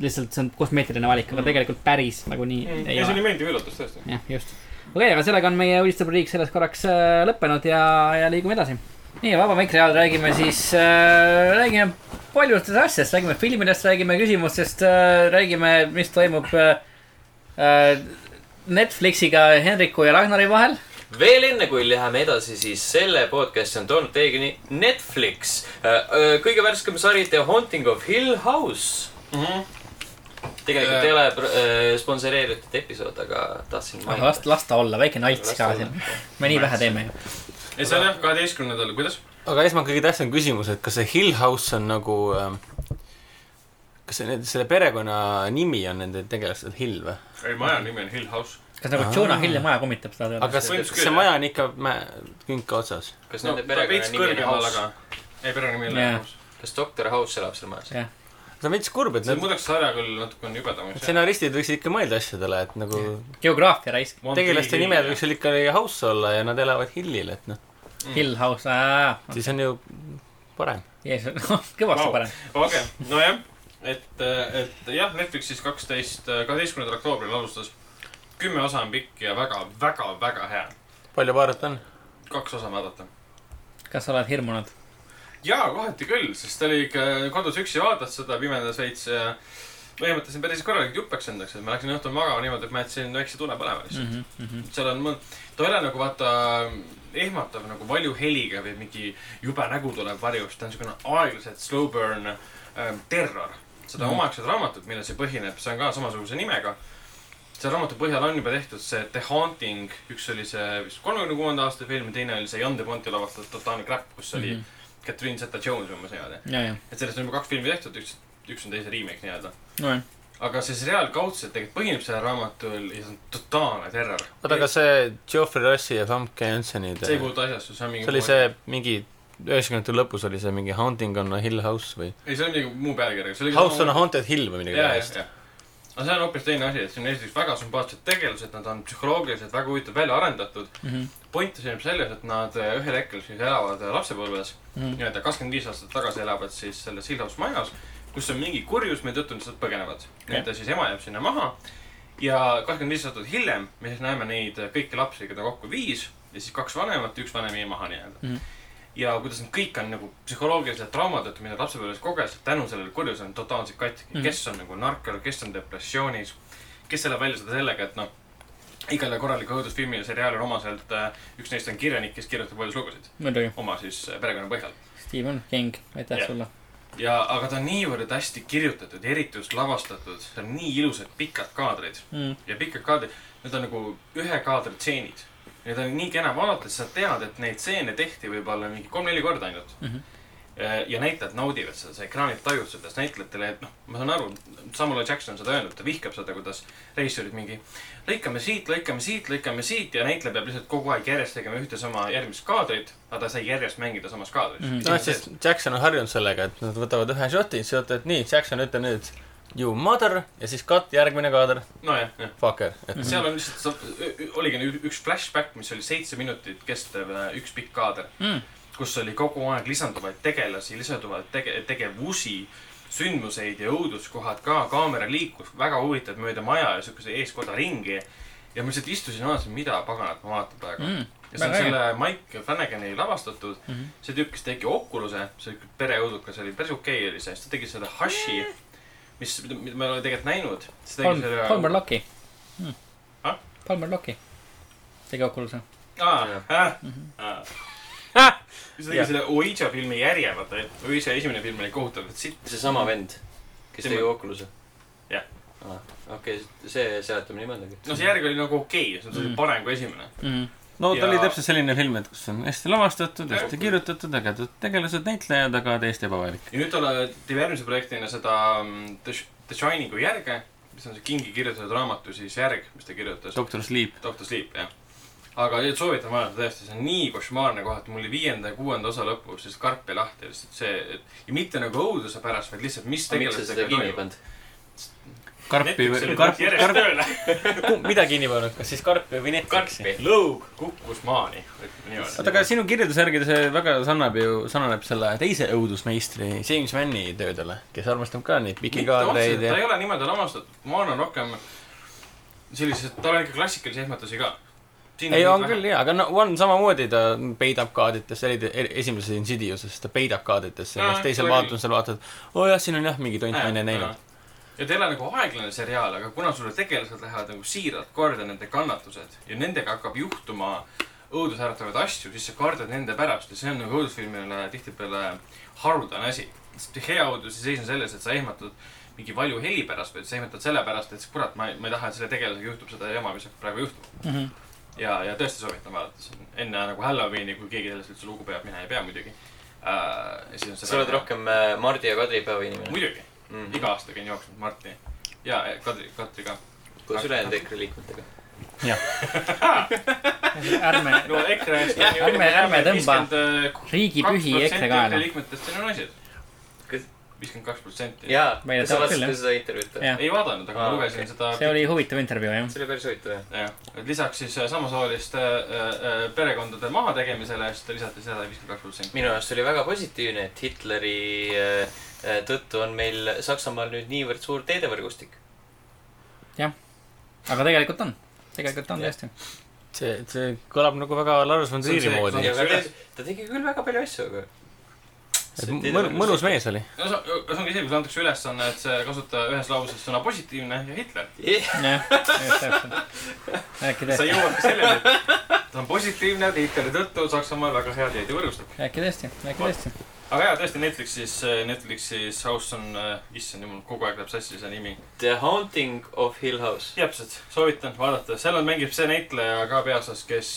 lihtsalt see on kosmeetiline valik , aga Mhm. tegelikult päris nagunii ja ei see ole . oli meeldiv üllatus tõesti . jah , just . okei okay, , aga sellega on meie uudistab riik selles korraks äh, lõppenud ja , ja liigume edasi . nii , vaba mikri ajal räägime siis äh, , räägime paljudest asjadest , räägime filmidest , räägime küsimustest äh, , räägime , mis toimub äh, äh, Netflixiga Henriku ja Ragnari vahel . veel enne , kui läheme edasi , siis selle podcast'i on toonud teieni Netflix . kõige värskem sari The Haunting of Hill House . Mhm. tegelikult ei ole äh, sponsoreeritud episood , aga tahtsin aga las , las ta olla , väike nalts ka siin . me nii vähe teeme ju . ja see on jah , kaheteistkümnendal , kuidas ? aga esmalt kõige tähtsam küsimus , et kas see Hill House on nagu ähm, kas see nüüd , selle perekonna nimi on nende tegelastel Hill või ? ei , maja nimi on Hill House . kas nagu Jonah Hill ja maja kummitab seda aga teada ? kas Põhimõtteliselt küll, see jah. maja on ikka mäe , künka otsas ? kas no nende ta veits perekonnanimi on kõrgemal , House ? aga . ei , perekonnanimi ei Jah. ole House . kas doktor House elab seal majas ? jah , see on veits kurb , et see need muudaks sarja küll natukene jubedamaks . stsenaristid võiksid ikka mõelda asjadele , et nagu geograafia raisk , tegelaste nimed võiks seal ikka House olla ja nad elavad Hillil , et noh , Hill House , aa , siis on ju parem . kõvasti Vau. parem . okei , nojah , et , et jah , Netflixis kaksteist , kaheteistkümnendal oktoobril alustas . kümme osa on pikk ja väga , väga , väga hea . palju paaret on ? kaks osa vaadata . kas sa oled hirmunud ? jaa , kohati küll , sest oli ikka kodus üksi vaatad seda pimedas veits ja põhimõtteliselt päris korralikult jupeks endaks , et ma läksin õhtul magama niimoodi , et ma jätsin väikse tule põlema lihtsalt . Mhm, seal on mõnd- , ta ei ole nagu vaata ehmatav nagu valju heliga või mingi jube nägu tuleb varjust , ta on niisugune aeglaselt slow burn ähm, terror . seda mm. Mhm. omaaegset raamatut , millel see põhineb , see on ka samasuguse nimega . selle raamatu põhjal on juba tehtud see The Haunting , üks oli see vist kolmekümne kuuenda aasta film ja teine oli see Jan de Bonti lavastatud Totaalne crap , kus oli mm Mhm. -hmm. Catherine Zeta-Jones umbes niimoodi . ja , ja , et sellest on juba kaks filmi tehtud , üks , üks on teise remake nii-öelda . nojah . aga see seriaal kaudselt tegelikult põhineb sellel raamatul ja see on totaalne terror . oota , aga see Geoffrey Russi ja Famke Jansseni see ei puutu asjasse , see on mingi see oli see mingi üheksakümnendate lõpus oli see mingi Haunting on a Hill House või ei , see on mingi muu pealkiri . House on a Haunted Hill või midagi jaa , jah , sellist . jah . aga see on hoopis teine asi , et siin on esiteks väga sümpaatsed tegelased , nad on psühholoogiliselt väga huvitavalt välja arendatud . Mhm. point seisneb selles , et nad eh, ühel hetkel siis elavad eh, lapsepõlves , Mhm. nii-öelda kakskümmend viis aastat tagasi elavad siis selles Hillhouse majas , kus on mingi kurjus , mille tõttu nad sealt põgenevad . nii-öelda siis ema jääb sinna maha ja kakskümmend viis aastat hiljem me siis näeme neid eh, kõiki lapsi , keda kokku viis ja siis kaks vanemat , üks vanem jäi maha nii-öelda Mhm. ja kuidas need kõik on nagu psühholoogilised traumad , et mida lapsepõlves koges , tänu sellele kurjusele on totaalselt katki Mhm. mm . -hmm. kes on nagu narkar , kes on depressioonis , kes elab välja seda sellega , et noh , igale korralikule õudusfilmile , seriaalile omaselt äh, üks neist on kirjanik , kes kirjutab õuduslugusid muidugi , oma siis äh, perekonna põhjal . Steven King , aitäh Jah. sulle . ja , aga ta on niivõrd hästi kirjutatud , eriti just lavastatud , seal on nii ilusad pikad kaadrid Mhm. ja pikad kaadrid , need on nagu ühe kaadri tseenid . Need on nii kena vaadata , sest sa tead , et neid stseene tehti võib-olla mingi kolm-neli korda ainult mm . Mhm. -hmm. ja näitlejad naudivad seda , sa ekraanilt tajud seda , sest näitlejatele , et noh , ma saan aru , Samuel L. Jackson on seda öelnud , ta vihkab seda , kuidas reisijad mingi lõikame siit , lõikame siit , lõikame siit ja näitleja peab lihtsalt kogu aeg järjest tegema ühte sama järgmist kaadrit , aga ta sai järjest mängida samas kaadris Mhm. mm . noh , sest Jackson on harjunud sellega , et nad võtavad ühe shot'i , siis ütlevad nii , Jackson ütleb nüüd you mother ja siis cut , järgmine kaader , nojah , jah . fucker . Mhm. et seal on lihtsalt , oligi nüüd üks flashback , mis oli seitse minutit kestev äh, üks pikk kaader , Mhm. kus oli kogu aeg lisanduvaid tegelasi , lisanduvaid tege- , tegevusi , sündmuseid ja õuduskohad ka , kaamera liikus väga huvitavalt mööda maja ja siukese eeskoda ringi . ja ma lihtsalt istusin ja vaatasin , mida paganat ma vaatan praegu Mhm. mm. . ja see on väga äge. selle Mike Flanagani lavastatud mm , Mhm. -hmm. see tüüp , kes tegi Oculus'e , see pereõudukas oli , päris okei okay oli see , siis ta tegi selle Hushi , Mm. mis , mida ma ei ole tegelikult näinud . Palmer Locki Mhm. Ah? . Palmer Locki tegi Oculus'e . aa , aa , Mhm. aa . siis tegi Ah. selle Ouija filmi järje , vaata , Ouija esimene film oli kohutavalt sitt . seesama vend , kes Tema- tegi Oculus'e ? Jah. . okei , see seletame nii mõndagi . no see järg oli nagu okei okay, , see oli Mm. parem kui esimene . Mhm. no ta Ja- oli täpselt selline film , et kus on hästi lavastatud , hästi Jah. kirjutatud , ägedad tegelased , näitlejad , aga täiesti ebavajalik . ja nüüd ta teeb järgmise projektina seda mm, The Sh- The Shiningu järge , mis on see kingi kirjutatud raamatu siis järg , mis ta kirjutas . Doctor Sleep . Doctor Sleep , jah . aga nüüd soovitan vaadata tõesti , see on nii košmaarne koht , mul oli viienda ja kuuenda osa lõpus lihtsalt karp jäi lahti lihtsalt see , et ja mitte nagu õuduse pärast , vaid lihtsalt , miks mis sa seda tegelastega kinni ei toimub . pannud ? karpi Netflix või , oli karp , järjest karp , tööle . mida kinni pannud , kas siis karpi või karpi Netflixi ?, lõug kukkus maani , ütleme oota , niimoodi . aga sinu kirjelduse järgi see väga sarnab ju , sarnaneb selle teise õudusmeistri James Manni töödele , kes armastab ka neid pikki kaadreid ta ja ei ole niimoodi lavastatud , ma arvan rohkem sellised , tal on ikka klassikalisi ehmatusi ka . ei , on küll . jaa , aga no One samamoodi , ta peidab kaadritesse , eriti er- esimeses Insidiouses , ta peidab kaadritesse , Aa, kas teisel see oli- vaatlusel vaatad , oo jah , siin on jah , mingi tont naine näinud . ja ta ei ole nagu aeglane seriaal , aga kuna sulle tegelased lähevad nagu siiralt korda nende kannatused ja nendega hakkab juhtuma õudusäratavaid asju , siis sa kardad nende pärast ja see on nagu õudusfilmile tihtipeale haruldane asi . sest hea õuduse seis on selles , et sa ehmatad mingi valju heli pärast , vaid sa ehmatad selle pärast , et kurat , ma ei , ma ei taha , et selle tegelasega juhtub seda jama , mis hakkab praegu juhtuma . Mhm. ja , ja tõesti soovitan vaadata , see on enne nagu Halloweeni , kui keegi sellest üldse lugu peab , mina ei pea muidugi äh, . sa oled . rohkem äh, Mardi ja Kadripäeva inimene . Mhm. muidugi , iga aasta käin jooksmas Marti ja ja Kadri , Katri ka . koos ülejäänud EKRE liikmetega . ärme , no EKRE eest . Ärme- ärme tõmba. riigipühi EKRE kaela . liikmetest siin on naised . viiskümmend kaks protsenti . jaa , Ma ei kas sa tea, vaatasid küll, jah. ka seda intervjuud või ? Jah. ei vaadanud , aga Aa, ma lugesin okei. seda . see oli huvitav intervjuu jah . see oli päris huvitav jah . jah , et lisaks siis äh, samasooliste äh, äh, perekondade mahategemisele , siis ta lisati seda viiskümmend kaks protsenti . minu arust oli väga positiivne , et Hitleri äh, äh, tõttu on meil Saksamaal nüüd niivõrd suur teedevõrgustik . aga tegelikult on , tegelikult on Jah. tõesti . see , see kõlab nagu väga Lars von Trieri See on moodi . see, eks ta tegi- ta tegi küll väga palju asju , aga . mõnus . mees oli . no see see ongi see , kus antakse ülesanne , et see kasuta ühes lauses sõna positiivne ja Hitler . jah , just täpselt . äkki sa tõesti , jõuadki selleni , et ta on positiivne , Hitleri tõttu Saksamaal väga hea teedevõrgustik . äkki tõesti , äkki tõesti . aga jaa , tõesti Netflixis , Netflixis House on , issand jumal , kogu aeg läheb sassi see nimi . The Haunting of Hill House . täpselt , soovitan vaadata , seal on , mängib see näitleja ka peaosas , kes ,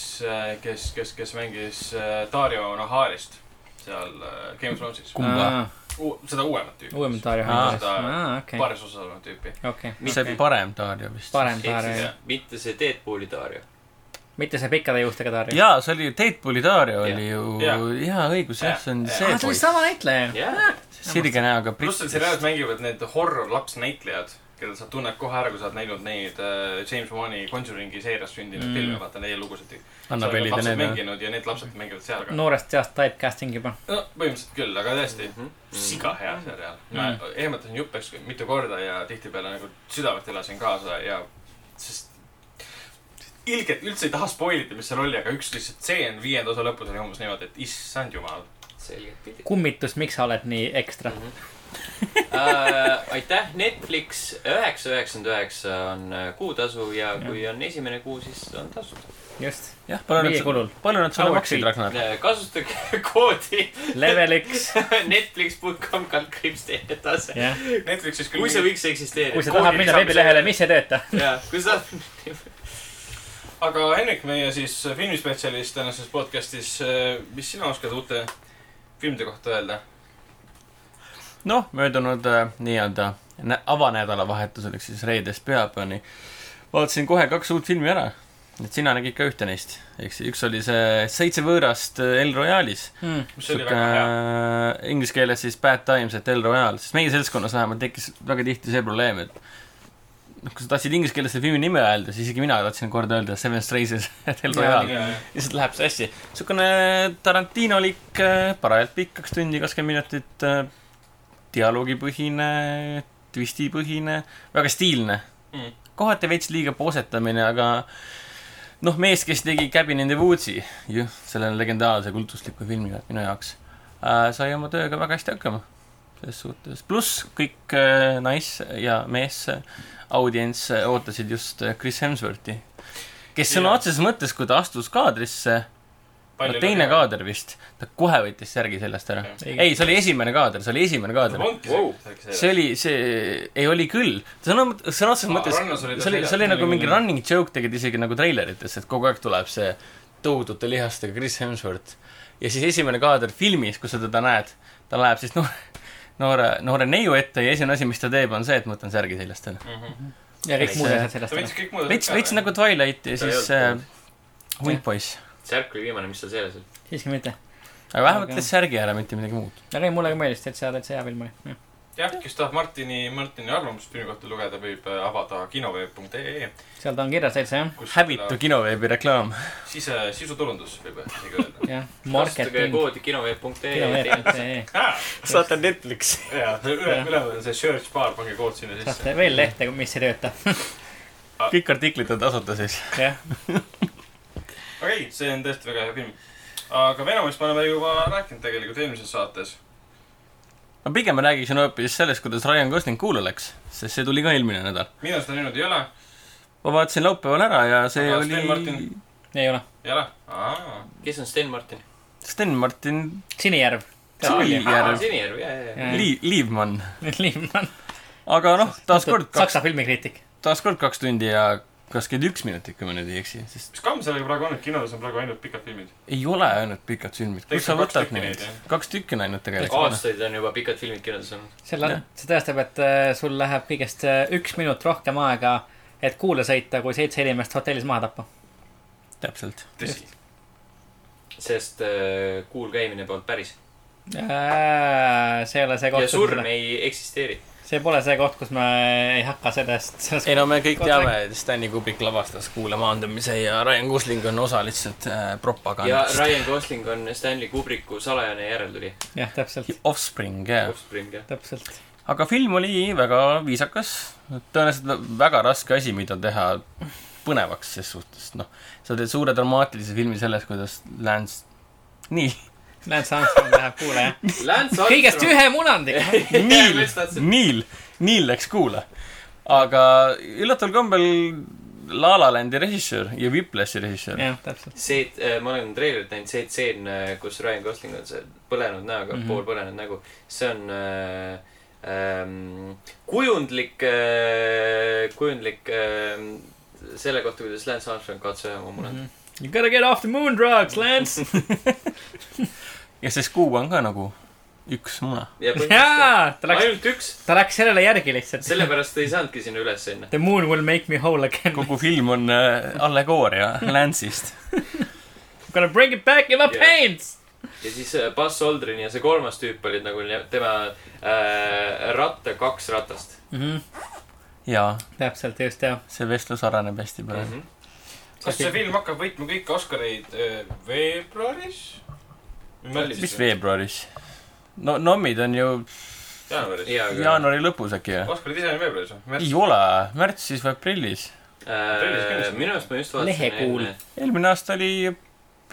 kes , kes , kes mängis äh, Dario Naharist seal äh, Game of Thronesis . Kumba? ? seda uuemat tüüpi . uuem Dario Aa, Hõngas , seda- aa okei , paaris osas olevat tüüpi . okei . see oli parem Dario vist . parem ehk Dario siis , mitte see Deadpooli Dario . mitte see pikkade juustega Dario . jaa , see oli ju Deadpooli Dario Jah. oli ju , Jah. jaa , õigus , jah , see on Jah. see see oli poiss . sama näitleja . jah , sirge näoga pluss seal seriaalis mängivad need horror lapsnäitlejad , keda sa tunned kohe ära , kui sa oled näinud neid äh, James Wan'i Conjuringi seerias sündinud Mm. mm. filme , vaata neid lugusid . Annabellid ja need . mänginud ja need lapsed mängivad seal ka . no noorest seast typecasting juba . põhimõtteliselt küll , aga tõesti Mhm. siga hea seriaal . ma Mm. ehmatasin jupeks mitu korda ja tihtipeale nagu südamelt elasin kaasa ja , sest ilgelt üldse ei taha spoil ida , mis seal oli , aga üks lihtsalt stseen viienda osa lõpus oli umbes niimoodi , et issand jumal . selgelt pidi . kummitus , miks sa oled nii ekstra ? äh, aitäh , Netflix üheksa , üheksakümmend üheksa on äh, kuutasu ja kui on esimene kuu , siis on tasuta . just , jah , palju Meie kulul. nad , palju nad sulle Our maksid , fee. Ragnar ? Äh, kasutage koodi level üks , netflix.com kaldkriips teine tase . jah . Netflixis küll kui see . võiks eksisteerida . kui sa tahad minna veebilehele , mis ei tööta . jaa , kui sa aga Henrik , meie siis filmispetsialist tänases podcastis , mis sina oskad uute filmide kohta öelda ? noh , möödunud äh, nii-öelda nä- avanädalavahetusel , ehk siis reedest pühapäevani , vaatasin kohe kaks uut filmi ära . et sina nägid ka ühte neist , eks ju , üks oli see Seitse võõrast äh, El Royalis . Hmm. mis oli väga hea . niisugune inglise keeles siis Bad Times at El Royal , sest meie seltskonnas vähemalt tekkis väga tihti see probleem , et noh , kui sa tahtsid inglise keeles selle filmi nime öelda , siis isegi mina tahtsin kord öelda Seven Straises at El Royal . lihtsalt läheb sassi . niisugune Tarantino-lik , parajalt pikk , kaks tundi , kakskümmend minutit , dialoogipõhine , twistipõhine , väga stiilne Mm. mm. . kohati veits liiga poosetamine , aga noh , mees , kes tegi Cabin in the Woods'i , jah , selle legendaarse kultusliku filmi minu jaoks äh, , sai oma tööga väga hästi hakkama selles suhtes . pluss kõik äh, nais- ja mees äh, audients äh, ootasid just äh, Chris Hemsworthi , kes sõna Jah. otseses mõttes , kui ta astus kaadrisse , no teine . kaader vist , ta kohe võttis särgi seljast ära . ei , see oli esimene kaader , see oli esimene kaader . Wow. see see oli , see , ei oli küll , sõna , sõna otseses mõttes , rannas oli see oli , see oli nagu mingi . running joke tegid isegi nagu treilerites , et kogu aeg tuleb see tohutute lihastega Chris Hemsworth . ja siis esimene kaader filmis , kus sa teda näed , ta läheb siis noore , noore , noore neiu ette ja esimene asi , mis ta teeb , on see , et ma võtan särgi seljast ära . ja kõik muud asjad sellest ta . võttis Mhm. kõik muud . veits , veits . nagu Twilight Ta ja ei siis olnud äh, Hundpoiss . särk oli viimane , mis seal seljas oli . siiski mitte . aga vähemalt Aga- teed särgi ära , mitte midagi muud . aga ei , mulle ka meeldis , täitsa , täitsa hea film oli . jah , kes tahab Martini , Martini arvamust filmi kohta lugeda , võib äh, avada kinoveeb.ee , seal ta on kirjas täitsa jah , kus häbitu kinoveebi reklaam . sise , sisuturundus võib isegi öelda . jah . kasutage marketing . koodi kinoveeb.ee . kilomeetrit.ee saate Netflixi . jaa , üle Jah. , üleval on see search bar , pange kood sinna sisse . saate veel lehte , mis ei tööta . kõik artiklid on tasuta siis . jah , okei , see on tõesti väga hea film . aga Venemaast me oleme juba rääkinud tegelikult eelmises saates . ma pigem räägiksin hoopis sellest , kuidas Ryan Gosling kuule läks , sest see tuli ka eelmine nädal . mina seda näinud ei ole , ma vaatasin laupäeval ära ja see Aga Sten oli Martin? ei ole . ei ole ? aa , kes on Sten Martin ? Sten Martin Sinijärv . Siiljärv , Sinijärv , jaa , jaa , jaa . Lii- , Liivmann . Liivmann . aga noh , taaskord kaks , Saksa filmikriitik . taaskord kaks tundi ja kakskümmend üks minutit , kui ma nüüd ei eksi , sest mis kamm sellega praegu on , et kinodes on praegu ainult pikad filmid . ei ole ainult pikad filmid . Tegelikult kus sa on kaks võtad tükki neid neid, jah. ? kaks tükki on ainult tegelikult . aastaid on juba pikad filmid kirjas olnud . selle Jah. , see tõestab , et äh, sul läheb kõigest äh, üks minut rohkem aega , et kuule sõita , kui seitse inimest hotellis maha tappa . Noh, täpselt . tõsi . sest äh, kuul käimine polnud päris . see ei ole see ja koht , surm ei eksisteeri . see pole see koht , kus me ei hakka sellest , sellest ei no me kõik Kogu teame , et Stanley Kubrick lavastas Kuule maandumise ja Ryan Gosling on osa lihtsalt äh, ja propagandast . Ryan Gosling on Stanley Kubricku salajane järeltulija , jah , täpselt , Offspring , jah . Offspring jah . täpselt . aga film oli väga viisakas , tõenäoliselt väga raske asi , mida teha põnevaks ses suhtes , noh , sa teed suure dramaatilise filmi sellest , kuidas Lance , nii , Lance Armstrong läheb kuulaja . Lance Armstrong . kõigest ühe munandiga . Neil , Neil , Neil läks kuule . aga üllataval kombel La La Landi režissöör ja Whiplashi režissöör , jah , täpselt . see , et äh, ma olen treilerit näinud , see tseen , kus Ryan Gosling on see põlenud näoga mm , -hmm. Mhm. pool põlenud nägu , see on äh, ähm, kujundlik äh, , kujundlik äh, selle kohta , kuidas Lance Armstrong kaotas ühe oma munandi mm . You gotta get off the moon drugs , Lance . ja see Skuu on ka nagu üks muna . -hmm. ja põhimõtteliselt jaa , ta läks , ainult üks , ta läks sellele järgi lihtsalt . sellepärast ta ei saanudki sinna üles enne . The moon will make me whole again . kogu film on äh, allegooria Lance'ist . Gonna bring it back in my Jah. pants . ja siis äh, Buzz Aldrin ja see kolmas tüüp olid nagu ne- tema äh, ratta , kaks ratast jaa , Mhm, täpselt , just jah . see vestlus areneb hästi mm . Mhm. praegu . -hmm. kas see film hakkab võitma kõiki Oscareid eh, veebruaris ? või mis märtsis ? veebruaris ? no nommid on ju jaanuaris . jaa , aga . jaanuari lõpus äkki või ? Oscarid ise on veebruaris või ei ? ole , märtsis või aprillis . Tellis kindlasti. Äh, minu arust ma just vaatasin Lehekuul. enne , eelmine aasta oli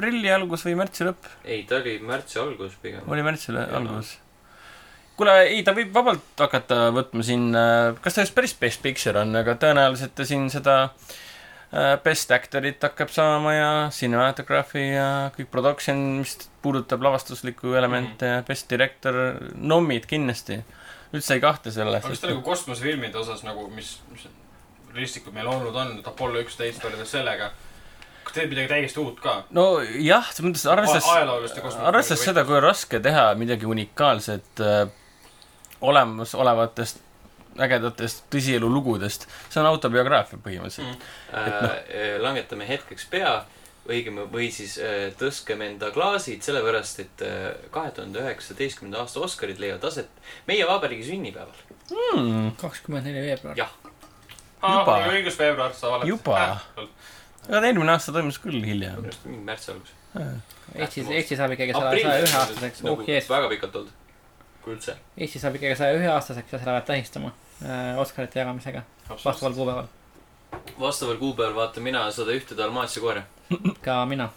aprilli algus või märtsi lõpp , ei ta oli märtsi algus pigem . oli märtsi lõ- Jaa. algus . kuule , ei , ta võib vabalt hakata võtma siin , kas ta just päris Best Picture on , aga tõenäoliselt ta siin seda äh, Best Actorit hakkab saama ja Cinematography ja kõik production , mis puudutab lavastuslikku elemente ja Best Director , nommid kindlasti . üldse ei kahtle selles aga . kas ta nagu kosmosefilmide osas nagu , mis , mis realistlikud meil olnud on , et Apollo üksteist võrreldes sellega , kas teed midagi täiesti uut ka ? nojah , selles mõttes A- ajaloolist ja arvestades , kosmoloogilist arvestades seda , kui raske teha midagi unikaalset äh, olemasolevatest ägedatest tõsielu lugudest , see on autobiograafia põhimõtteliselt mm. . noh. äh, langetame hetkeks pea , õigem- või siis äh, tõskem enda klaasid , sellepärast et äh, kahe tuhande üheksateistkümnenda aasta Oscarid leiavad aset meie vabariigi sünnipäeval . Hmm, kakskümmend neli veebruar . jah , Juba. aa , õigus , veebruar , sa oled . Juba. aga eelmine aasta toimus küll hilja . minu arust mingi märtsi algus . Eestis , Eestis saab ikkagi saja , aprill saja ühe aastaseks . Nagu oh jees . nagu väga pikalt olnud , kui üldse . Eestis saab ikkagi saja ühe aastaseks ja seda peab tähistama äh, Oscarite jagamisega vastaval kuupäeval . vastaval kuupäeval vaatan mina sada ühte Dalmaatia koera . ka mina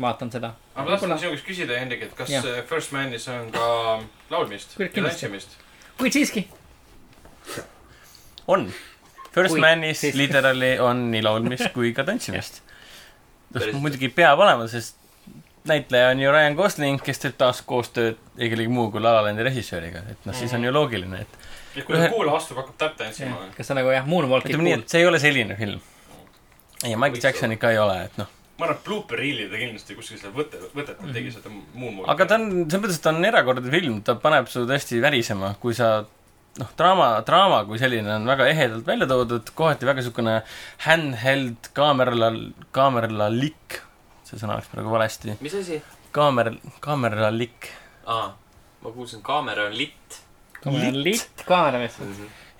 vaatan seda . aga ma tahtsin sinu käest küsida , Hendrik , et kas Jah. eh, First Manis on ka laulmist Kuule, ja kindlasti. tantsimist ? kuid siiski , on . First Kui- Manis siis- literaali on nii laulmist kui ka tantsimist . Päris- muidugi peab olema , sest näitleja on ju Ryan Gosling , kes teeb taas koostööd ei kellegi muu kui La La Landi režissööriga , et noh , siis on ju loogiline , et ja kui ta Ühe- kuulaja astub , hakkab täpp tantsima või ? kas see on nagu jah , Moonwalk'i ütleme nii , puhul . et see ei ole selline film . ja Michael Võiks Jacksonit ka ei ole , et noh , ma arvan , et Blooper Reel'i ta kindlasti kuskil seal võtet , võtet ta tegi seda muun moodi . Mhm. aga ta on , selles mõttes , et ta on erakordne film , ta paneb su tõesti värisema , kui sa noh , draama , draama kui selline on väga ehedalt välja toodud , kohati väga niisugune handheld kaameralal , kaameralalik , see sõna läks praegu valesti , mis asi ? kaamer , kaameralik . aa , ma kuulsin , kaamera on litt . litt kaameramees .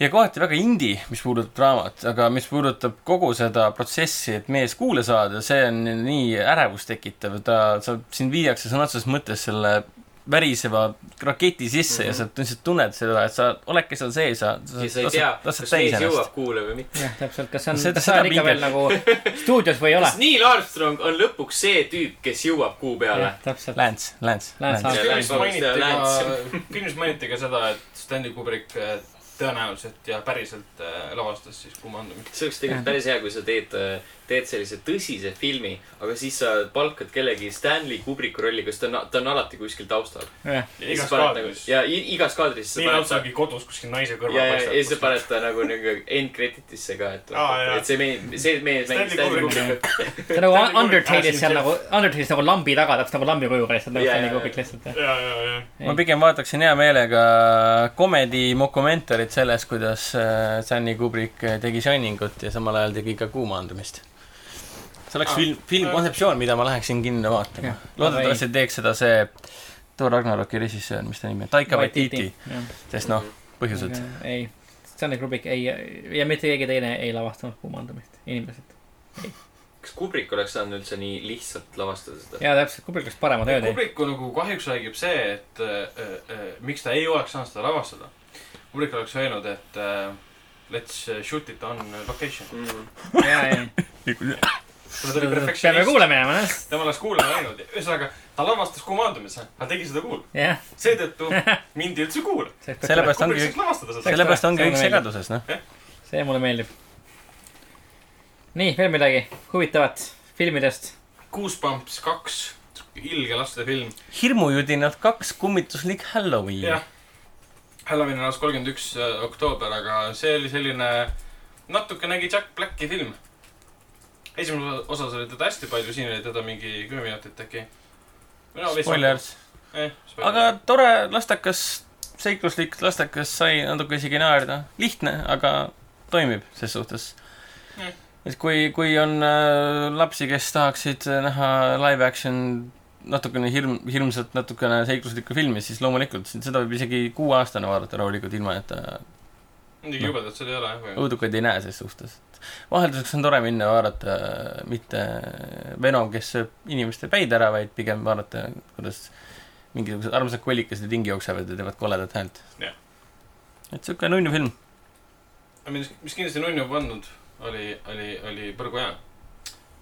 ja kohati väga indie , mis puudutab draamat , aga mis puudutab kogu seda protsessi , et mees kuule saada , see on nii ärevust tekitav , ta , sa , sind viiakse sõna otseses mõttes selle väriseva raketi sisse mm -hmm. ja sa lihtsalt tunned seda , et sa oledki seal sees ja Mhm. ja sa ei tea , kas mees jõuab . kuule või mitte . jah , täpselt , kas see on , Seda- kas sa oled seda ikka veel nagu stuudios või ei ole kas ? Neil Armstrong on lõpuks see tüüp , kes jõuab kuu peale ? täpselt . Lance , Lance , Lance Lance . Armstrong. Lance- filmis mainiti ka Lance. , filmis mainiti ka seda , et Stanley Kubrick eh, tõenäoliselt ja päriselt eh, lavastas siis Kummandumit . see oleks tegelikult päris hea , kui sa teed , teed sellise tõsise filmi , aga siis sa palkad kellegi Stanley Kubricku rolli , kes ta on , ta on alati kuskil taustal . jah , ja igas kaadris . nagu- ja i- igas kaadris sa nii paned lausa ta ongi kodus kuskil naise kõrval ja , ja , ja siis sa . paned ta nagu nagu end credit'isse ka , et Aa, jaa. et see mees , see mees mängis Stanley Stanley Kubrick. Kubricku . ta nagu Stanley Kubrick Undertale'is pääsis seal jah. nagu , Undertale'is nagu lambi taga , täpselt nagu lambi kuju lihtsalt , nagu Jaa, Stanley jaa, Kubrick lihtsalt . ja , ja , ja . ma pigem vaataksin hea meelega komedi mokumentarit sellest , kuidas äh, Stanley Kubrick tegi Shiningut ja samal ajal tegi ka Kuumaandumist . see oleks Ah. film , filmkontseptsioon , mida ma läheksin kinno vaatama Jah. . loodetavasti teeks seda see Thor Ragnaroki režissöör , mis ta nimi on , Taika Waititi ,. sest noh , põhjused . ei , Stanley Kubrick ei ja mitte keegi teine ei lavastanud kuumandamist , inimesed . kas Kubrick oleks saanud üldse nii lihtsalt lavastada seda ? ja täpselt , Kubrick läks parema töö teinud . Kubriku nagu kahjuks räägib see , et äh, äh, miks ta ei oleks saanud seda lavastada . Kubrik oleks öelnud , et äh, let's shoot it on location . ja , ja , ta tuli peame perfektsionist , kuule minema , jah . tema oleks kuulama läinud . ühesõnaga , ta lavastas komandumise , ta tegi seda kuul . jah . seetõttu mind ei üldse kuula . Sellepärast Kubrik ongi- saaks lavastada seda . sellepärast see ongi kõik mulle meeldib. segaduses , noh . see mulle meeldib . nii , veel midagi huvitavat filmidest ? Goosebumps kaks , ilge laste film . hirmujudinad kaks , kummituslik Halloween jah .. Halloween on alles kolmkümmend üks äh, oktoober , aga see oli selline natukenegi Jack Blacki film . esimeses osas oli teda hästi palju , siin oli teda mingi kümme minutit äkki . Spoilers . Eh, aga aga . tore , lastakas , seikluslik lastakas sai natuke isegi naerda . lihtne , aga toimib ses suhtes Mm. . et kui , kui on äh, lapsi , kes tahaksid äh, näha live action natukene hirm , hirmsat , natukene seikluslikku filmi , siis loomulikult seda võib isegi kuueaastane vaadata rahulikult , ilma et äh, ta muidugi jubedalt seda ei ole jah . õudukaid ei näe ses suhtes . vahelduseks on tore minna vaadata äh, mitte Venom , kes sööb inimeste päid ära , vaid pigem vaadata , kuidas mingisugused armsad kollikesed ringi jooksevad ja teevad koledat häält Jah. . et siuke nunnu film . mis , mis kindlasti nunnu ei pannud , oli , oli , oli Põrgujaan .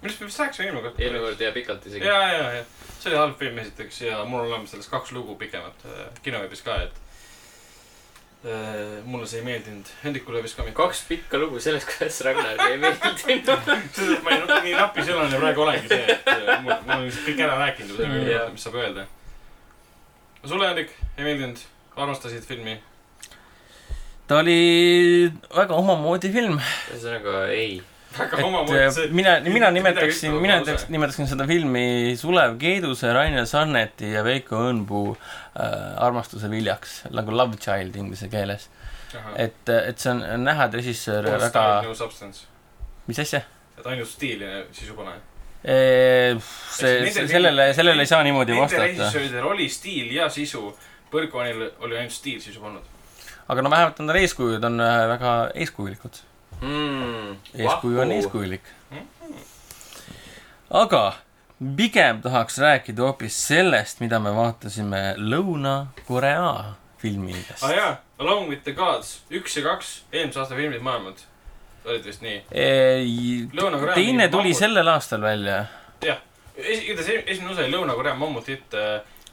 millest me vist rääkisime eelmine kord . eelmine kord jäi pikalt isegi . ja , ja , ja see oli halb film esiteks ja mul on olemas sellest kaks lugu pikemat äh, kinoveebis ka , et äh, mulle see ei meeldinud . Hendrikule vist ka mitte . kaks pikka lugu sellest , kuidas Ragnarile ei meeldinud . sest ma ei, nii napisõnaline praegu olengi see , et äh, mul , mul on lihtsalt kõik ära rääkinud juba selle Jah. kohta , mis saab öelda . sulle , Hendrik , ei meeldinud ? armastasid filmi ? ta oli väga omamoodi film , ühesõnaga ei . väga et omamoodi äh, see . mina , mina midagi nimetaksin , ütlevad mina lause. nimetaks- nimetaksin seda filmi Sulev Keeduse , Rainer Sarneti ja Veiko Õnpuu äh, armastuse viljaks , nagu Love Child inglise keeles . et , et see on on näha , et režissöör väga , no substance . mis asja ? et ainult stiil ja sisu pole . see , nende film- sellele , sellele ei saa niimoodi Nende vastata . režissööridel oli stiil ja sisu . Põrgkonil oli ainult stiil , sisu polnud . aga no vähemalt on tal eeskujud , on äh, väga eeskujulikud . Hmm, eeskuju on . eeskujulik . Mm-hmm. aga pigem tahaks rääkida hoopis sellest , mida me vaatasime Lõuna-Korea filmidest aa . Ah, jaa , Along with the gods , üks ja kaks eelmise aasta filmid maailmad . olid vist nii . Lõuna-Korea teine mingi tuli mammut. sellel aastal välja . jah , igatahes esi- esimene osa oli Lõuna-Korea mammutit ,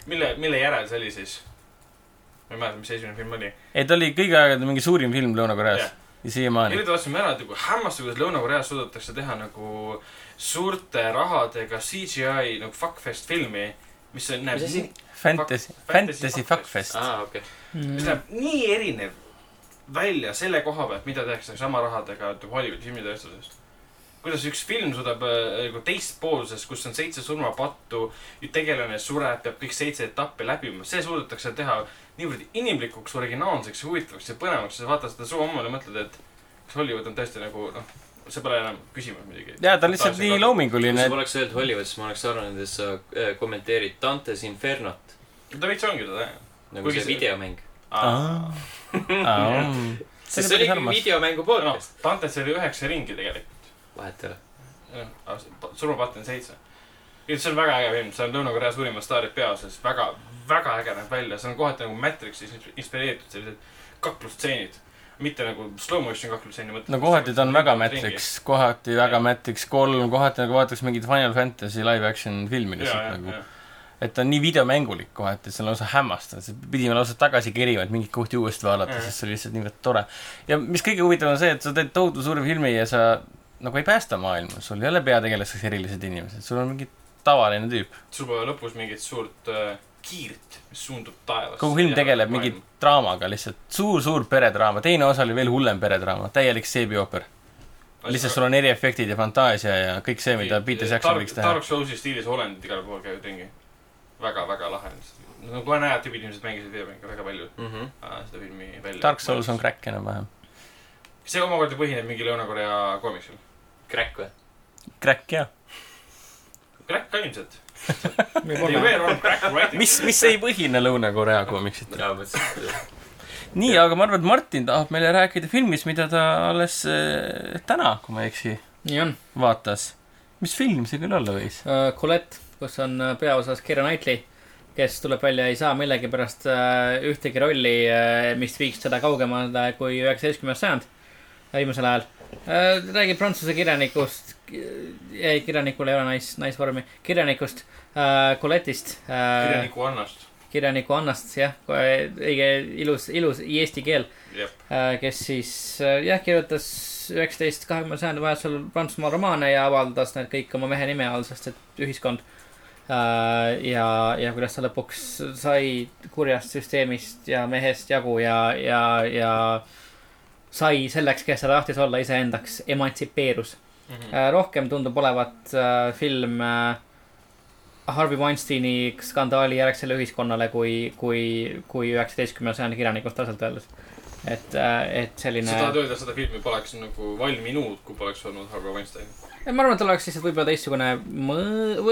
mille , mille järel see oli siis ? ma ei mäleta , mis see esimene film oli . ei , ta oli kõigi aegade mingi suurim film Lõuna-Koreas Jah. ja siiamaani . nüüd vastasime ära , et nagu hämmastav , kuidas Lõuna-Koreas suudetakse teha nagu suurte rahadega CGI nagu fuckfest filmi , mis on , näeb Mis asi? nii , Fantasy , Fantasy Fantasy Fuckfest . Fuckfest. aa , Ah, okei . mis näeb nii erinev välja selle koha pealt , mida tehakse sama rahadega nagu Hollywoodi filmitööstuses . kuidas üks film suudab äh, nagu teistpoolses , kus on seitse surmapattu , tegelane sureb , peab kõik seitse etappi läbima , see suudetakse teha niivõrd inimlikuks , originaalseks , huvitavaks ja põnevaks , sa vaatad seda suva hommikul ja mõtled , et kas Hollywood on tõesti nagu noh , see pole enam küsimus muidugi . jaa , ta on lihtsalt nii . kui loominguline sa , poleks öelnud Hollywood , siis ma oleks arvanud , et sa äh, kommenteerid Dante's Infernot . ta veits ongi seda nagu Kuigi see see- videomäng . Aa. jah . Aa, mm. sest see oli ikkagi videomängu noh podcast ., Dantes oli üheksa ringi tegelikult . vahet ei ole . jah , surmapatt on seitse . ja see on väga äge film , seal on nagu Lõuna-Korea suurimad staarid peaosas , väga , väga äge näeb välja , see on kohati nagu Matrixis ins- inspireeritud sellised kaklustseenid . mitte nagu slow motion kaklusstseeni mõttes . no kohati ta on väga Matrix , kohati väga Jah. Matrix kolm , kohati nagu vaataks mingit Final Fantasy live action filmi lihtsalt nagu . nagu . et ta on nii videomängulik kohati , et see on lausa hämmastav , pidime lausa tagasi kerima , et mingit kohti uuesti vaadata , Mhm. sest see oli lihtsalt niivõrd tore . ja mis kõige huvitavam on see , et sa teed tohutu suure filmi ja sa nagu ei päästa maailma , sul ei ole peategelaseks erilised inimesed , sul on mingi tavaline tüüp . sul pole lõpus mingit suurt äh, kiirt , mis suundub taevasse . kogu film tegeleb mingi draamaga lihtsalt suur, , suur-suur peredraama , teine osa oli veel hullem peredraama , täielik seebiooper . lihtsalt sul on eriefektid ja fantaasia ja kõik see , mida Peter Jackson võiks teha . Dark Souls'i stiilis olendid igal pool käivad ringi . väga , väga lahe lihtsalt . no kohe näed , tüübid inimesed mängisid videomänge väga palju Mhm. äh, seda filmi välja . Dark Souls on . crack enam-vähem . see omakorda põhineb mingi Lõuna-Korea koomiksil . Crack või ? Crack jah . Crack ka ilmselt . Beware on crack writing . mis , mis ei põhine Lõuna-Korea koomiksitel . mina mõtlesin , et nii , aga ma arvan , et Martin tahab meile rääkida filmist , mida ta alles äh, täna , kui ma ei eksi , nii on . vaatas . mis film see küll olla võis ? Colette , kus on äh, peaosas Keira Knightley , kes tuleb välja , ei saa millegipärast äh, ühtegi rolli , mis viiks teda kaugemale kui üheksateistkümnes sajand , viimasel ajal . räägib prantsuse kirjanikust , ei kirjanikul ei ole nais , naisvormi , kirjanikust , Colette'ist . kirjaniku Annast . kirjaniku Annast , jah , õige ilus , ilus eesti keel Jep. . kes siis äh, jah , kirjutas üheksateist , kahekümne sajandi vahetusel Prantsusmaa romaane ja avaldas need kõik oma mehe nime all , sest et ühiskond . Äh, ja , ja kuidas ta lõpuks sai kurjast süsteemist ja mehest jagu ja , ja , ja sai selleks , kes ta tahtis olla iseendaks , emantsipeerus . Äh, rohkem tundub olevat äh, film äh, Harvey Weinsteini skandaali järgsele ühiskonnale kui , kui , kui üheksateistkümnenda sajandi kirjanikust ausalt öeldes . et , et sa selline , tahad öelda , seda filmi poleks nagu valminud , kui poleks olnud Harvey Weinstein ? ma arvan , et oleks lihtsalt võib-olla teistsugune ,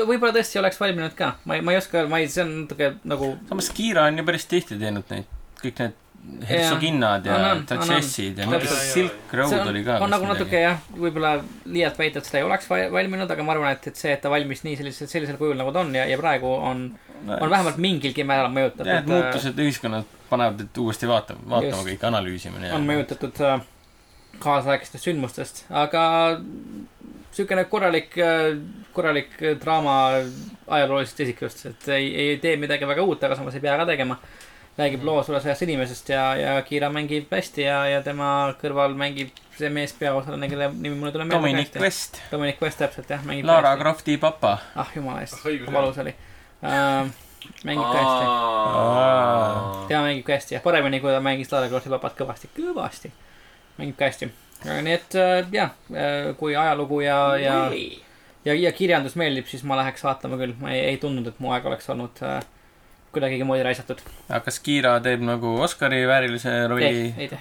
võib-olla tõesti oleks valminud ka , ma ei , ma ei oska , ma ei , see on natuke nagu , samas Kiira on ju päris tihti teinud neid , kõik need hertsoginnad ja On, on, on, on. tatsessid ja mingi Täpselt. Silk see Road on oli ka . on nagu natuke jah , võib-olla liialt väita , et seda ei oleks va- valminud , aga ma arvan , et , et see , et ta valmis nii sellisel , sellisel kujul nagu ta on ja , ja praegu on , on vähemalt mingilgi määral mõjutatud . äh, jah , et muutused ühiskonnas panevad teid uuesti vaatama , vaatama Just. kõik , analüüsima ja on . mõjutatud äh, kaasaegsetest sündmustest , aga niisugune korralik , korralik draama ajaloolisest isikust , et ei , ei tee midagi väga uut , aga samas ei pea ka tegema . Mm. räägib loo sulle sõjast inimesest ja , ja Kira mängib hästi ja , ja tema kõrval mängib see mees peaosaline , kelle nimi mulle tuleb Dominic . West , Dominic West täpselt jah , mängib ka Lara hästi . Crofti papa . ah jumala eest Ah, , õigus, kui valus oli uh, . mängib ka hästi , Aa. aa . tema mängib ka hästi jah , paremini kui ta mängis Lara Crofti papat kõvasti , kõvasti . mängib ka hästi . nii et äh, jah , kui ajalugu ja , ja , ja , ja kirjandus meeldib , siis ma läheks vaatama küll , ma ei, ei tundnud , et mu aeg oleks olnud äh, kuidagimoodi raisatud . aga kas Kiira teeb nagu Oscari väärilise ei rolli ,? ei tee ,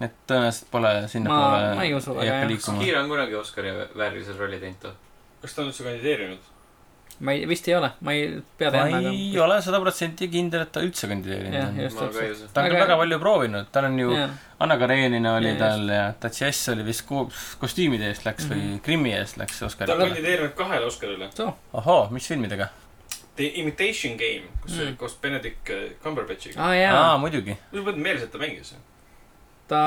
et tõenäoliselt pole Ma- ma ei usu väga, sinnapoole , ei hakka jah. liikuma . Kiir on kunagi Oscari väärilisel rolli teinud või ? kas ta on üldse kandideerinud ? ma ei , vist ei ole , ma ei pea ma teadma , ei ole sada protsenti kindel , et ta üldse kandideerinud Jah, on . just ma ka ei usu . ta on küll Aga- väga palju proovinud , tal on ju aga . Anna Karenina oli Jaa, tal ja Tatsiess oli vist ko- kostüümide eest läks Mhm. või Krimmi eest läks ta on Oscarile . kandideerinud kahele Oscarile . ohoo , mis filmidega ? The Imitation Game , kus Mm. Ah. mm. koos Benedict Cumberbatchiga . aa jaa , aa , muidugi . mulle tuleb meeles , et ta mängis . ta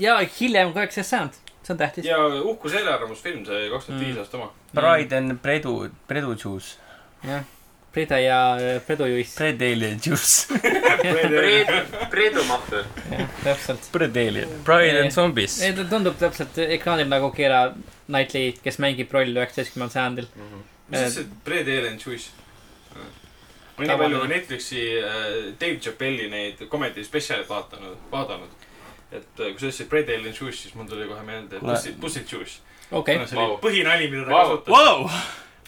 ja hiljem kui üheksateist sajand , see on tähtis . ja uhkus eelarvamusfilm , see kaks tuhat viis Mm. aasta oma . Pride and Predu , Predujuice , jah , Breda ja äh, Predu Juiss , Predeelijuice , Priidu Mahver . jah , täpselt . Predeeli , Pride and Zombies . ei , ta tundub täpselt ekraanil nagu Keira Knightley , kes mängib rolli üheksateistkümnendal sajandil . mis Eh. asi see Brad Allen Swiss ? ma nii palju Netflixi äh, Dave Chappelli neid comedy spetsiale vaatanud , vaadanud . et äh, kui sa ütlesid Brad Allen Swiss , siis mul tuli kohe meelde Kuule. Pussy , Pussy Swiss . okei see oli Vau. põhinali , mida ta Vau. kasutas . Wow!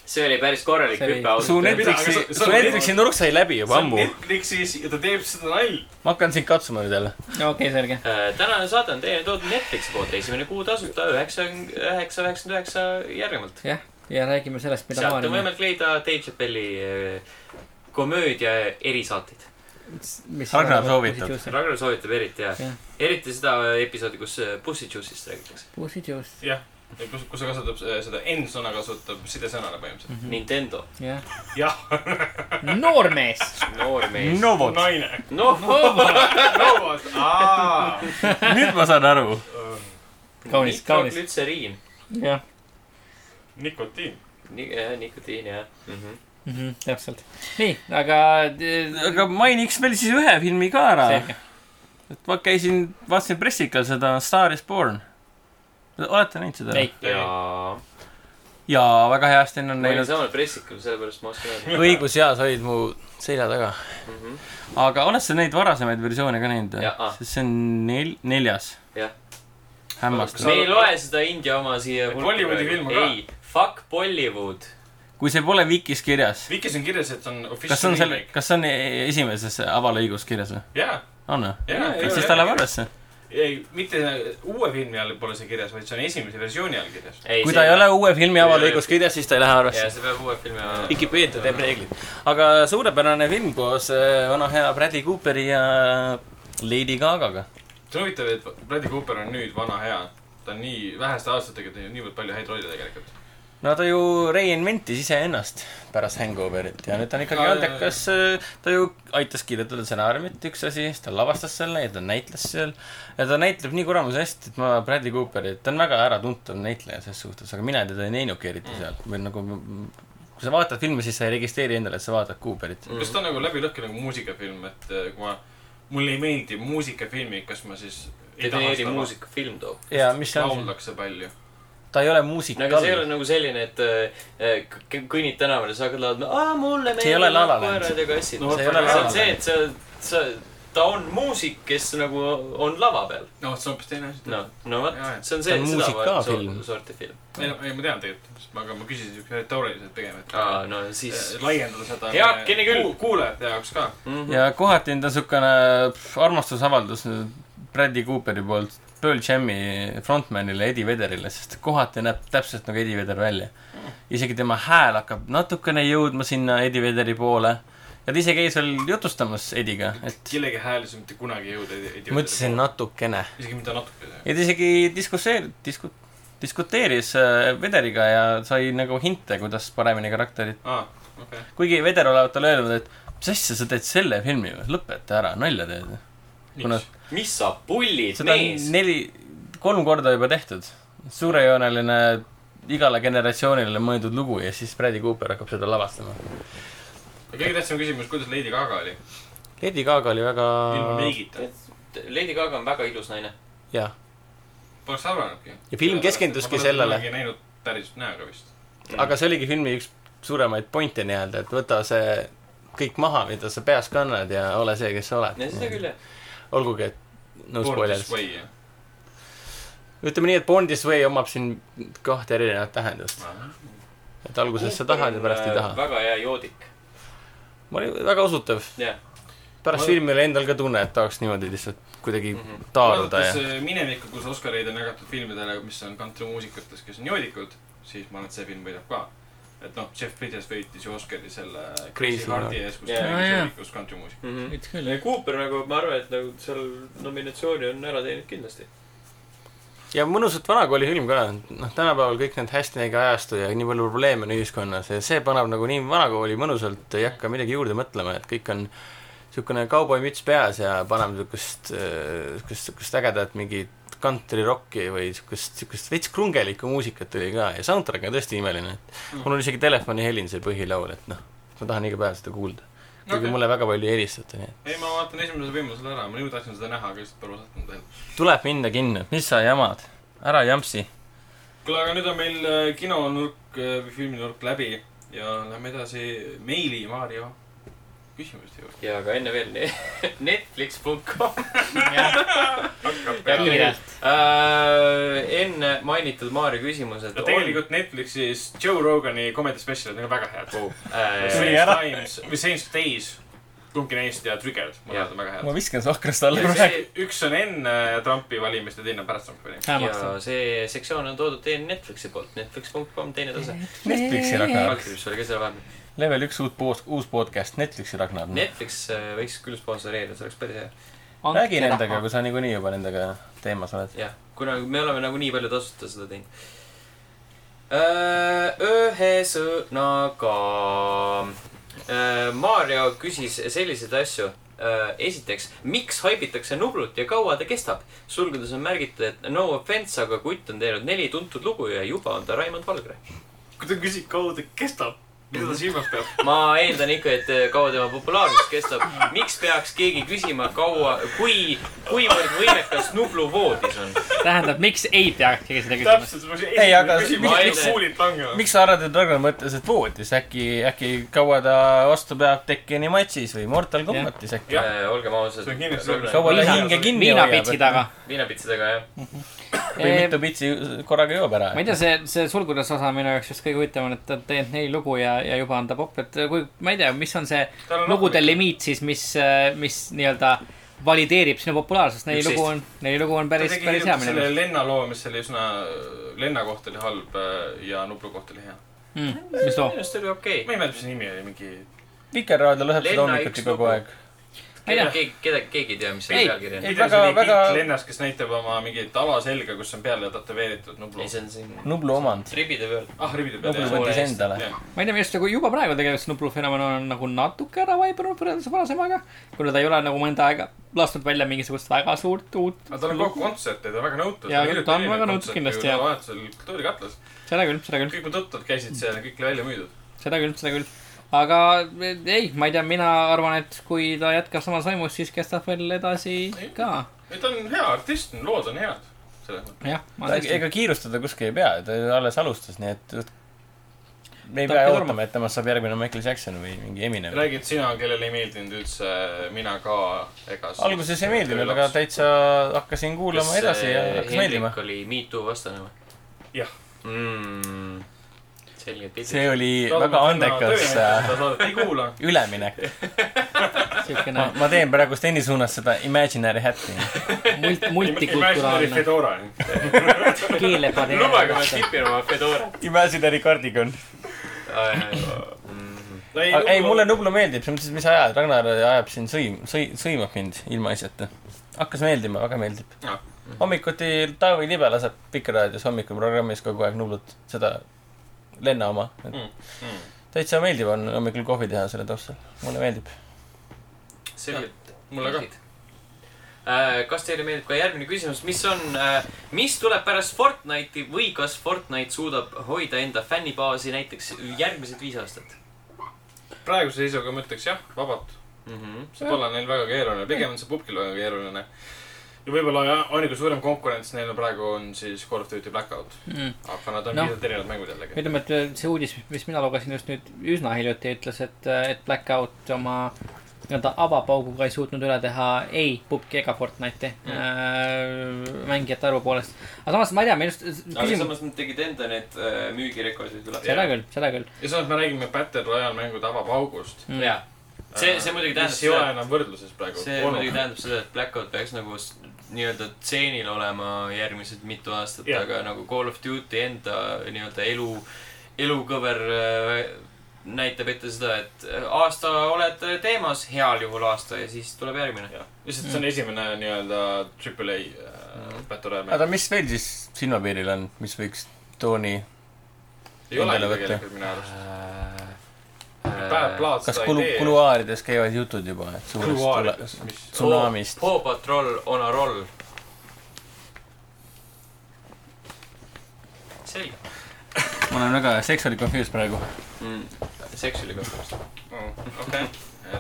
see oli päris korralik See oli- hüpe ausalt su öeldes . Netflixi Mida, aga , sa- su sa- Netflixi nurk sai läbi juba see on ammu . Netflixis ja ta teeb seda nalja . ma hakkan sind katsuma nüüd jälle . okay, , okei , selge . Äh, tänane saade on teieni toodud Netflixi poolt , esimene kuu tasuta üheksakümmend üheksa , üheksakümmend üheksa järgnevalt . jah , ja räägime sellest , mida sealt on Maarja , võimalik leida Dave Chappelli äh, komöödia erisaateid . mis . Ragnar soovitab. . Ragnar soovitab eriti ja Jah. eriti seda episoodi , kus äh, Pussy Juice'ist räägitakse . Pussy Juice , jah , kus , kus ta kasutab äh, seda N-sõna kasutab sidesõnana põhimõtteliselt . Nintendo , jah . jah , noormees . noor mees . Novot , naine . noh , lauad , aa . nüüd ma saan aru . Kaunis, kaunis. glütseriin , jah nikotiin . äh, nikotiin jah mm -hmm. . mm -hmm, , täpselt . nii , aga . aga mainiks veel siis ühe filmi ka ära . selge . et ma käisin , vaatasin pressikal seda Star is Born . olete näinud seda ? ei , ja jaa , väga heasti on ma olin näinud . samal pressikul , sellepärast ma oskan öelda õiguseas olid mu selja taga . mm . Mhm. -hmm. aga oled sa neid varasemaid versioone ka näinud Jaa. ? sest see on nel- , neljas . Jah. hämmastav . me ei loe seda India oma siia . Bollywoodi filmu ka. ei , fuck Bollywood . kui see pole Vikis kirjas , Vikis on kirjas , et see on kas see on official selle , remake . kas see on esimeses avalõigus kirjas või ? jaa , on või ? jaa . siis ta läheb arvesse . ei , mitte uue filmi all pole see kirjas , vaid see on esimese versiooni all kirjas . kui ta ei ole uue filmi avalõigus kirjas , siis ta ei lähe ja arvesse . see peab uue filmi ajal . Vikipeedia teeb reeglid . aga suurepärane film koos äh, vana hea Bradley Cooperi ja Lady Gaga'ga . see on huvitav , et Bradley Cooper on nüüd vana hea . ta on nii väheste aastatega teinud niivõrd palju häid rolle tegelikult . Mhm. no ta ju reinventis iseennast pärast Hangoverit ja nüüd ta on ikkagi Aa, andekas . ta ju aitas kirjutada stsenaariumit , üks asi , siis ta lavastas selle ja ta näitles seal . ja ta näitleb nii kuramuse hästi , et ma Bradley Cooperit , ta on väga äratuntav näitleja selles suhtes , aga mina teda ei näinudki eriti seal või nagu m- kui sa vaatad filmi , siis sa ei registreeri endale , et sa vaatad Cooperit . kas ta on nagu läbilõhki nagu muusikafilm , et eh, kui ma , mulle ei meeldi muusikafilmi , kas ma siis ei taha defineeri seda muusikafilm too . ja mis see on , lauldakse palju . ta ei ole no aga see ei muusikal ole . nagu selline , et äh, k- k- kõnnid tänaval ja sa hakkad laulma , aa mulle See ei ole La La meeldivad koerad ja kassid Land. No no, . vot, see ei see ole aga on laval . see , et sa , sa , ta on muusik , kes nagu on lava peal . no vot , see on hoopis teine asi . noh , no vot Jaa, jaa. , see on Ta see on , seda vaat- muusikafilm. so- sorti film . ei no , ei ma tean tegelikult , sest ma , aga ma küsisin siukse retooriliselt pigem , et aa , no siis eh, laiendada seda . Heakene küll. kuulajate jaoks ka . mm . -hmm. ja kohati on ta niisugune armastusavaldus nüüd Bradley Cooperi poolt Pearl Jam'i frontmanile Eddie Vederile , sest kohati näeb täpselt nagu Eddie Veder välja . isegi tema hääl hakkab natukene jõudma sinna Eddie Vederi poole ja ta ise käis veel jutustamas Ediga , et kellegi hääli sa mitte kunagi ei jõuda ei , ei ma ütlesin . natukene . isegi mitte natuke . ja ta isegi diskusseer- , disku- , diskuteeris äh, Vederiga ja sai nagu hinte , kuidas paremini karakterit aa , Ah, okei . kuigi Veder olevat talle öelnud , et mis asja sa teed selle filmi või , lõpeta ära , nalja teed . kuna mis sa pullid , seda mees on ? neli , kolm korda juba tehtud . suurejooneline , igale generatsioonile mõeldud lugu ja siis Bradley Cooper hakkab seda lavastama . kõige tähtsam küsimus , kuidas Lady Gaga oli ? Lady Gaga oli väga ilma meigita . Lady Gaga on väga ilus naine . jah , Poleks arvanudki . ja film keskenduski sellele , ei näinud päris näoga vist . aga see oligi filmi üks suuremaid pointe nii-öelda , et võta see kõik maha , mida sa peas kannad ja ole see , kes sa ja seda küll oled . jah . olgugi , et no spoiler . või , ütleme nii , et Born This Way omab siin kahte erinevat tähendust . jah . et alguses sa tahad ja pärast ei taha . äh, väga hea joodik , ma olin väga usutav . jah . pärast Ma- filmi oli endal ka tunne , et tahaks niimoodi lihtsalt kuidagi Mhm. taaruda ja vaadates äh, minevikku , kus Oscareid on jagatud filmidele , mis on kantrimuusikutest , kes on joodikud , siis ma arvan , et see film võidab ka . et noh , Jeff Bridges võitis ju Oscari selle Crazy, Crazy Hearti ees , kus ta Jaa, mängis jaa. joodikus kantrimuusikat . mm . -hmm. üldse küll , ja Cooper nagu , ma arvan , et nagu seal nominatsiooni on ära teinud kindlasti . ja mõnusalt vanakooli film ka , noh , tänapäeval kõik need hashtag ajastu ja nii palju probleeme on ühiskonnas ja see paneb nagu nii vanakooli mõnusalt , ei hakka midagi juurde mõtlema , et kõik on niisugune kauboimüts peas ja paneme niisugust , niisugust , niisugust ägedat mingit kantrirokki või niisugust , niisugust veits krungelikku muusikat oli ka ja soundtrack on tõesti imeline , et mul on isegi telefoni helin see põhilaul , et noh , ma tahan iga päev seda kuulda . kuigi Okei. okay. mulle väga palju ei helistata , nii et ei , ma vaatan esimesel võimalusel ära , ma nüüd tahtsin seda näha , aga lihtsalt pole osanud veel . tuleb minna kinno , mis sa jamad , ära jampsi . kuule , aga nüüd on meil äh, kinonurk äh, või filminurk läbi ja lähme edasi meili Maarja küsimuste juurde . ja aga enne veel ne- Netflix.com ja kiirelt . äh, . enne mainitud Maarja küsimused . tegelikult Netflixis Joe Rogani comedy specialid on ka väga head . Äh, Sorry. Strange ära. Times või Strange Days , kumbki neist ja Triggered , Jah. mõlemad on väga head . viskan sahkrast alla see , üks on enne äh, Trumpi valimist ja teine on pärast Trumpi valimist . vähemaks ja see sektsioon on toodud teie Netflixi poolt , Netflix.com teine tase . Netflixi Ragnar . Kalkrips oli ka seal vahepeal . level üks uut poos- , uus podcast , Netflixi Ragnar . Netflix äh, võiks küll sponsoreerida , see oleks päris hea . on . räägi nendega ,. kui sa niikuinii juba nendega teemas oled . jah , kuna me oleme nagu nii palju tasuta seda teinud . Äh, ühesõnaga , Maarjo Äh, küsis selliseid asju . esiteks , miks haibitakse Nublut ja kaua ta kestab ? sulgudes on märgitud , et no offense , aga kutt on teinud neli tuntud lugu ja juba on ta Raimond Valgre . kui ta küsib , kaua ta kestab , mida ta silmas peab ? ma eeldan ikka , et äh, kaua tema populaarsus kestab . miks peaks keegi küsima , kaua , kui , kuivõrd võimekas Nublu voodis on ? tähendab , miks ei peaks keegi seda küsima ? täpselt , Ei, aga- ma küsin , Ma ei mis tea. kuulid langevad . miks sa arvad , et Ragnar mõtles , et voodis äkki , äkki kaua ta vastu peab Tekkeni matšis või Mortal Combatis äkki ? Äh, olgem ausad See on kindlasti Ragnar. . kaua ta Liina- hinge kinni viinapitsi hoiab ? taga . viinapitsadega jah . või mitu pitsi korraga joob ära ma ? ei tea , see , see sulgudes osa on minu jaoks just kõige huvitavam , et ta on teinud neli lugu ja , ja juba on ta popp , et kui , ma ei tea , mis on see Tal on lugude lugu- limiit siis , mis , mis nii-öelda valideerib sinu populaarsust , neli Üksteist. lugu on , neli lugu on päris , päris hea minu selle meelest . lenna loo , mis oli üsna , lenna koht oli halb äh, ja Nuplu koht oli hea . Mm. mis loo minu ? arust oli okei ma ei mäleta , mis see nimi oli , mingi . Vikerraadio lõheb seda Lenna hommikuti üks kogu lugu. aeg . Ei tea. okay. . keegi , keda , keegi ei tea , mis Ei. selle pealkiri on . ei Ei, tea , väga- see oli väga- Tiit Lennas , kes näitab oma mingit alaselga , kus on peale tätoveeritud Nuplu ei ,. see on siin Nublu omand . ribide peal . ah , ribide peal Nublu jah . võttis endale . jah , ma ei tea , minu arust nagu juba praegu tegelikult see Nublu fenomen on nagu natuke ära vaibunud võrreldes varasemaga , kuna ta ei ole nagu mõnda aega lasknud välja mingisugust väga suurt uut aga tal on kogu . kontserte , ta on väga nõutud . Jaa, ta on väga nõutud kindlasti, jah. vahetusel Kultuurikatlas . seda küll , seda küll . kõik mu tuttavad käisid seal ja kõik oli välja müüdud . seda küll , seda küll . aga ei , ma ei tea , mina arvan , et kui ta jätkab samas vaimus , siis kestab veel edasi ka . ei , ta on hea artist , lood on head . selles mõttes . jah , ma tõesti , ega kiirustada kuskil ei pea , ta alles alustas , nii et me ei Ta pea peab ootama , et temast saab järgmine Michael Jackson või mingi Eminem . räägid sina , kellele ei meeldinud üldse Mina ka ega . alguses ei meeldinud , aga . täitsa hakkasin kuulama edasi ja hakkas meeldima . äh, oli Me Too vastane või Jah. mm, . selge pilt . see oli väga andekas äh, ei kuula . üleminek . siukene ma , ma teen praegust endi suunas seda imaginary hätti . mult , Imaginary multikulturaalne Fedora . lubage , keelepaneer . ma tipin oma Fedorat . Imaginary cardigan . Mm. ei , mulle . nagu- Nublu meeldib , selles mõttes , mis ajad , Ragnar ajab siin sõim , sõi- , sõimab mind ilmaasjata . hakkas meeldima , väga meeldib Jah. . hommikuti Taavi Libe laseb Vikerraadios hommikuprogrammis kogu aeg Nublut , seda Lenna oma . täitsa meeldiv on hommikul kohvi teha selle taustal , mulle meeldib . selge . mulle ka . kas teile meeldib ka järgmine küsimus , mis on , mis tuleb pärast Fortnite'i või kas Fortnite suudab hoida enda fännibaasi näiteks järgmised viis aastat praeguse seisuga ma ütleks jah , vabalt . mm ? Mhm. -hmm. see pole neil väga keeruline , pigem on see pubkil väga keeruline . ja võib-olla jah, ainuke suurem konkurents neil on praegu on siis Call of Duty Blackout . aga nad on Noh. piisavalt erinevad mängud jällegi . ütleme , et äh, see uudis , mis mina lugesin just nüüd üsna hiljuti , ütles , et , et Blackout oma nii-öelda avapauguga ei suutnud üle teha ei Pupki ega Fortnite'i mm. mängijate arvu poolest . aga samas ma ei tea , minu arust aga küsimus , samas nad tegid enda need äh, müügirekordid üle . seda küll , seda küll . Mm. ja samas me räägime Battle Royale mängu tabapaugust . jaa , see , see muidugi tähendab Äh, mis ei ole nagu enam võrdluses praegu . see muidugi tähendab seda , et Blackout peaks nagu s- nii-öelda tseenil olema järgmised mitu aastat Jah. yeah. , aga nagu Call of Duty enda nii-öelda elu , elukõver äh, näitab ette seda , et äh, aasta oled äh, teemas , heal juhul aasta ja siis tuleb järgmine . Jah. lihtsalt see on esimene nii-öelda Triple A äh, Battle Royale aga mis veel siis silmapiiril on , mis võiks tooni , mäng . ei ole endale võtta. tegelikult minu arust . Äh, Plaat kas seda kulu ei , tee . kuluaarides käivad jutud juba , et suurest Kuluaarides, tule- mis- tsunamist ? Paw Patrol on a roll . selge ma olen väga sexually confused praegu . mm. . seks oli ka . Oh, okei ,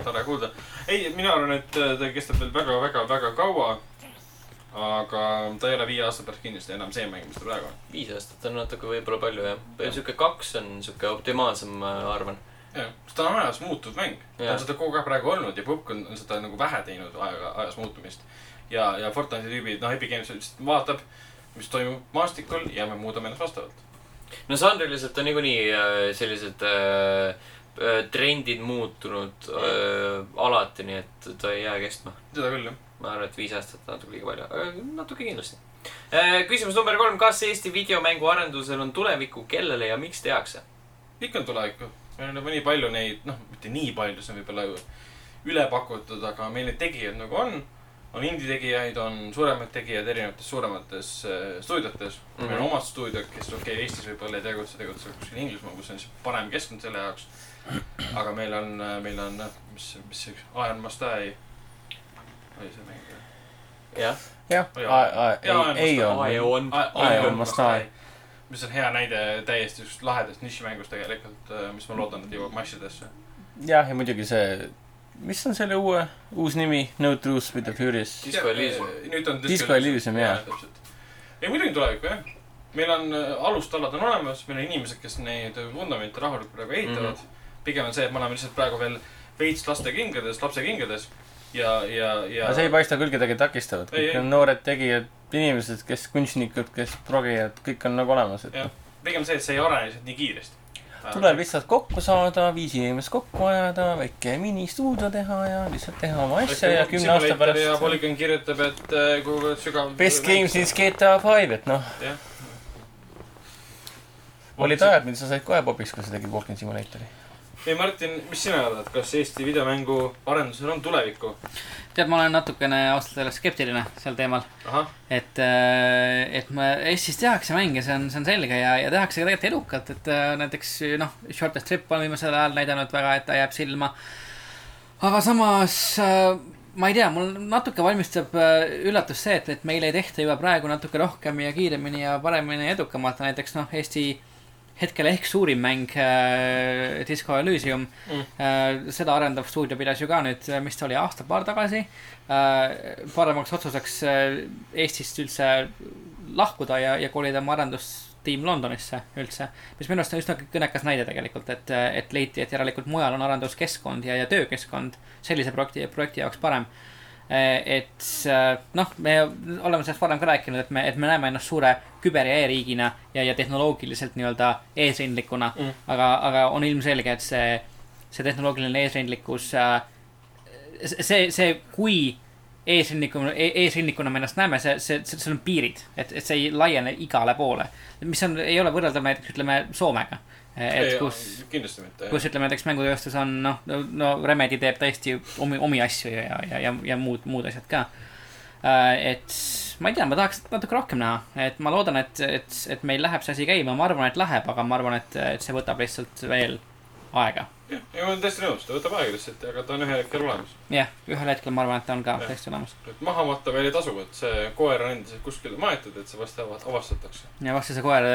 tore kuulda . ei , mina arvan , et äh, ta kestab veel väga-väga-väga kaua . aga ta ei ole viie aasta pärast kindlasti enam see mäng , mis ta praegu on . viis aastat on natuke võib-olla palju jah , sihuke kaks on sihuke optimaalsem , ma arvan . jah , sest ta on ajas muutuv mäng . ta Jah. on seda kogu aeg praegu olnud ja Pupk on on seda nagu vähe teinud ajaga , ajas muutumist . ja , ja Fortnite'i tüübid , noh , Epic Games lihtsalt vaatab , mis toimub maastikul ja me muudame ennast vastavalt . no žanriliselt on niikuinii äh, sellised äh, äh, trendid muutunud äh, alati , nii et ta ei jää kestma . seda küll , jah . ma arvan , et viis aastat on natuke liiga palju , aga natuke kindlasti . küsimus number kolm , kas Eesti videomänguarendusel on tulevikku , kellele ja miks tehakse ? ikka on tulevikku . meil on juba nii palju neid , noh , mitte nii palju , see on võib-olla ju üle pakutud , aga meil neid tegijaid nagu on . on indie-tegijaid , on suuremad tegijad erinevates suuremates äh, stuudiotes mm . -hmm. meil on omad stuudiod , kes okei okay, , Eestis võib-olla ei tegutse , tegutsevad kuskil Inglismaal , kus on siis parem keskkond selle jaoks . aga meil on , meil on , noh , mis , mis see üks , Iron Mustache oli see mäng või ? jah , jah , Jaa, ei , ei ma- on . aeg on . Iron Iron Mustache. mis on hea näide täiesti just lahedast nišimängust tegelikult , mis ma loodan , et jõuab massidesse . jah , ja muidugi see , mis on selle uue , uus nimi , No Truth With The Furious . Disco Elysium. . eh, nüüd on Disco Elysium, jah. . ei , muidugi tulevikku jah . meil on äh, alustalad on olemas , meil on inimesed , kes neid vundamente rahulikult praegu ehitavad mm . Mhm. -hmm. pigem on see , et me oleme lihtsalt praegu veel veits lastekingades , lapsekingades ja , ja , ja aga see ei paista küll kedagi takistavat , Ei, kõik ei. on noored tegijad , inimesed , kes kunstnikud , kes progijad , kõik on nagu olemas , et Jah. pigem see , et see ei arene lihtsalt nii kiiresti . tuleb lihtsalt kokku saada , viis inimest kokku ajada , väike ministuudio teha ja lihtsalt teha oma asja ja kümne aasta ja pärast Polygon kirjutab , et äh, kui sügav . best game since GTA Five , et noh , jah , olid ajad , mil sa said kohe popiks , kui sa tegid Walking Simulatori . ei Martin , mis sina arvad , kas Eesti videomängu arendusel on tulevikku ? tead , ma olen natukene ausalt öeldes skeptiline sel teemal , ahah , et , et ma , Eestis tehakse mänge , see on , see on selge ja , ja tehakse ka tegelikult edukalt , et äh, näiteks noh , Shortest Trip on viimasel ajal näidanud väga , et ta jääb silma . aga samas äh, ma ei tea , mul natuke valmistab äh, üllatus see , et , et meil ei tehta juba praegu natuke rohkem ja kiiremini ja paremini ja edukamalt , näiteks noh , Eesti hetkel ehk suurim mäng äh, , Disco Elysium mm. . Äh, seda arendav stuudio pidas ju ka nüüd , mis ta oli , aasta-paar tagasi äh, . paremaks otsuseks äh, Eestist üldse lahkuda ja , ja kolida oma arendustiim Londonisse üldse . mis minu arust on üsna kõnekas näide tegelikult , et , et leiti , et järelikult mujal on arenduskeskkond ja , ja töökeskkond sellise projekti , projekti jaoks parem . et äh, noh , me oleme sellest varem ka rääkinud , et me , et me näeme ennast suure küber ja e-riigina ja , ja tehnoloogiliselt nii-öelda eesrindlikuna mm. . aga , aga on ilmselge , et see , see tehnoloogiline eesrindlikkus äh, , see , see , kui eesrindlikuna , eesrindlikuna me ennast näeme , see , see , see , seal on piirid , et , et see ei laiene igale poole , mis on , ei ole võrreldav näiteks ütleme Soomega , et kus kindlasti mitte . kus ütleme näiteks mängutööstus on noh , no, no Remedi teeb täiesti omi , omi asju ja , ja , ja , ja muud , muud asjad ka . et ma ei tea , ma tahaks natuke rohkem näha , et ma loodan , et , et , et meil läheb see asi käima , ma arvan , et läheb , aga ma arvan , et , et see võtab lihtsalt veel aega . ei , ma olen täiesti nõus , ta võtab aega lihtsalt , aga ta on ühel hetkel olemas . jah , ühel hetkel ma arvan , et ta on ka Jah. täiesti olemas et maha matta veel ei tasu , et see koer on endiselt kuskil maetud , et see vast ava- avastatakse . ja varsti see koer ,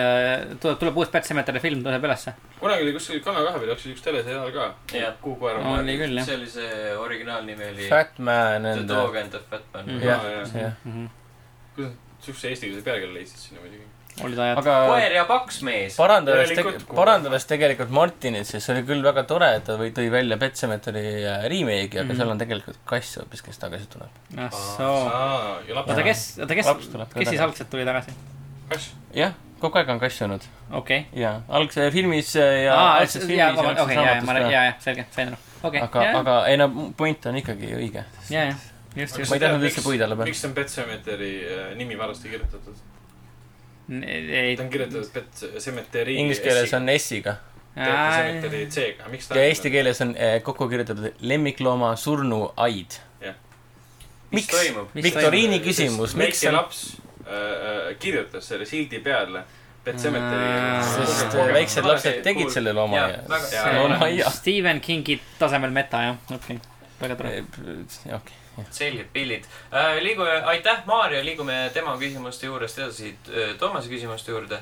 tuleb , tuleb uus Pet Sematary film , tuleb ülesse . kunagi oli kuskil Kanal kahe peal jooksis üks teleseriaal ka Jah. , kuhu koer on maetud . oli küll jah . see oli see originaalnimi oli Fat Man The and äh, Dog and the Fat Man Mhm. mm. . jah Aa, jah. , jah , kuidas nad siukse eestikeelse pealkirja leidsid sinna muidugi ? olid ajad . aga koer ja paks mees . parandades Järelikult- , parandades tegelikult Martinit , siis oli küll väga tore , et ta või- tõi välja Pet Sematary remake'i , aga Mhm. seal on tegelikult kass hoopis , kes tagasi tuleb . ah soo . aa , ja laps oota , on kes , oota , kes Laps tuleb , kes ka siis tagasi. algselt tuli tagasi ? kass . jah , kogu aeg on kass olnud okei . ja algse filmis äh, ja aa , algses okei , Ah, jaa , filmis ja algses jaa , raamatus jaa ka ., jaa , selge , sain aru . okei , aga , jaa , aga ei no point on ikkagi õige . jaa , jaa , just , ma just . ei tahtnud üldse puid alla panna . miks on Pet Sematary äh, nimi valesti kirjutatud ? ei ta , on kirjutatud Pet Sematary . Inglise keeles . on S-iga Pet Sematary C-ga , miks ta ja eesti keeles on eh, kokku kirjutatud lemmiklooma surnuaid . mis Miks? toimub ? Mis viktoriini küsimus , miks see on , laps äh, äh, kirjutas selle sildi peale Pet Aa. Sematary . sest eh, väiksed lapsed tegid selle looma Jaa, ja väga- see jaa, loomaaia . Stephen Kingi tasemel meta , jah , okei , väga tore . okei , selged pillid äh, . liigume , aitäh , Maarja , liigume tema küsimuste juurest edasi äh, Toomase küsimuste juurde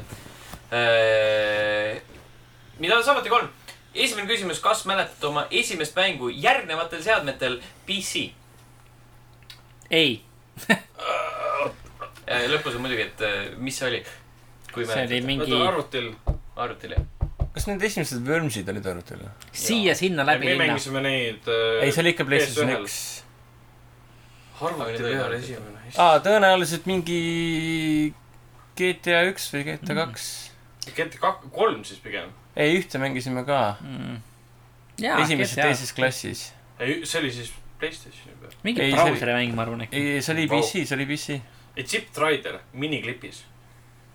äh, . mida on samuti kolm . esimene küsimus , kas mäletad oma esimest mängu järgnevatel seadmetel PC ei , äh, ? lõpus on muidugi , et äh, mis see oli , kui see oli mäletad , mingi oota , arvutil . arvutil jah . kas need esimesed Wormsid olid arutelul ? siia-sinna läbi me linna . mängisime neid . äh, ei , see oli ikka PlayStation PS1-l. üks . arvuti Aga need peal olid esimene . aa , tõenäoliselt mingi GTA üks või GTA kaks . GTA kak- , kolm siis pigem . ei , ühte mängisime ka . Mm. esimeses , teises . klassis . ei , see oli siis Playstationi peal . mingi Ei, see- brauseri mäng , ma arvan äkki . ei , see oli Vau. PC , see oli PC . ei , Chip Trider miniklipis . see on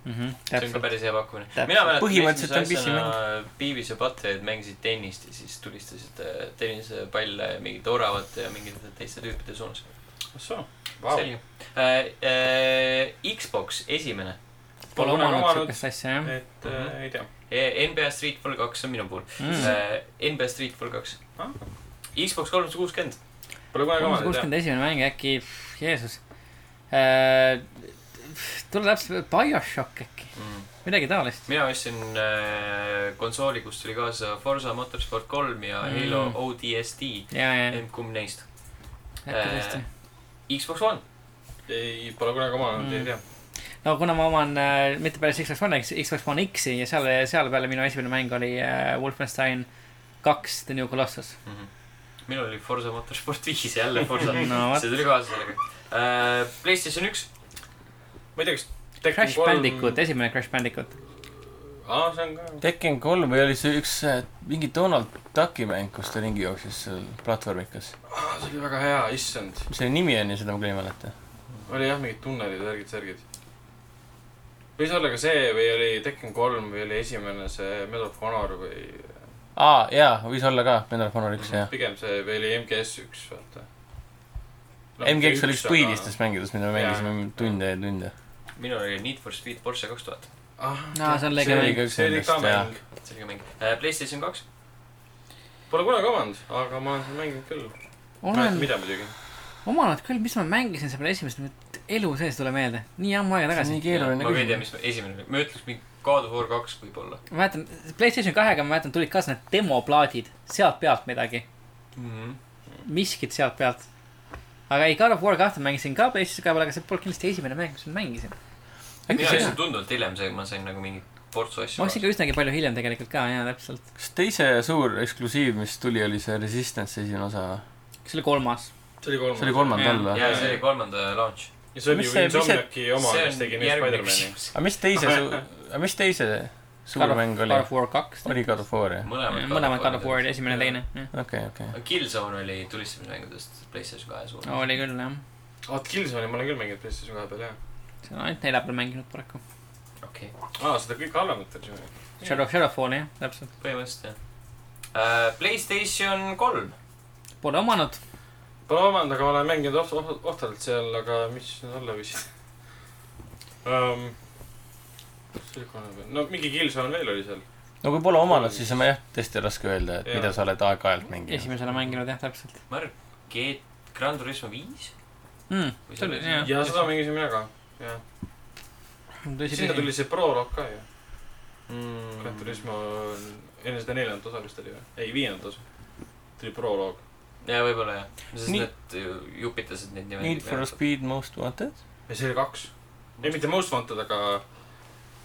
ka Mhm, täpselt , päris hea pakkumine . Täpselt. mina mäletan Põhimõtteliselt esimese on asjana Beavis ja Butthead mängisid tennist ja siis tulistasid äh, tennisepalle ja mingite oravate ja mingite teiste tüüpide suunas . ahsoo , vau . selge äh, . Äh, Xbox esimene pole Pole kunagi omanud omanud. siukest asja , jah . et äh, ei tea . E- NBA Streetball kaks on minu puhul mm. . Mm. Äh, NBA Streetball kaks Ah. ah. . Xbox kolmsada kuuskümmend . Pole kunagi kolmsada Mhm. omanud , ei tea . kuuskümmend esimene mäng äkki , Jeesus . tule täpselt , BioShock äkki , midagi taolist . mina ostsin äh, konsooli , kus tuli kaasa Forsa Motorsport kolm ja Mm. mm. Halo ODST . ja , ja , kumb neist ? äkki tõesti . Xbox One . ei , pole kunagi omanud Mm. mm. , ei tea . no kuna ma oman äh, mitte päris Xbox One X , Xbox One X-i ja seal , seal peale minu esimene mäng oli äh, Wolfenstein kaks The New Colossus . minul oli Forsa Motorsport viis , jälle Forsa No vot. see tuli kaasa sellega äh, . Playstation üks . ma ei tea , kas . Crash Bandicoot ,. esimene Crash Bandicoot . aa , see on ka . Tekken kolm või oli see üks äh, mingi Donald Ducki mäng , kus ta ringi jooksis seal platvormikas . aa , see oli väga hea , issand . mis selle nimi on ja seda ma küll ei mäleta . oli jah , mingid tunnelid , värgid , särgid . võis olla ka see või oli Tekken kolm või oli esimene see Medal of Honor või aa , jaa , võis olla ka , Medal of Honor üks , jah . pigem see või oli MGS üks , vaata . MGX oli üks põhilistest mängudest , mida me mängisime tunde ja tunde . minul oli Need for Speed Porsche kaks tuhat . ah, . no see on See legend . oli ka üks see oli ka nendest, jah. mäng . selge mäng äh, . Playstation kaks . Pole kunagi omanud , aga ma olen seda mänginud küll . olen mida muidugi . omanud küll , mis ma mängisin selle peale esimest , nüüd elu sees ei tule meelde . nii ammu aega see on tagasi . nii ma keeruline ka ei tea , küsimus . mis esimene oli , ma ütleks mingi God of War kaks võib-olla ma mäletan , Playstation kahega ma mäletan , tulid ka need demoplaadid , sealt pealt midagi , mm . Mhm. -hmm. miskit sealt pealt . aga ei , God of War kahte mängisin ka Playstation kahe peal , aga see polnud kindlasti esimene mäng , mis ma mängisin . mina äkki see lihtsalt , tunduvalt hiljem sain , ma sain nagu mingit portsu asju ma . ostsin ka üsnagi palju hiljem tegelikult ka , jaa , täpselt . kas teise suur eksklusiiv , mis tuli , oli see Resistance esimene osa või ? see oli kolmas . see oli see oli kolmas . kolmanda all või ? ja see oli kolmanda launch . ja see oli Mis ju see- mis see- Insomniaki oma , see kes on tegi neid järgmine Spider-mani . küsimus . aga mis teise suur , aga mis teise suur mäng oli God ? of War kaks . oli God of War , jah ? mõlemad . mõlemad God of War'id , esimene ja teine . okei , okei . Killzone oli tulistamismängudest Playstation kahe suur no . oli küll jah , aa , Killzone'i ma olen küll mänginud PlayStation kahe peal , jah . see on ainult nelja peal mänginud paraku . okei , aa , Ah, seda kõige halvemat versiooni . Shadow , Shadowfall'i jah , täpselt . põhimõtteliselt jah . Playstation kolm . Pole omanud , Pole omand , aga ma olen mänginud oht- , oht- , ohtralt seal , aga mis need olla võisid um, ? no mingi Killzone veel oli seal . no kui pole omanud , siis on jah , tõesti raske öelda , et Jaa. mida sa oled aeg-ajalt mänginud . esimesena mänginud jah , täpselt G- , Gran Turismo viis . Hmm, mm, . Või tuli , see- jah . ja seda mängisin mina ka . jah , sinna tuli see proloog ka ju . Gran Turismo on- enne seda neljandat osa vist oli või ? ei , viiendat osa . tuli proloog . jaa , võib-olla jah . sest Nii- need ju- jupitasid neid Need nimesid . for Speed Most Wanted . ja see oli kaks . ei , mitte Most Wanted , aga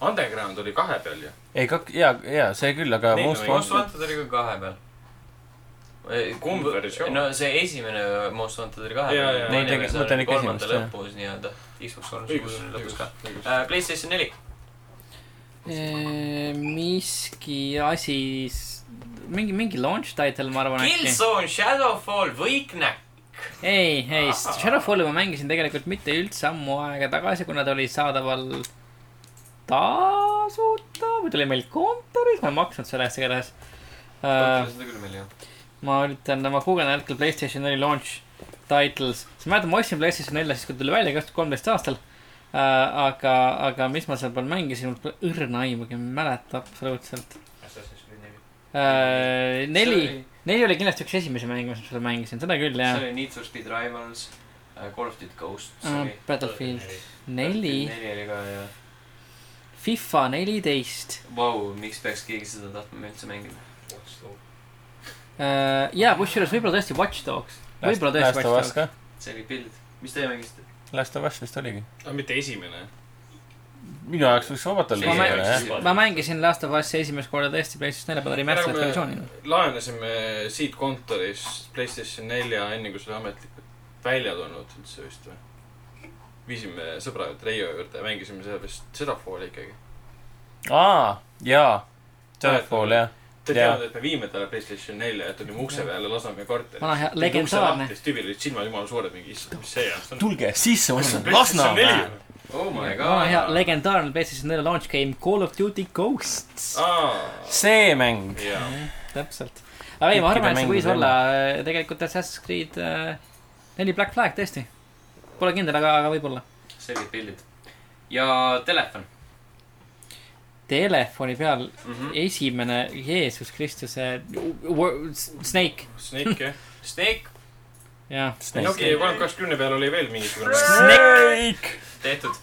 Underground oli kahe peal ju . ei , kak- , jaa , jaa , see küll , aga Need Most või- Most Wanted , Wanted oli ka kahe peal . Kumb versioon? no see esimene Most Wanted oli kahe Jaa, peal jaa. , Ma teine tegin- ma versioon teen oli ikka kolmanda esimest, jah. lõpus nii-öelda . Xbox kolmsada õigus , kuuskümmend lõpus õigus ka ., Äh, Playstation neli . miski asi , mingi , mingi launch title , ma arvan äkki . Killzone , Shadowfall , Võiknäk . ei , ei , Shadowfalli ma mängisin tegelikult mitte üldse ammu aega tagasi , kuna ta oli saadaval tasuta või ta oli meil kontoris , ma ei maksnud selle eest igatahes uh, . seda küll meil ei olnud . ma üritan , ma guugeldan hetkel Playstation 4 launch titles , sest ma mäletan , ma ostsin Playstation 4 siis , kui ta tuli välja kaks tuhat kolmteist aastal äh, . aga , aga mis ma seal peal mängisin , mul pole õrna aimugi , ma ei mäleta absoluutselt äh, . neli , neli oli kindlasti üks esimesi mänge , mis ma seal mängisin , seda küll see jah . oli Need for Speed Rivals , Call of Duty Ghosts Äh, oli . Battlefield. neli , neli oli ka jah . FIFA neliteist Vau , miks peaks keegi seda tahtma üldse mängida ? äh, . ja kusjuures võib-olla tõesti Watch Dogs , Last võib-olla tõesti Last of Watch Dogs . Us ka . see oli pild . mis teie mängisite ? Last of Us vist oligi . aga Ah, mitte esimene . minu jaoks võiks vabalt olla Ma esimene , mängisin- jah . ma mängisin Last of Us'i esimest korda tõesti Playstation 4 peal remastered Ära me- versioonina . laenasime siit kontorist Playstation nelja , enne kui see oli ametlikult välja tulnud üldse vist või ? viisime sõbra juurde, Reio juurde ja mängisime seal vist Sedafooli ikkagi . aa , jaa . Titanfall , jah . ta ei Jaa. teadnud , et me viime talle Playstation nelja ja tulime ukse peale Lasnamäe korteri . vana hea , legendaarne . tüübil olid silmad jumala suured , mingi issand , mis see on ? tulge sisse , ma olen Lasnamäe . oh my vana hea god . legendaarne PlayStation 4 launch game Call of Duty Ghosts . aa , see mäng . jaa . täpselt . aga ei , ma arvan , et see Kõikide võis mängude olla äh, tegelikult Assassin's Creed äh, neli Black Flag tõesti . Pole kindel , aga , aga võib-olla . selged pildid . ja telefon Telefoni peal mm . Mhm. -hmm. esimene Jeesus Kristuse wo- Snake , Snake jah . Snake , jah . Nokia kolm kakskümmend peal oli veel mingisugune . Snake . tehtud ,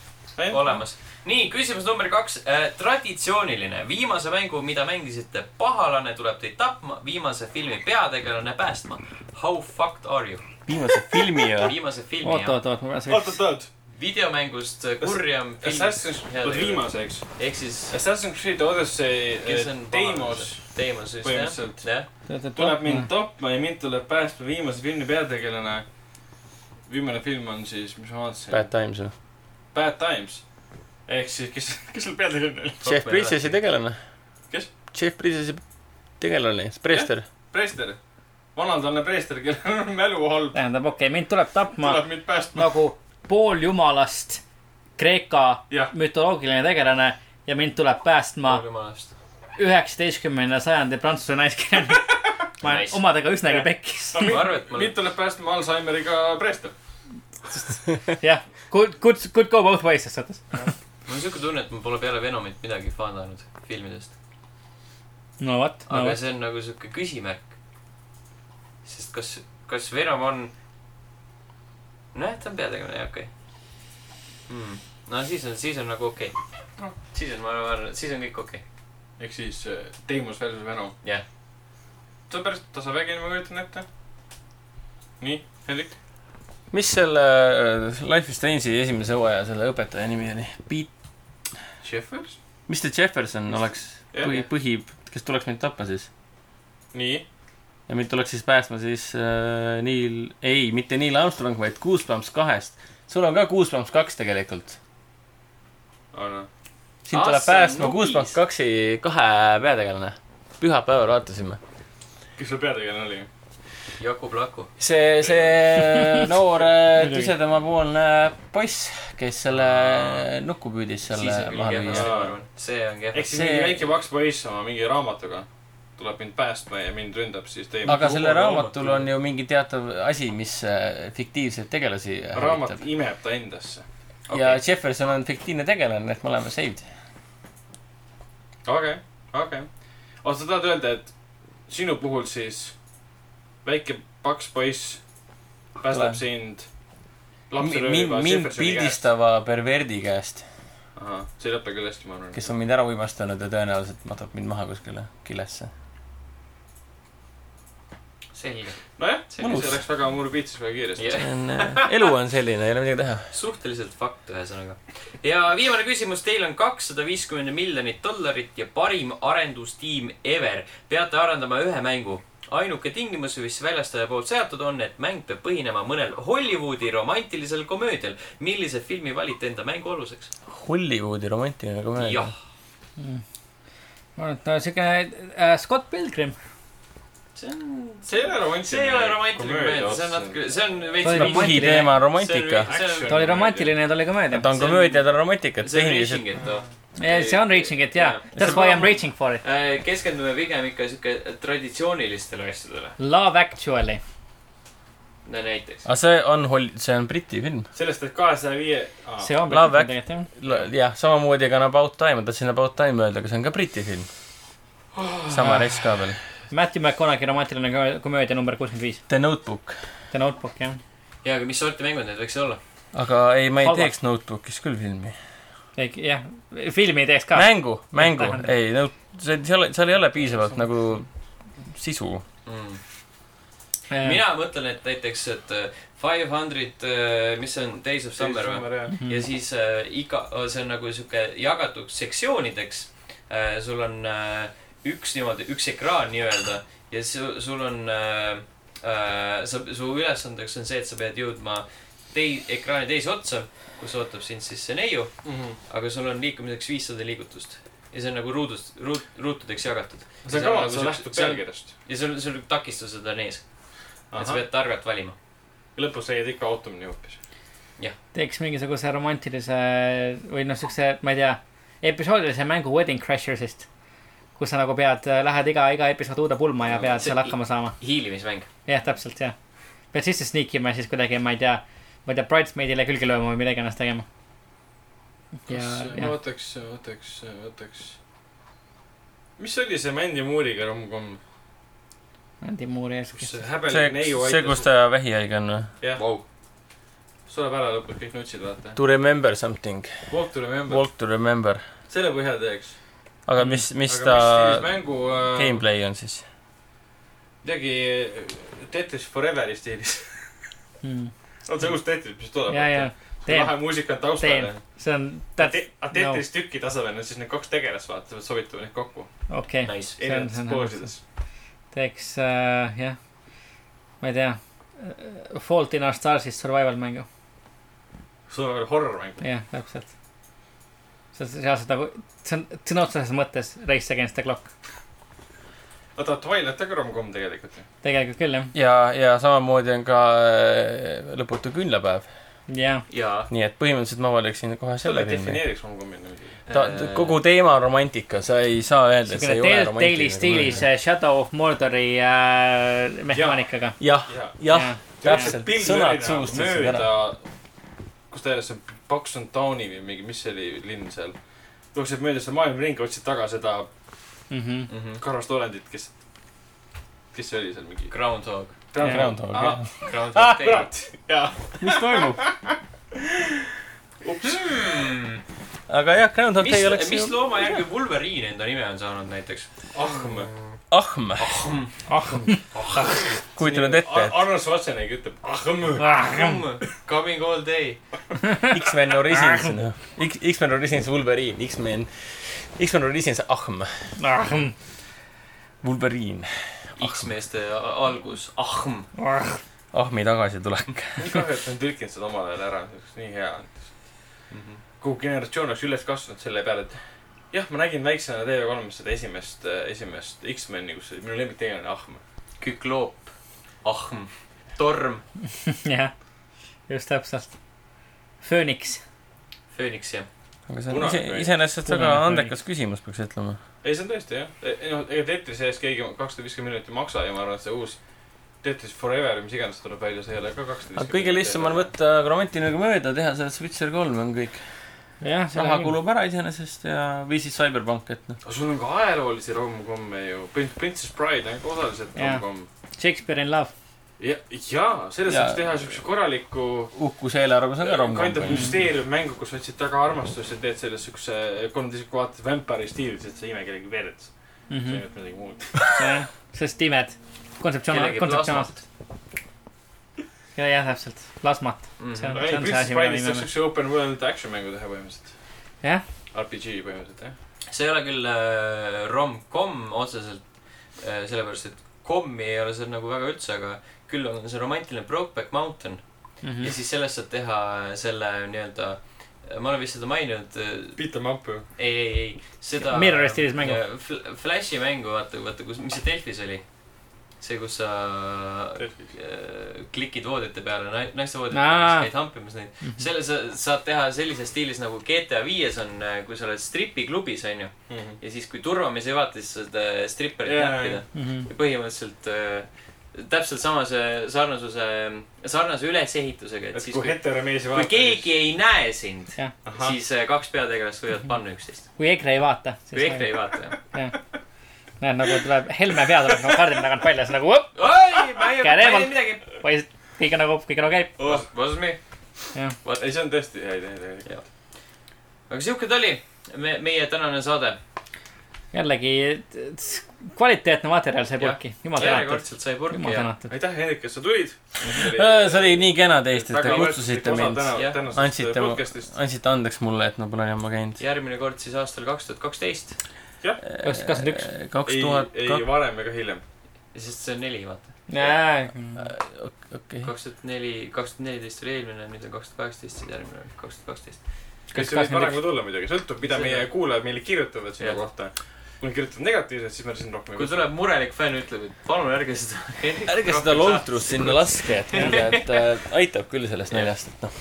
olemas . nii , küsimus number kaks äh, . traditsiooniline , viimase mängu , mida mängisite , pahalane tuleb teid tapma , viimase filmi peategelane päästma . How fucked are you ? viimase filmi ja . viimase filmi oot , jah . oot , oot , ma pean oot , sõitma . oot , oot . videomängust äh, kurjam Assassin's , oot viimase , eks . ehk siis , Assassin's Creed Odyssey eh, kes on teimos . Deimos just jah põhimõtteliselt. , jah . tuleb Mm. mind tapma ja mind tuleb päästma viimase filmi peategelane . viimane film on siis , mis ma vaatasin ? Bad Times või ? Bad Times . ehk siis , kes , kes seal peategelane oli ? Jeff Bridges'i tegelane . Kes? ? Jeff Bridges'i tegelane oli , Sprester . preester , vanaldane preester , kellel on mälu halb , tähendab , okei okay, , mind tuleb tapma tuleb mind päästma . nagu pooljumalast Kreeka Jah. mütoloogiline tegelane ja mind tuleb päästma jumalast . üheksateistkümnenda sajandi prantsuse naiskirjanik . ma olen Nice. omadega üsnagi Jah. pekkis . ma arvan , et ma mind olen , tuleb päästma Alžeimeriga preester . jah , good , good , good go both ways ses suhtes . mul on siuke tunne , et ma pole peale Venomit midagi faandanud filmidest . no vot , no aga vot . see on nagu siuke küsimärk . sest kas , kas Venom on , nojah , ta on peategelane , okei hmm. . no siis on , siis on nagu okei okay. . siis on , ma arvan , siis on kõik okei okay. . ehk siis eh, Teimus versus Venom . Jah. see on päris tasavägine , ma kujutan ette . nii , Hendrik . mis selle äh, Life is Strange'i esimese hooaja selle õpetaja nimi oli ? Pete , Jeffers . mis ta Jefferson oleks Jah. põhi , põhi , kes tuleks mind tapma siis ? nii , ja mind tuleks siis päästma siis äh, Neil , ei , mitte Neil Armstrong , vaid Goosebumps kahest . sul on ka Goosebumps kaks tegelikult . Anna . sind Ah, see tuleb on päästma nubis. Goosebumps kaksi , kahe peategelane . pühapäeval vaatasime . kes seal peategelane oli ? Jakub Laku . see , see noor äh, Muidugi. tüsedemapoolne poiss , kes selle nuku püüdis siis selle on küll maha kehvasti , lüüa . ma arvan . see on ehk kehvasti . siis See- mingi väike paks poiss oma mingi raamatuga tuleb mind päästma ja mind ründab siis Teimus . aga selle raamat raamatul ju. on ju mingi teatav asi , mis äh, fiktiivseid tegelasi raamat hävitab . imeb ta endasse . ja Jefferson on fiktiivne tegelane , et me oleme saved . okei , okei . oota , sa tahad öelda , et sinu puhul siis väike paks poiss päästab Tuleb. sind mind , lapserööviva mind Jeffersoni käest ? pildistava perverdi käest , ahah , see ei lõpe küll hästi , ma arvan . kes on mind ära uimastanud ja tõenäoliselt matab mind maha kuskile kilesse . selge . nojah , see Mõnus. läks väga murbiitses väga kiiresti . jah , elu on selline , ei ole midagi teha . suhteliselt fakt ühesõnaga . ja viimane küsimus , teil on kakssada viiskümmend miljonit dollarit ja parim arendustiim ever . peate arendama ühe mängu . ainuke tingimus , mis väljastaja poolt seatud on , et mäng peab põhinema mõnel Hollywoodi romantilisel komöödial . millise filmi valite enda mängu aluseks ? Hollywoodi romantiline komöödia jah ., ma arvan , et no siukene äh, Scott Pilgrim . see on , see ei ole romantiline . see ei ole romantiline komöödia , see on natuke , see on Ta oli veits . põhiteema on romantika . ta oli romantiline ja ta oli komöödia ta . on komöödia , ta on romantika , see on tehniliselt reaching , et noh . see on reaching it jaa . That's why I am reaching for it . Äh, keskendume pigem ikka sihuke traditsioonilistele asjadele . Love Actually . no näiteks . aga see on hol- , see on Briti film . sellest , et kahesaja viie . see on . Love Act- jah , samamoodi ka on About Time , ma tahtsin About Time öelda , aga see on ka Briti film . sama rets ka veel . Matthew McConaughey romantiline komöö- komöödia number kuuskümmend viis . The Notebook . The Notebook jah . jaa , aga mis sorti mängud need võiksid olla ? aga ei , ma ei Halvad. teeks Notebookis küll filmi . jah , filmi ei teeks ka . mängu , mängu Vähem. , ei , no see , seal , seal ei ole piisavalt nagu sisu . Mm. mina mõtlen , et näiteks , et äh, Five Hundred , mis see on , Days of Summer või ? Mhm. Mm. ja siis äh, iga , see on nagu sihuke jagatud sektsioonideks äh, . sul on äh, üks niimoodi , üks ekraan nii-öelda ja su, sul on äh, , äh, sa , su ülesandeks on see , et sa pead jõudma tei- , ekraani teise otsa , kus ootab sind siis see neiu , aga sul on liikumiseks viissada liigutust ja see on nagu ruudust , ruut , ruutudeks jagatud . see on kaval , nagu see lähtub pealkirjast . ja sul , sul takistused on ees , et sa pead targalt valima . lõpus leiad ikka autumni hoopis . teeks mingisuguse romantilise või noh , siukse , ma ei tea , episoodilise mängu Wedding Crashersist , kus sa nagu pead , lähed iga , iga episood uude pulma ja pead See- seal hakkama saama . hiilimismäng . jah , täpselt , jah . pead sisse sniikima ja siis kuidagi , ma ei tea , ma ei tea , bridesmaidile külge lööma või midagi ennast tegema . ja , ma jah , võtaks , võtaks , võtaks . mis oli see Mandy Moore'iga rom-com , Andy Moore'i kus ees . see see häbelik , neiu see , kus ta vähihaige on või ? jah , Wow. sureb ära lõpuks , kõik nutsid , vaata . To remember something , Walk to remember , walk to remember . selle põhjal teeks . aga mis , mis aga ta mis siis mängu äh, , gameplay on siis ? midagi äh, Tetris Foreveri stiilis . on see uus Tetris , mis tuleb ? Hmm. ja , ja , teen , lahe muusika on teen taustal ., see on , aga Tetris tüki tasemel on siis need kaks tegelast , vaata , sobituvad neid kokku . okei , Nice . See on- see erinevates on poosides . teeks , jah , ma ei tea , Fault in our stars'ist survival mängu . sul on veel horror mäng . jah , täpselt . see on reaalselt nagu , see on sõna otseses mõttes race against the clock . oota , Twilight on ka rom-com tegelikult ju . tegelikult küll jah , ja , ja samamoodi on ka äh, lõputu küünlapäev . jah . jaa . nii et põhimõtteliselt ma valiksin kohe selle selle filmi . defineeriks rom-com'ina muidugi . ta , äh, kogu teema on romantika , sa ei saa öelda , et see niisugune ei ole Telltale'i stiilis romantika . äh, Shadow of Mordori äh, mehaanikaga . jah , jah , täpselt , sõnad suust võtsid ära . nagu mööda , kus ta jälle , see Buxton Downi või mingi , mis see oli linn seal . jookseb mööda seda maailma ringi , otsid taga seda karvast olendit , kes , kes see oli seal mingi . Groundhog . Groundhog, jah. Groundhog Day . Ah, kurat , jaa . mis toimub ? ups , aga jah , Groundhog Mm. Day mis , oleks mis ju looma järgi Wolverine enda nime on saanud näiteks ? ahm . ahm , kujutame nüüd ette , Arnold Schwarzeneggi ütleb ahm . Coming all day . et X-Men Origins , noh . X , X-Men Origins Wolverine , X-Men , X-Men Origins ahm , Wolverine , X-meeste a- algus , ahm . ahmi tagasitulek . nii kahju , et ma ei tõlkinud seda omal ajal ära , see oleks nii hea . kogu generatsioon oleks üles kasvanud selle peale , et jah , ma nägin väiksena TV3-s seda esimest , esimest X-meni , kus oli minu lemmiktegelane Ahm . Kükloop , ahm , torm , jah , just täpselt . Phoenix , fööniks ja . aga see on Punane ise , või? iseenesest väga Punane või? andekas küsimus , peaks ütlema . ei , see on tõesti jah , ei noh , ega Tetrise ees keegi kakssada viiskümmend miljonit ei maksa ja ma arvan , et see uus Tetris Forever , mis iganes tuleb välja , see ei ole ka kakssada aga kõige lihtsam on . võtta Chromatinaga mööda , teha sellest Switcher kolm on kõik . jah , raha kulub ära iseenesest ja , või siis Cyberpunk , et noh . aga sul on ka ajaloolisi rom-komme ju , Princess Bride on ka osaliselt Jah. rom-kom . Shakespeare in love , ja , jaa , sellest Ja- saaks teha siukse korraliku uhkus eelarves on ka kind of rom-com . müsteeriummängu , kus otsid taga armastust ja teed sellest siukse kolmteist kohati vampire stiilis , et sa ei ime kellegi verd . see Mhm. ei ole midagi muud . sest imed , kontseptsioon , kellegi kontseptsioon , plasmast . jah , täpselt , plasmat , Mhm. see on , aga see on see ei , Princess asi , mida Bride'ist me saaks nime , siukse open world action mängu teha põhimõtteliselt . Jah. . RPG põhimõtteliselt jah . see ei ole küll äh, rom-com otseselt äh, , sellepärast et kommi ei ole seal nagu väga üldse , aga küll on see romantiline Brokeback Mountain mm Mhm. -hmm. ja siis sellest saab teha selle nii-öelda , ma olen vist seda maininud äh, Beat em up ju . ei , ei , ei , seda . Mirrori stiilis mängu. . Flashi mängu , vaata , vaata , kus , mis see Delfis oli ? see , kus sa Delfis. äh, klikid voodite peale , naiste voodite Aa. Mhm. peale , siis käid hampimas neid . selle sa saad teha sellises stiilis nagu GTA viies on , kui sa oled stripiklubis , onju . Mhm. ja siis , kui turvamees ei vaata , siis saad äh, stripperit Jaa, näppida . ja põhimõtteliselt äh, täpselt samase sarnasuse , sarnase ülesehitusega , et et siis kui kui, hetero mees ei kui vaata . keegi ei näe sind , jah , siis äh, kaks peategelast võivad panna üksteist . kui EKRE ei vaata , kui siis EKRE ei vaata , jah . näed nagu tuleb Helme pea tuleb nagu kardina tagant välja , siis nagu võp , oi , ma ei , ma Käre ei eemalt. teinud midagi . poiss , kõik on nagu , kõik nagu käib . Was was me . Oh, ei , see on tõesti hea idee tegelikult . aga siuke ta oli , me , meie tänane saade . jällegi t- t- kvaliteetne materjal sai Jah. pulki , jumal tänatud , järjekordselt sai purki jumal ja tänatud . aitäh , Hendrik , et sa tulid . Äh, Äh, see oli nii kena teist , et te kutsusite mind , Jah. tänasest Andsite mu- podcast'ist . andsite andeks mulle , et ma pole enam käinud . järgmine kord siis aastal kaks tuhat kaksteist , Kaks- kakskümmend üks. kaks ei , tuhat ei varem ega hiljem . sest see on neli , vaata . Äh, kaks , okei . kaks tuhat neli , kaks tuhat neliteist oli eelmine , nüüd on kaks tuhat kaheksateist , siis järgmine on kaks tuhat kaksteist . kas see võib varem ka tulla muidugi , sõltub , mida See- meie kuulajad meile kirjutavad sinu Jah. kohta . kui nad kirjutavad negatiivselt , siis me siin rohkem ei kui tuleb murelik fänn , ütleb , et palun ärge seda . ärge seda lontrust sinna laske , et kuulge , et äh, aitab küll sellest naljast , et noh .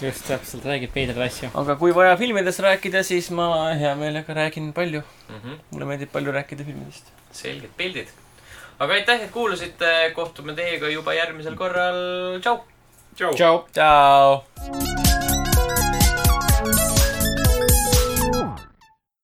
just täpselt , räägib veidraid asju . aga kui vaja filmidest rääkida , siis ma hea meelega räägin palju . mulle meeldib palju rääkida filmidest . Mhm. selged pildid . aga aitäh , et kuulasite , kohtume teiega juba järgmisel korral , tšau . kuule . tšau . tšau .